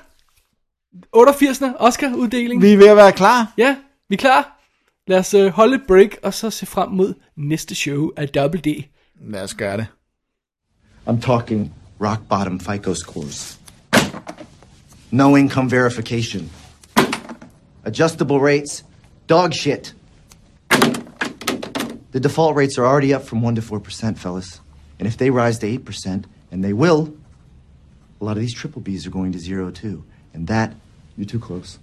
88. Oscar-uddeling.
vi er ved at være klar.
Ja, vi er klar. Lad os øh, holde et break, og så se frem mod næste show af Double D.
Lad os gøre det.
I'm talking rock bottom FICO scores. No income verification. Adjustable rates, dog shit. The default rates are already up from 1% to 4%, fellas. And if they rise to 8%, and they will, a lot of these triple Bs are going to zero too. And that, you're too close,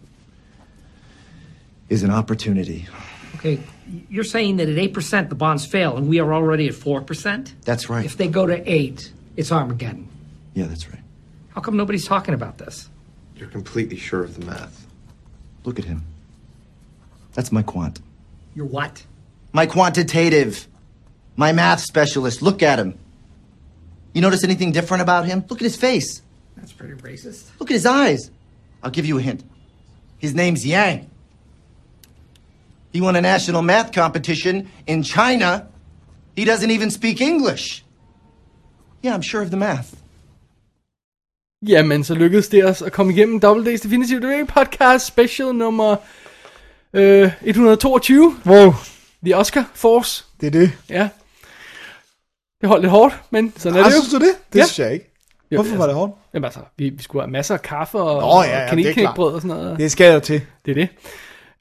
is an opportunity.
Okay, you're saying that at 8% the bonds fail and we are already at 4%?
That's right.
If they go to 8, it's Armageddon.
Yeah, that's right.
How come nobody's talking about this?
You're completely sure of the math.
Look at him. That's my quant.
You're what?
My quantitative. My math specialist. Look at him. You notice anything different about him? Look at his face.
That's pretty racist.
Look at his eyes. I'll give you a hint. His name's Yang. He won a national math competition in China. He doesn't even speak English. Yeah, I'm sure of the math.
Jamen, så lykkedes det os at komme igennem Double D's Definitive Debate Podcast Special nummer øh, 122,
Wow,
The Oscar Force.
det er det.
Ja. Det holdt lidt hårdt, men sådan er
Ah,
det jo.
synes du det? Det
Ja.
synes jeg ikke.
Jo,
Hvorfor var det hårdt?
Jamen altså, vi, vi skulle have masser af kaffe og,
Nå, ja, ja, det
og
er
kanelknækbrød og sådan noget.
Det skal jeg jo til.
Det er det.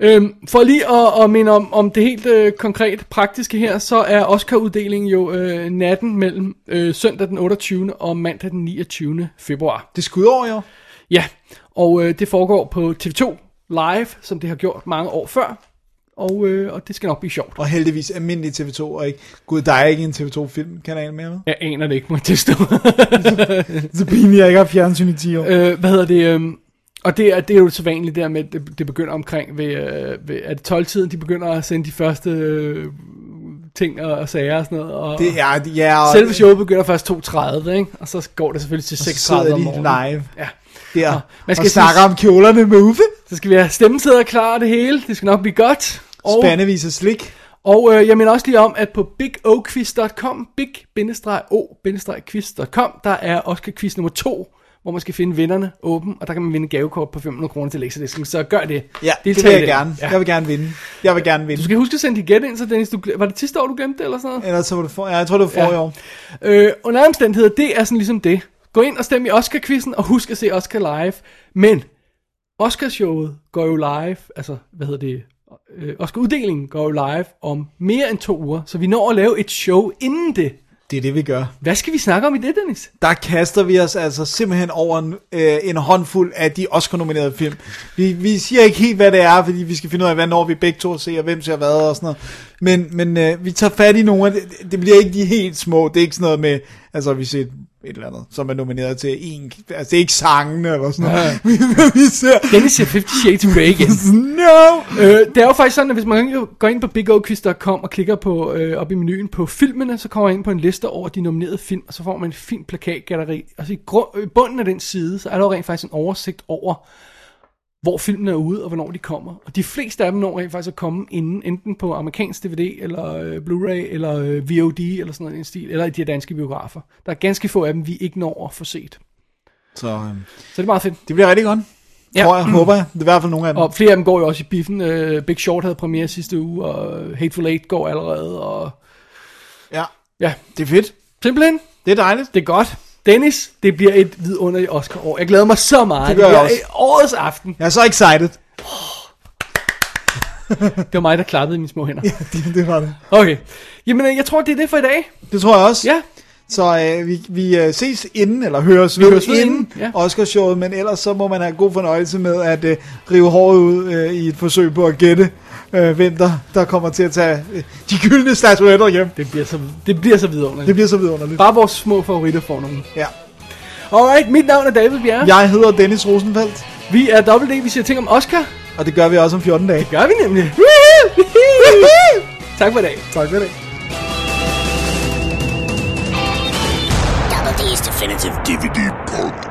Øhm, for lige at, at minde om, om det helt øh, konkret praktiske her, så er Oscar-uddelingen jo øh, natten mellem øh, søndag den 28. og mandag den 29. februar.
Det skulle over, jo.
Ja, og øh, det foregår på TV2 Live, som det har gjort mange år før, og, øh, og det skal nok blive sjovt.
Og heldigvis almindelig TV2, og ikke... Gud, der er ikke en TV2-filmkanal mere, med.
Jeg aner det ikke, må jeg tilstå.
Så pinligt, jeg ikke har fjernsyn i 10 år.
øh, hvad hedder det? Øh, og det er, det er jo så vanligt der med, at det, det begynder omkring ved, øh, ved at 12-tiden, de begynder at sende de første øh, ting og, og sager og sådan noget. Og,
Det er... Ja, og
Selve showet begynder først 2.30, ikke? Og så går det selvfølgelig til
så sidder
6.30 om
de
morgenen.
live
Ja.
der.
Nå,
Man
man
skal
skal
og snakker om kjolerne med Uffe.
Så skal vi have stemmetider klar og det hele. Det skal nok blive godt. Og,
Spandevis af slik.
og øh, jeg minder også lige om, at på bigoquiz.com, big-o-quiz.com, der er Oscar quiz nummer 2, hvor man skal finde vinderne åben, og der kan man vinde gavekort på 500 kroner til Lexadisken. Så gør det.
Ja, det,
Deltag
vil
i
jeg gerne. Ja. Jeg vil gerne vinde. Jeg vil gerne vinde.
Du skal huske at sende dit gæt ind, så Dennis, du, glem- var det sidste år, du glemte det, eller sådan noget?
Ellers så var det for... Ja, jeg tror, det var for i
Ja.
år.
Øh, under alle omstændigheder, det er sådan ligesom det. Gå ind og stem i Oscar-quizzen, og husk at se Oscar live. Men Oscarshowet går jo live, altså, hvad hedder det, øh, Oscar-uddelingen går jo live om mere end to uger, så vi når at lave et show inden det.
Det er det, vi gør.
Hvad skal vi snakke om i det, Dennis?
der kaster vi os altså simpelthen over en, øh, en håndfuld af de Oscar-nominerede film. Vi, vi siger ikke helt, hvad det er, fordi vi skal finde ud af, hvad når vi begge to ser, og hvem ser hvad og sådan noget. Men, men øh, vi tager fat i nogle af det, det bliver ikke de helt små. Det er ikke sådan noget med, altså vi ser et, et eller andet, som er nomineret til en, altså det er ikke sangene eller sådan noget. Vi, vi ser,
Dennis ser 50 Shades of Grey igen.
no!
Øh, det er jo faktisk sådan, at hvis man går ind på bigoquiz.com og klikker på øh, op i menuen på filmene, så kommer man ind på en liste over de nominerede film, og så får man en fin plakatgalleri. Og så i grund, øh, bunden af den side, så er der jo rent faktisk en oversigt over, hvor filmene er ude, og hvornår de kommer. Og de fleste af dem når rent faktisk at komme inden, enten på amerikansk DVD, eller øh, Blu-ray, eller øh, VOD, eller sådan noget i den stil, eller i de her danske biografer. Der er ganske få af dem, vi ikke når at få set.
Så øh,
Så det er meget fedt.
det bliver rigtig godt. Ja.
Ja.
Tror jeg, håber jeg. Det er i hvert fald nogle af dem.
Og flere af dem går jo også i biffen. Øh, Big Short havde premiere sidste uge, og Hateful Eight går allerede, og
Ja.
ja,
Det er fedt.
simpelthen,
Det er dejligt.
det er godt. Dennis, det bliver et vidunderligt Oscar-år. Jeg glæder mig så meget.
Det gør jeg også.
bliver Årets aften.
Jeg er så excited.
Det var mig, der klappede i mine små hænder.
Det, det var det.
Okay. Jamen, øh, jeg tror, det er det for i dag.
Det tror jeg også.
Ja.
Så øh, vi, vi øh, ses inden, eller høres vi
høres ved
inden
inden, ja.
Oscarshowet, men ellers så må man have god fornøjelse med at øh, rive håret ud øh, i et forsøg på at gætte, øh, hvem der, der kommer til at tage øh, de gyldne statuetter hjem.
Det bliver så, det bliver så vidunderligt.
Det bliver så vidunderligt.
Bare vores små favoritter får nogen.
Ja.
Alright, mit navn er David Bjerre.
Jeg hedder Dennis Rosenfeldt,
Vi er WD, vi siger ting om Oscar.
og det gør vi også om 14 dage.
Gør vi nemlig. tak for i dag.
Tak for det.
Double D's Definitive DVD Podcast.